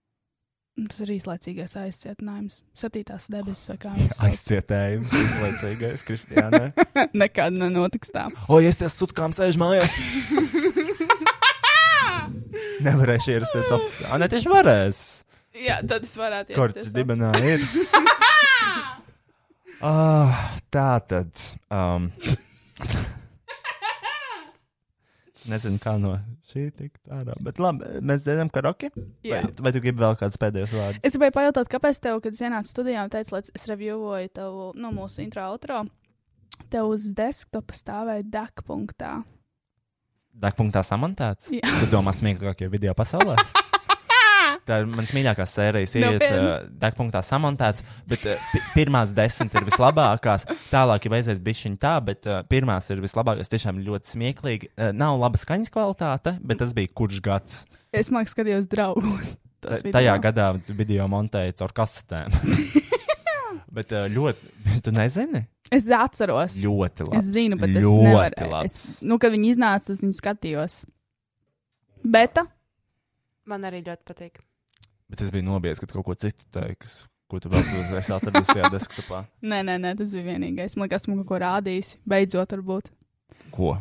B: Tas ir īslaicīgais aizcietinājums. Septītās debesis vai kā viņš
C: Aizcietējums. Izlaicīgais, Kristiānai.
B: [LAUGHS] Nekad nenotiks tā.
C: [LAUGHS] O, ja es te sutkām sēžu mājās. Nevarēšu ierasties apakšā. Ah, nē, tieši varēs.
B: Jā, tad es varētu
C: Korts
B: ierasties
C: dibenā ir. Ah, tā tad. Um, [LAUGHS] nezinu, kā no šī tik tālāk. Bet labi, mēs dzirdam karaoke. Vai,
B: Jā.
C: vai tu gribi vēl kādus pēdējos vārdus?
B: Es gribēju pajautāt, kāpēc tev, kad es ienācu studijā un teicu, lai es reviewoju tevu, nu, mūsu intro outro, tev uz desktopa stāvēja DAC punktā.
C: Dakpunktā samantēts.
B: Jā.
C: Tu domā smieklīgākie video pasaulē?
B: [LAUGHS]
C: Tā ir mans mīļākā sērijas iet,
B: Nopietni.
C: uh, dakpunktā samantēts, bet uh, pi- pirmās desmit ir vislabākās, tālāk jau aiziet bišķiņ tā, bet uh, pirmās ir vislabākās, tiešām ļoti smieklīgi. Uh, nav laba skaņas kvalitāte, bet tas bija kurš gads.
B: Es mākslinieks skatījos draugos.
C: Ta-
B: tos video.
C: Tajā gadā video montēja caur
B: [LAUGHS]
C: kasetēm. bet uh, ļoti, tu nezini?
B: Es atceros.
C: Ļoti labi.
B: es zinu, bet es
C: ļoti
B: nevaru.
C: labi.
B: Es, nu, kad viņi iznāca, es viņu skatījos. Beta?
D: Man arī ļoti patīk.
C: Bet es biju nobijies, kad kaut ko citu teiks, ko tu vēl uzreiz atradīsi tajā desktopā.
B: Nē, nē, nē, tas bija vienīgais. Man liekas, man kaut ko rādījis. Beidzot, varbūt.
C: Ko?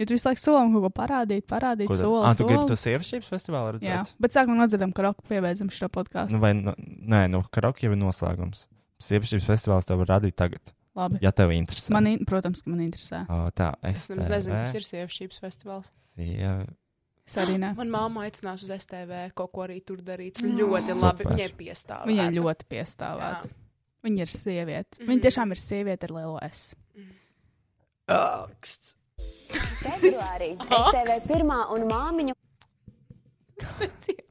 B: Jo tu visu laiku solam kaut ko parādīt, parādīt,
C: Ko tad?
B: soli.
C: Ah, tu gribi
B: soli.
C: to sievišķības festivālu
B: Jā,
C: redzēt?
B: bet sākumā nodzirdam, ka roka pievērsam šo podkāstu.
C: Nu, vai, nu, nē, nu, karaoke jau ir noslēgums. Sievišķības festivāls tev var radīt tagad,
B: Labi.
C: ja tev interesē.
B: Man, in- protams, ka man interesē.
C: O, tā, es
D: Es nemaz nezinu, kas ir sievietes festivāls.
C: Sievi...
B: Es arī ne.
D: Man māma aicinās uz STV kaut ko arī tur darīt.
B: Mm.
D: Ļoti labi.
C: Super.
D: Viņai piestāv.
B: Viņa ļoti piestāvētu. Viņa ir sieviete. Mm -hmm. Viņa
D: Mhm.
B: tiešām ir sieviete ar lielo S.
D: Aksts.
H: Februārī STV pirmā un māmiņu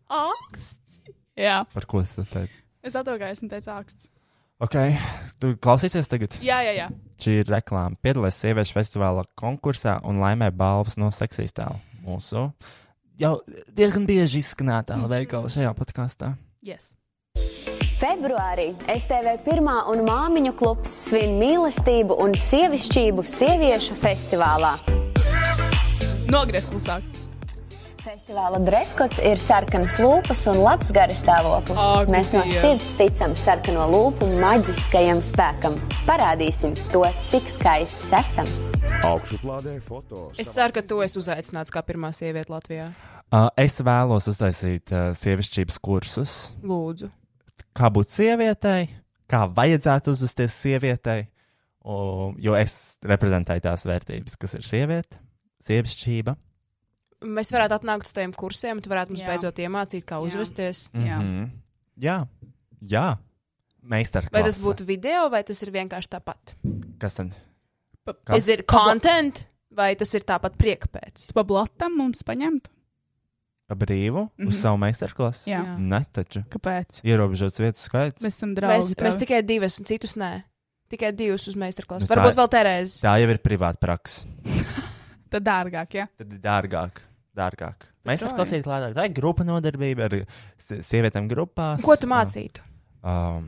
D: Aksts.
B: Jā,
C: Par ko es to teicu?
B: es atragājos un teicu, akts.
C: Ok, tu klausīsies tagad.
B: Jā, jā, jā.
C: Šī ir reklāma. Piedalās sieviešu festivāla konkursā un laimē balvas no seksistā. Mūsu jau diezgan bieži
D: [LAUGHS]
C: izskanētā veikala šajā podkāstā.
B: Yes.
H: februārī STV pirmā un māmiņu klubs svin mīlestību un sievišķību sieviešu festivālā.
B: Nogriez klusāk.
H: Festivāla dreskots ir sarkanas lūpas un labs garas stāvoklis.
B: Ak,
H: Mēs no
B: Dievs.
H: sirds ticam sarkano lūpu maģiskajam spēkam. Parādīsim to, cik skaistas esam.
I: Augšuplādē foto.
D: Es ceru, ka tu esi uzaicināts kā pirmā sieviete Latvijā.
C: Uh, es vēlos uztaisīt uh, sievišķības kursus.
D: Lūdzu.
C: Kā būt sievietei, kā vajadzētu uzvesties sievietei, o, jo es reprezentēju tās vērtības, kas ir sieviete, sievišķība,
D: mēs varētu atnākt uz tiem kursiem, tu varētu mums
B: Jā.
D: beidzot iemācīt, kā
B: Jā.
D: uzvesties.
B: Jā.
C: Mm. Jā, jā. Meistarklase.
D: Vai tas būtu video, vai tas ir vienkārši tāpat?
C: Kas tad?
D: Tas
C: Kas?
D: ir kontent, vai tas ir tāpat prieka pēc?
B: Pa blatam mums paņemt.
C: Pa brīvu mm -hmm. uz savu meistarklasi?
B: Jā.
D: Mhm. Jā.
C: Nē, taču.
B: Kāpēc?
C: Ierobežots vietas skaits.
B: Mēs esam
D: Mēs,
B: draugi.
D: mēs
B: tev.
D: tikai divas, un citus nē. Tikai divas uz
C: Nu,
D: meistarklasu. Nu,
C: tā-
D: Varbūt vēl Terēzi.
C: Tā jau ir privāta praksa.
B: Tad dārgāk, ja?
C: Tad ir dārgāk. dārgāk. Mēs
B: to,
C: varam klausīt lētāk. Tā ir grupa nodarbība ar sie- sievietēm grupās.
D: Ko tu mācītu?
C: Um,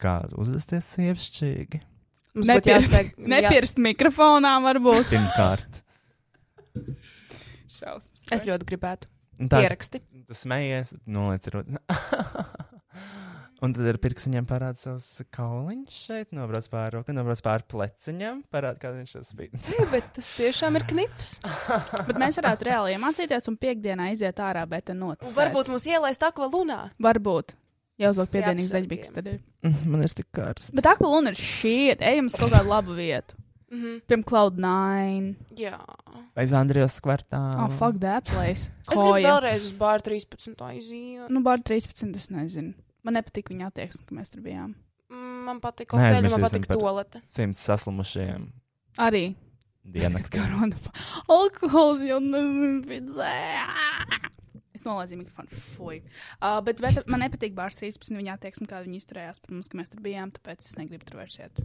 C: kā uzvesties sievišķīgi?
D: Mums būtu
B: Nepirst,
D: jāsteig- jā.
B: [LAUGHS] nepirst mikrofonā
C: [LAUGHS]
B: varbūt.
C: Pirmkārt.
B: Šausmas.
D: Es ļoti gribētu.
C: Un tā-
D: Pieraksti.
C: Tu smējies, noliec rokas. [LAUGHS] Un tad ar pirkstiņiem parāda savus kauliņus šeit, nobrauc pāri rokai, nobrauc pāri pleciņam, parāda, kā viņš to spīd.
D: Ei, Bet tas tiešām ir knips.
B: Bet mēs varētu reāli iemācīties un piekdienā aiziet ārā, bet tā notic.
D: Varbūt mums ielaist akvalunā.
B: Varbūt. Jau uzliek
D: Jāapsargiem.
B: piedienas zaļbīgs tad ir.
C: Man ir tik karsti.
B: Bet akulūna ir šī. Ejam uz kaut kādu labu vietu.
D: Mhm.
B: Piemēram, Cloud9.
D: Jā.
C: Vai Zandrijas skvartā?
B: Oh, fuck that place.
D: Es gribu
B: Koja.
D: vēlreiz uz bāru 13. aiziet.
B: Nu, bar 13. Es nezinu. Man nepatīk viņa attieksme, ka mēs tur bijām.
D: Mm, Man patīk
C: Nē,
D: kokteļi, man
C: aizmirsīsim
D: patīk
C: par-
D: tolete.
C: Simts saslimušajiem
B: Arī
C: diennaktī.
B: [LAUGHS] korona. Alkohols jau nezina. Es nolaidu mikrofonu. Fui. Uh, bet, bet man nepatīk bārs 13. Viņa attieksme, kā viņi izturējās pret mums, ka mēs tur bijām. Tāpēc es negribu tur vairs iet.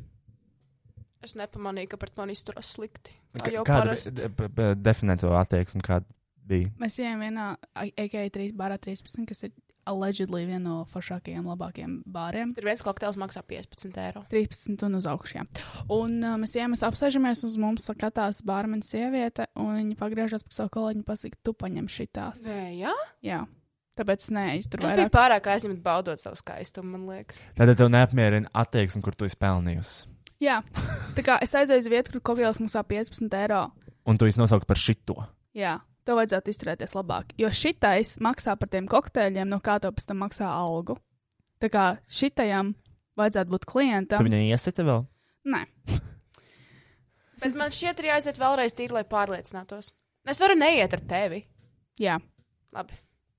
D: Es nepamanīju, ka pret mani izturās slikti. Kā jau parasti.
C: Kāda definē to attieksmi, kāda bija?
B: Mēs ejam vienā AK3 bārā 13, kas ir allegedly viena no foršākajiem, labākajiem bāriem.
D: Tur viens kokteils maksā 15 eiro.
B: 13 un uz augšu. jā. Un uh, mēs ejam, mēs apsēžamies, un uz mums skatās bārmeņa sieviete, un viņa pagriežas pie savu kolēģi un pasaka, tu paņem šitās.
D: Nē, jā.
B: Jā. Tāpēc es neeju tur
D: Es biju
B: vairāk.
D: pārāk aizņemta baudot savu skaistumu, man liekas.
C: Tad tev neapmierina attieksme, kur tu esi pelnījusi.
B: Jā, tā kā es aizēju uz vietu, kur kokteils maksā 15 eiro.
C: Un tu esi nosaukt par šito.
B: Jā, tev vajadzētu izturēties labāk. Jo šitais maksā par tiem kokteļiem, no kā tev pēc tam maksā algu. Tā kā šitajam vajadzētu būt
C: Tu
B: klientam.
C: viņai iesita vēl?
B: Nē,
D: Bet man šķiet, ir jāaiziet vēlreiz, tīri, lai pārliecinātos. Es varu neiet ar tevi.
B: jā.
D: Labi.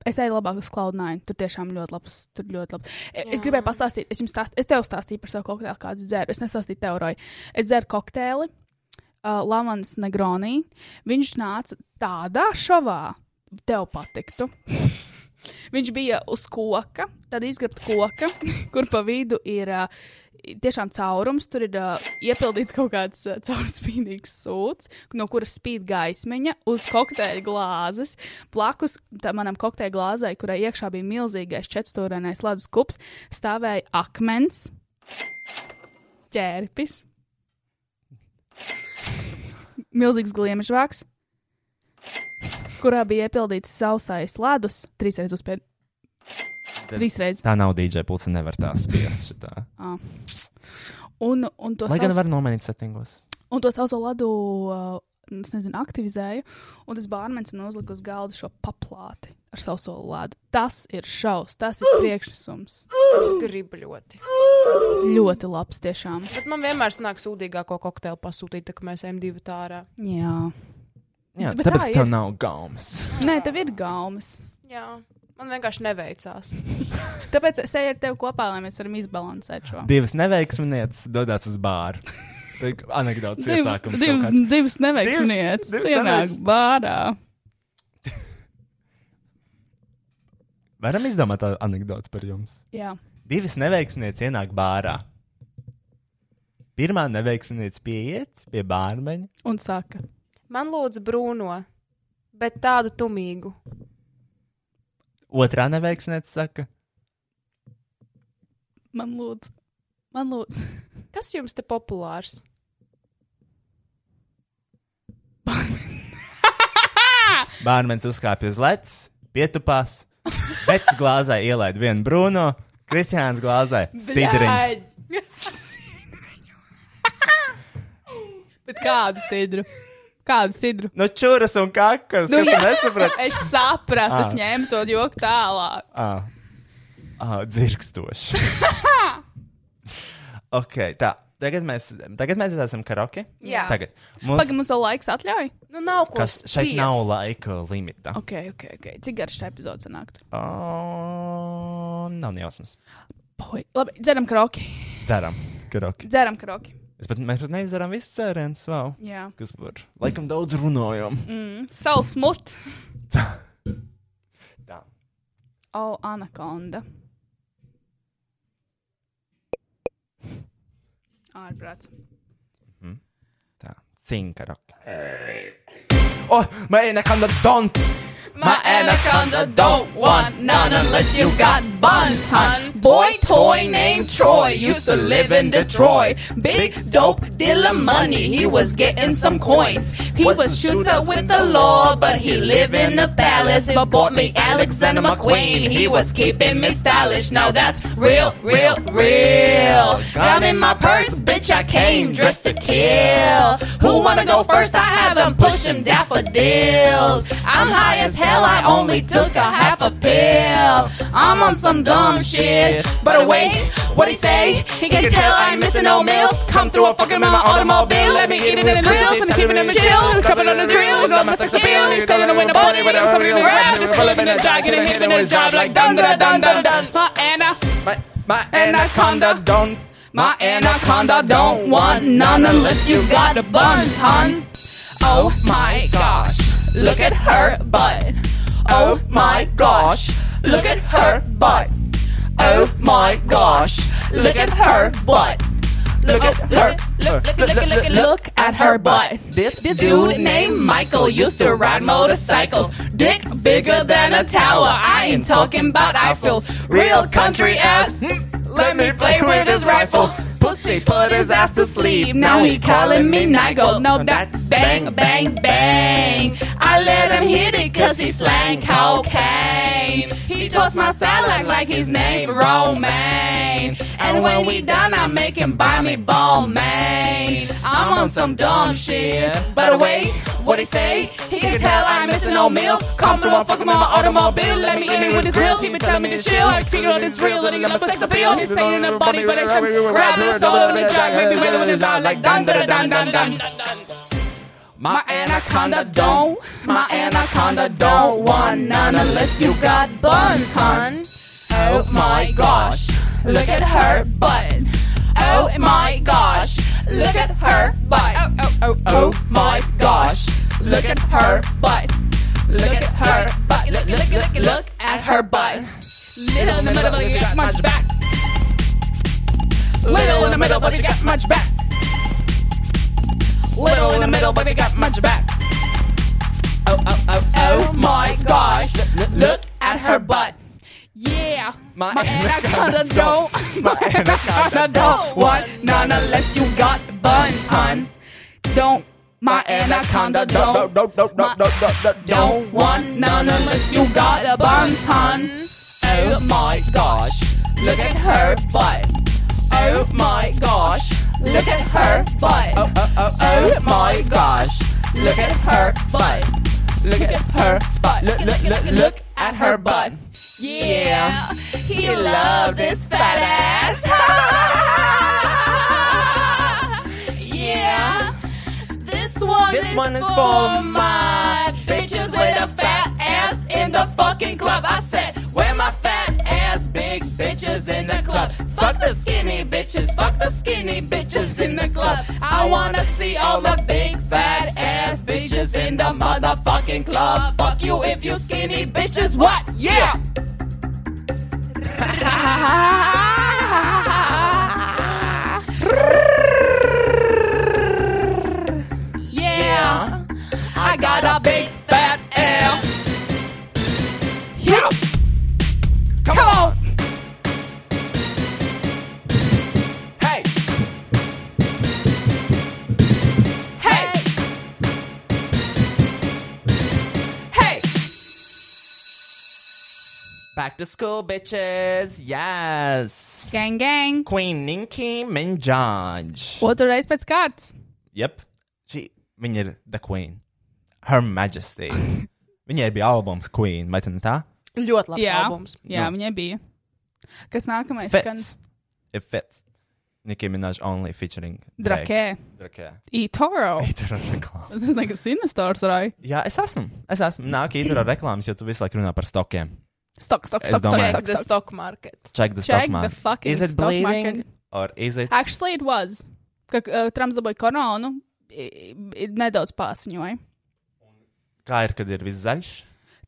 B: Es eju labāk uz Cloud9. Tur tiešām ļoti labs. Tur ļoti labs. E- Es
D: Jā.
B: gribēju pastāstīt, es jums stāstīju, es tev stāstīju par savu kokteili, kādu dzēru. Es nestāstīju teoriju. Es dzēru kokteili uh, Lavans Negronī. Viņš nāca tādā šovā, tev patiktu. Viņš bija uz koka, tad izgrabta koka, [LAUGHS] kur pa vidu ir uh, tiešām caurums. Tur ir uh, iepildīts kaut kāds uh, caurspīdīgs sūds, no kura spīd gaismiņa uz kokteļa glāzes. Blakus tam manam kokteļa glāzē, kurai iekšā bija milzīgais četrstūrainais ledus kups, stāvēja akmens, ķērpis, milzīgs gliemežvāks, kurā bija iepildīts sausais ledus, trīsreiz uzspēlēts. Trīsreiz.
C: Tā nav DJ pulce, nevar tā spiest šitā.
B: Ā. Un, un to
C: Lai gan
B: sauc-
C: var nomainīt settingos.
B: Un to sauzo ledu, uh, es nezinu, aktivizēju. Un tas bārmenis man uzlika uz galda šo paplāti ar sauzo ledu. Tas ir šausmas, tas ir priekšnesums.
D: Es gribu ļoti.
B: Ļoti labs, tiešām.
D: Bet man vienmēr sanāk sūdīgāko kokteili pasūtīt, tā, ka mēs ejam divi tā ārā.
B: Jā,
C: Jā,
B: Nu, Bet tā
C: tāpēc
B: ir.
C: tev nav gaumas.
B: Nē, tev ir gaumas.
D: Jā. Man vienkārši neveicās.
B: Tāpēc es eju ar tevi kopā, lai mēs varam izbalansēt šo.
C: Divas neveiksminieces dodas uz bāru. Anekdotas iesākums. kaut
B: divas,
C: kāds.
B: divas neveiksmietas
C: Divas- divas
B: ienāk
C: neveiksm-
B: bārā.
C: Varam izdomāt tādu anekdoti par jums.
B: Jā,
C: Divas neveiksminieces ienāk bārā. Pirmā neveiksminieca pieiet pie bārmeņa.
B: un saka,
D: Man lūdzu brūno, bet tādu tumīgu.
C: Otrā neveiksminiece saka,
B: man lūdzu, man lūdzu,
D: Kas jums te populārs?
C: bārmenis uzkāpj uz lecas, pietupās, pēc glāzē ielaid vienu brūno, Kristiāns glāzē sidriņu.
J: [LAUGHS]
B: Bet kādu sidru? Kādu sidru?
C: No čūras un kakas,
B: Nu,
C: nu,
B: jā.
C: kas nesaprot.
B: Es sapratu, es
C: Ā.
B: ņēmu to joku tālāk.
C: Ah,
B: [LAUGHS]
C: ah dzirkstoši. ok, tā. tagad mēs, tagad mēs esam karaoke.
B: Jā.
C: Tagad. Mums,
J: Pagaidām, mums vēl laiks atļauj.
B: Nu, nav ko
C: kas šeit
B: spiest.
C: nav laika limita.
J: Ok, ok, ok. Cik garš tā epizode sanākt?
C: Oh, nav ne jausmas.
J: Poi. Labi, dzeram kroki.
C: Ceram, karaoke.
J: Dzeram kroki.
C: Es pat, mēs pat neizdarām visus cērienus, wow.
J: Jā. Mm.
C: Kas par laikam daudz runājam.
J: Sals mut.
C: Tā.
J: O, oh, anakonda. Ārprāts.
C: Tā, cīņa karaoke. Oh, man ir nekāda don't!
J: My anaconda don't want none unless you got buns, hun. Boy toy named Troy used to live in Detroit. Big dope dealer money, he was getting some coins. He was shooter with the law, but he lived in a palace. He bought me Alexander McQueen, he was keeping me stylish. Now that's real, real, real. Got in my purse, bitch, I came dressed to kill. Who wanna go first? I have him push him daffodils. I'm high as hell, I only took a half a pill. I'm on some dumb shit. But wait, what he say? He can tell I'm missing no meals. Come through a fucking my automobile. Let me eat it in the grills. I'm keeping it in chill. Cupping on the drill. Got my sex appeal. He's selling a window bunny. But I'm somebody in the rap. Just full of in a job. Getting hit in a job like dun dun dun dun dun. My Anna,
C: My, my
J: Anaconda
C: don't!
J: my anaconda don't want none unless you got the buns, hun. Oh my gosh, look at her butt. Oh my gosh, look at her butt. Oh my gosh, look at her butt. Look at her. Look, look, look, look, look, look at her butt.
C: This
J: This dude named Michael used to ride motorcycles. Dick bigger than a tower. I ain't talking about Eiffels. Real country ass. Let me play with his rifle. Pussy put his ass to sleep. Now he calling me Nigel. No, that's bang, bang, bang. I let him hit it cause he slang cocaine. He tossed my salad like his name Romaine. And when we done, I make him buy me Balmain. I'm on some dumb shit. But wait, what he say? He can tell I'm missing no meals. Come through, I'm fucking my automobile. Let me in it with his grills. He been telling me to chill. I figure out it's real. Letting up a sex appeal. He's saying in a body, but I'm grabbing his soul in a jug. Make me wait when it's out like dun dun dun dun dun dun dun. My anaconda don't, my anaconda don't want none unless you got buns, hun. Oh my gosh, look at her butt. Oh my gosh, look at her butt. Oh, oh, oh, oh my gosh, look at her butt. Look at her butt. Look, look, look, look at her butt. Little in the middle, but you got much back. Little in the middle, but you got much back. Little in the middle, but you got much back. Oh, oh, oh, oh my gosh, look at her butt. Yeah.
C: My
J: My anaconda don't. [LAUGHS] My anaconda don't want none unless you got buns, hun. Don't. My anaconda don't. Don't want none unless you got a buns, hun. Oh my gosh, look at her butt. Oh my gosh, look at her butt. Oh, oh, oh, oh my gosh, look at her butt. Look at her butt. Look, look, look, look at her butt. Yeah, he loved his fat ass. yeah, this one,
C: This
J: is,
C: one is
J: for
C: for
J: my bitches with a fat ass in the fucking club. I said, where my fat ass big bitches in the club? Fuck the skinny bitches, fuck the skinny bitches in the club. I wanna see all the big fat ass bitches in the motherfucking club. Fuck you if you skinny bitches, what? Yeah!
D: [LAUGHS]
J: yeah, I got a big fat ass. Yeah, come on.
C: Hey!
J: Hey! Hey!
C: Back to school, bitches! Yes!
J: Gang, gang!
C: Queen Nicki Minaj.
J: Otru reizi pēc kārtas.
C: Yep. She, viņa ir The Queen. Her
J: [LAUGHS]
C: Majesty. Viņai bija albums Queen, vai ne tā?
B: Ļoti labs albums.
J: jā viņai bija. Kas nākamais?
C: Fits. It fits. Nicki Minaj only featuring Drake.
B: Drakē,
C: Drakē.
B: Itoro.
J: Oh.
C: [LAUGHS] Itāra reklāma.
B: Es nezinu, kas ir investors vai
C: Jā, es esmu. Es esmu. Nāk īturā reklāmas, jo tu visu laiku runā par stokiem.
B: stok, stok,
C: Es
B: stok, stok,
C: domāju-
B: stok,
D: Check the
B: stok.
D: stock market.
C: Check the
B: Check
C: stock
B: the
C: market.
B: fucking
C: is it
B: stock
C: bleeding
B: market.
C: or is it?
B: Actually, it was. Kad uh, Trumps dabūja koronu, i- i- nedaudz pārsiņoja.
C: Kā ir, kad ir viss zaļš?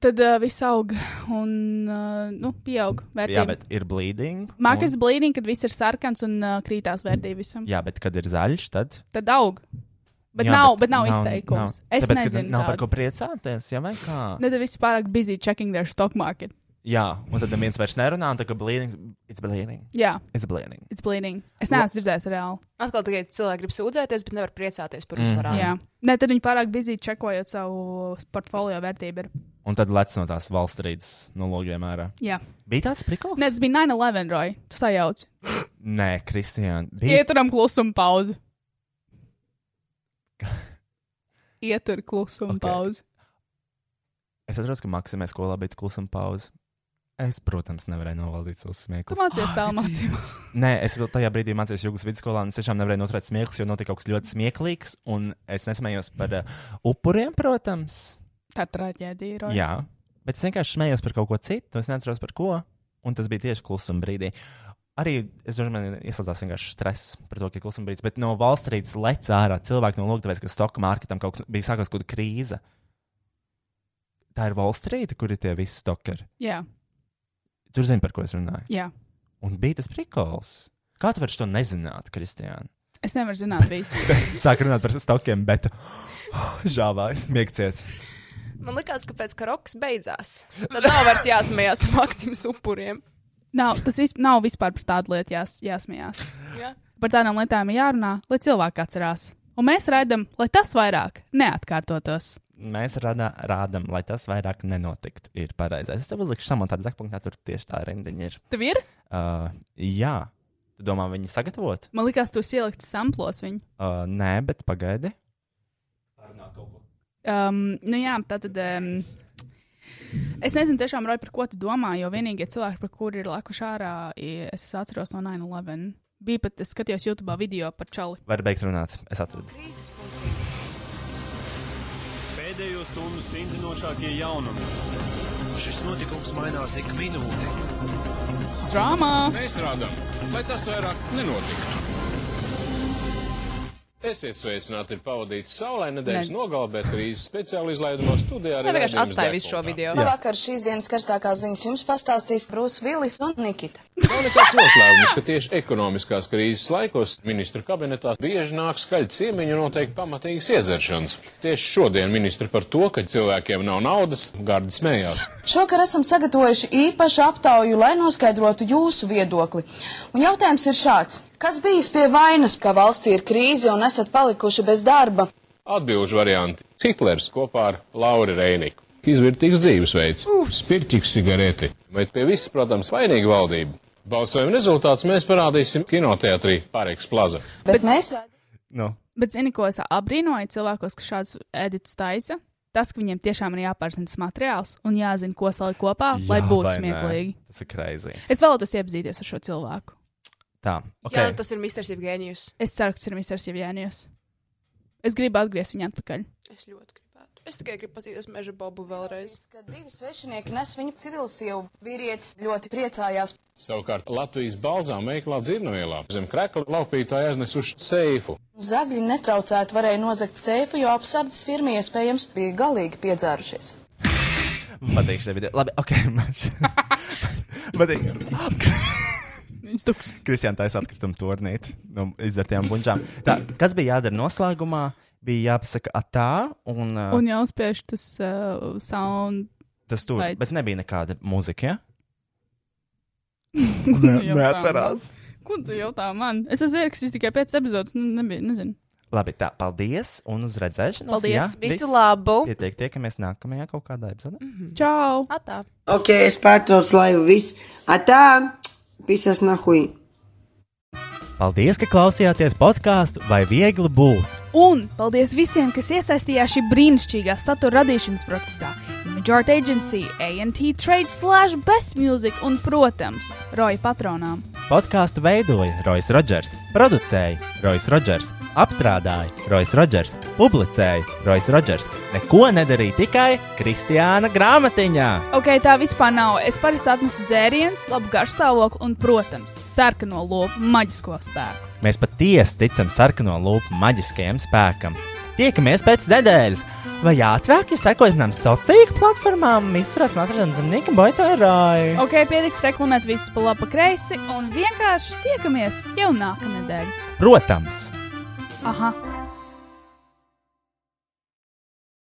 B: Tad uh, viss aug un uh, nu, pieaug
C: Jā,
B: vērtība.
C: bet ir bleeding.
B: Markets blīdīgi, kad viss ir sarkans un uh, krītās vērtība visam.
C: Jā, bet kad ir zaļš, tad.
B: Tad aug. Bet,
C: jā,
B: jā, nav, bet nav izteikums. Nav. Es
C: Tāpēc,
B: Tāpēc,
C: ka
B: nezinu,
C: Nav par
B: kāda
C: ko priecāties, ja vai kā?
B: ir. Tad viss pārāk busy checking their stock market.
C: Jā, un tad viens vairs nerunā, un tā kā bleeding. It's bleeding.
B: Jā,
C: It's bleeding.
B: it's bleeding. Es neesmu dzirdējis reāli.
D: Atkal tikai cilvēki grib sūdzēties, bet nevar priecāties par
C: Ah,
D: uzvarām.
B: Jā. Nē, tad viņi pārāk busy čekojot savu portfolio vērtību. ir.
C: Un tad lec no tās Wall Street's no logiem ārā.
B: Jā,
C: Bija tāds priklis?
B: Nē, tas bija 9-11, Roy. Tu sajauc.
C: Nē, Kristija. Bija
B: Ieturam klusumu [LAUGHS] pauzi. Ietur klusumu
C: Ok.
B: okay. pauzi.
C: Es atceros, ka Maksimē skolā bija klusuma pauze. Es, protams, nevarēju novaldīt savus
B: Tu
C: smieklus.
B: mācies tā [LAUGHS] mācības.
C: Nē, es vēl tajā brīdī mācījos Jūgas vidusskolā, un es tiešām nevarēju noturēt smieklus, jo notika kaut kas ļoti smieklīgs. Un es nesmējos par uh, upuriem, protams.
B: Tā ir traģēdija, Roy.
C: Jā, bet es vienkārši smējos par kaut ko citu. Es neatceros par ko, un tas bija tieši klusuma brīdī. Arī es domāju, man ieslēdzās vienkārši stress par to, ka ir klusuma brīdis. Bet no valsts lec ārā cilvēki no logiem, ka stoka marketam kaut kas bija sākās kaut kāda krīze. Tā ir valsts, kur ir tie visi stokeri.
B: Jā,
C: Tur zini, par ko es runāju.
B: jā.
C: Un bija tas prikals. Kā tu vari to nezināt, Kristija?
B: Es nevaru zināt visu. [LAUGHS]
C: [LAUGHS] Sāk runāt par stokiem, bet [GASPS] žāvājas, mīkciet.
D: Man liekas, ka pēc karoks beidzās. Tad nav vairs jāsmējās par Maksimas upuriem.
B: nav, tas vis, nav vispār par tādu lietu jās, jāsmējās.
D: Jā.
B: Par tādām lietām ir jārunā, lai cilvēki atcerās. Un mēs raidam, lai tas vairāk neatkārtotos.
C: Mēs rada, rādam, lai tas vairāk nenotiktu. Ir pareizais. Es tev uzliku šādu tādu zakpunktu, tur tieši tā rindiņa ir.
B: Tev ir?
C: Uh, jā, tu domā, viņi sagatavot?
B: Man liekas, tu esi ielikt samplos viņu.
C: Uh, nē, bet pagaidi.
B: Um, nu jā, tā tad. Um, es nezinu, tiešām, Roja, par ko tu domā, jo vienīgie cilvēki, par kuriem ir lakuši ārā, i- es es atceros no 9-11. Bija pat, es skatījos YouTube video par čali.
C: Var beigt runāt. Es atradu.
K: Pēdējo stundu stingzinošākie jaunumi. Šis notikums mainās ik minūti.
B: Drāmā!
K: Mēs rādām, lai tas vairāk nenotiktu. Esiet sveicināti, ir pavadīts saulē nedēļas
B: Ne.
K: nogalē, bet krīzes speciāli izlaidumā studijā arī.
D: Es vienkārši
K: raidījums
D: atstāju visu šo
K: degpunktā.
D: video.
L: Vakar šīs dienas karstākās ziņas jums pastāstīs Brūss Vilis un Nikita.
K: Nav nekāds noslēpums, ka tieši ekonomiskās krīzes laikos ministru kabinetā bieži nāk skaļi ciemiņi un noteikti pamatīgas iedzeršanas. Tieši šodien ministri par to, ka cilvēkiem nav naudas, gardi smējās.
L: Šovakar esam sagatavojuši īpašu aptauju, lai noskaidrotu jūsu viedokli. Un jautājums ir šāds. Kas bijis pie vainas, ka valstī ir krīze un esat palikuši bez darba?
K: Atbilžu varianti - Hitlers kopā ar Lauru Reiniku. Izvirtīgs dzīvesveids, spirķis, cigareti. Bet pie viss, protams, vainīga valdība. Balsojuma rezultāts mēs parādīsim kinoteātrī Pāriks Plaza.
L: Bet, Bet mēs
C: Nu,
B: Bet zini, ko es abrīnoju cilvēkos, kas šādus editus taisa? Tas, ka viņiem tiešām ir jāpārzina tas materiāls un jāzina, ko salikt kopā, jā, Ah, lai
C: jā,
B: būtu
C: vai nē?
B: smieklīgi.
C: Tas ir krāzī.
B: Es vēlētos iepazīties ar šo cilvēku.
C: Tā,
D: Okay. Jā, nu
C: ok.
D: tas ir Mr. Evgenijus.
B: Es ceru, ka tas ir Mr. Jevjēnijas. Es gribu atgriezties viņu atpakaļ.
D: Es ļoti gribētu. Es tikai gribu paskatīties meža bobu vēlreiz.
L: ka divi svešinieki nes viņu civilsievu vīrietis ļoti priecājās.
K: Savukārt Latvijas balzām veiklā dzirnavielā zem krekla laupītāji aiznesuši seifu.
L: Zagļi netraucēti varēja nozagt seifu, jo apsardzes firma iespējams bija galīgi piedzērušies.
C: Patīk šī video. Labi, ok. [LAUGHS]
B: [LAUGHS]
C: Patīk.
B: Viņš tukšs.
C: Kristiāna taisa atkrituma turnīti no izvērtējām buļģām. Tā, Kas bija jādara noslēgumā? Bija jāpasaka, ah, tā, un, uh, un
B: Un jau spiež tas uh, sound.
C: tas tur
B: vajadz.
C: bija. Bet nebija nekāda mūzika. Ja?
B: jau tā man. Ko tu jautā man? Es esmu ierakstījis tikai 5 epizodes. Nu, nebija, nezinu.
C: Labi, tā, paldies, un uz redzēšanos.
B: Paldies,
C: ja?
D: Visu labu!
C: Ietiek, tiekamies nākamajā kaut kādā epizodē.
B: Mm. Čau!
D: Atā!
L: Ok, es pārtraucu laivu visu. Atā, pisas nahui.
C: Paldies, ka klausījāties podkāstu vai viegli būt.
B: Un paldies visiem, kas iesaistījās šī brīnišķīgā satura radīšanas procesā. Image Art Agency, ANT Trade, Slash, Best Music un, protams, Roja patronām.
C: Podkāstu veidoja Roisas Rodžers, producēja Roisas Rodžers, apstrādāja Roisas Rodžers, publicēja Roisas Rodžers. Neko nedarīja tikai Kristiāna grāmatiņā.
B: Ok, tā vispār nav. Es parasti atnesu dzērienus, labu garšstāvokli un, protams, sarkano lopu maģisko spēku.
C: Mēs patiesi ticam sarkano lupu maģiskajam spēkam. Tiekamies pēc nedēļas, vai ātrāk, ja sekojat mums sociālajām tīkla platformām, visur esmu atradams zemnieka boitārāju.
B: Ok, pietiks reklamēt visus pa labi, pa kreisi un vienkārši tiekamies jau nākamnedēļ.
C: Protams!
B: Aha!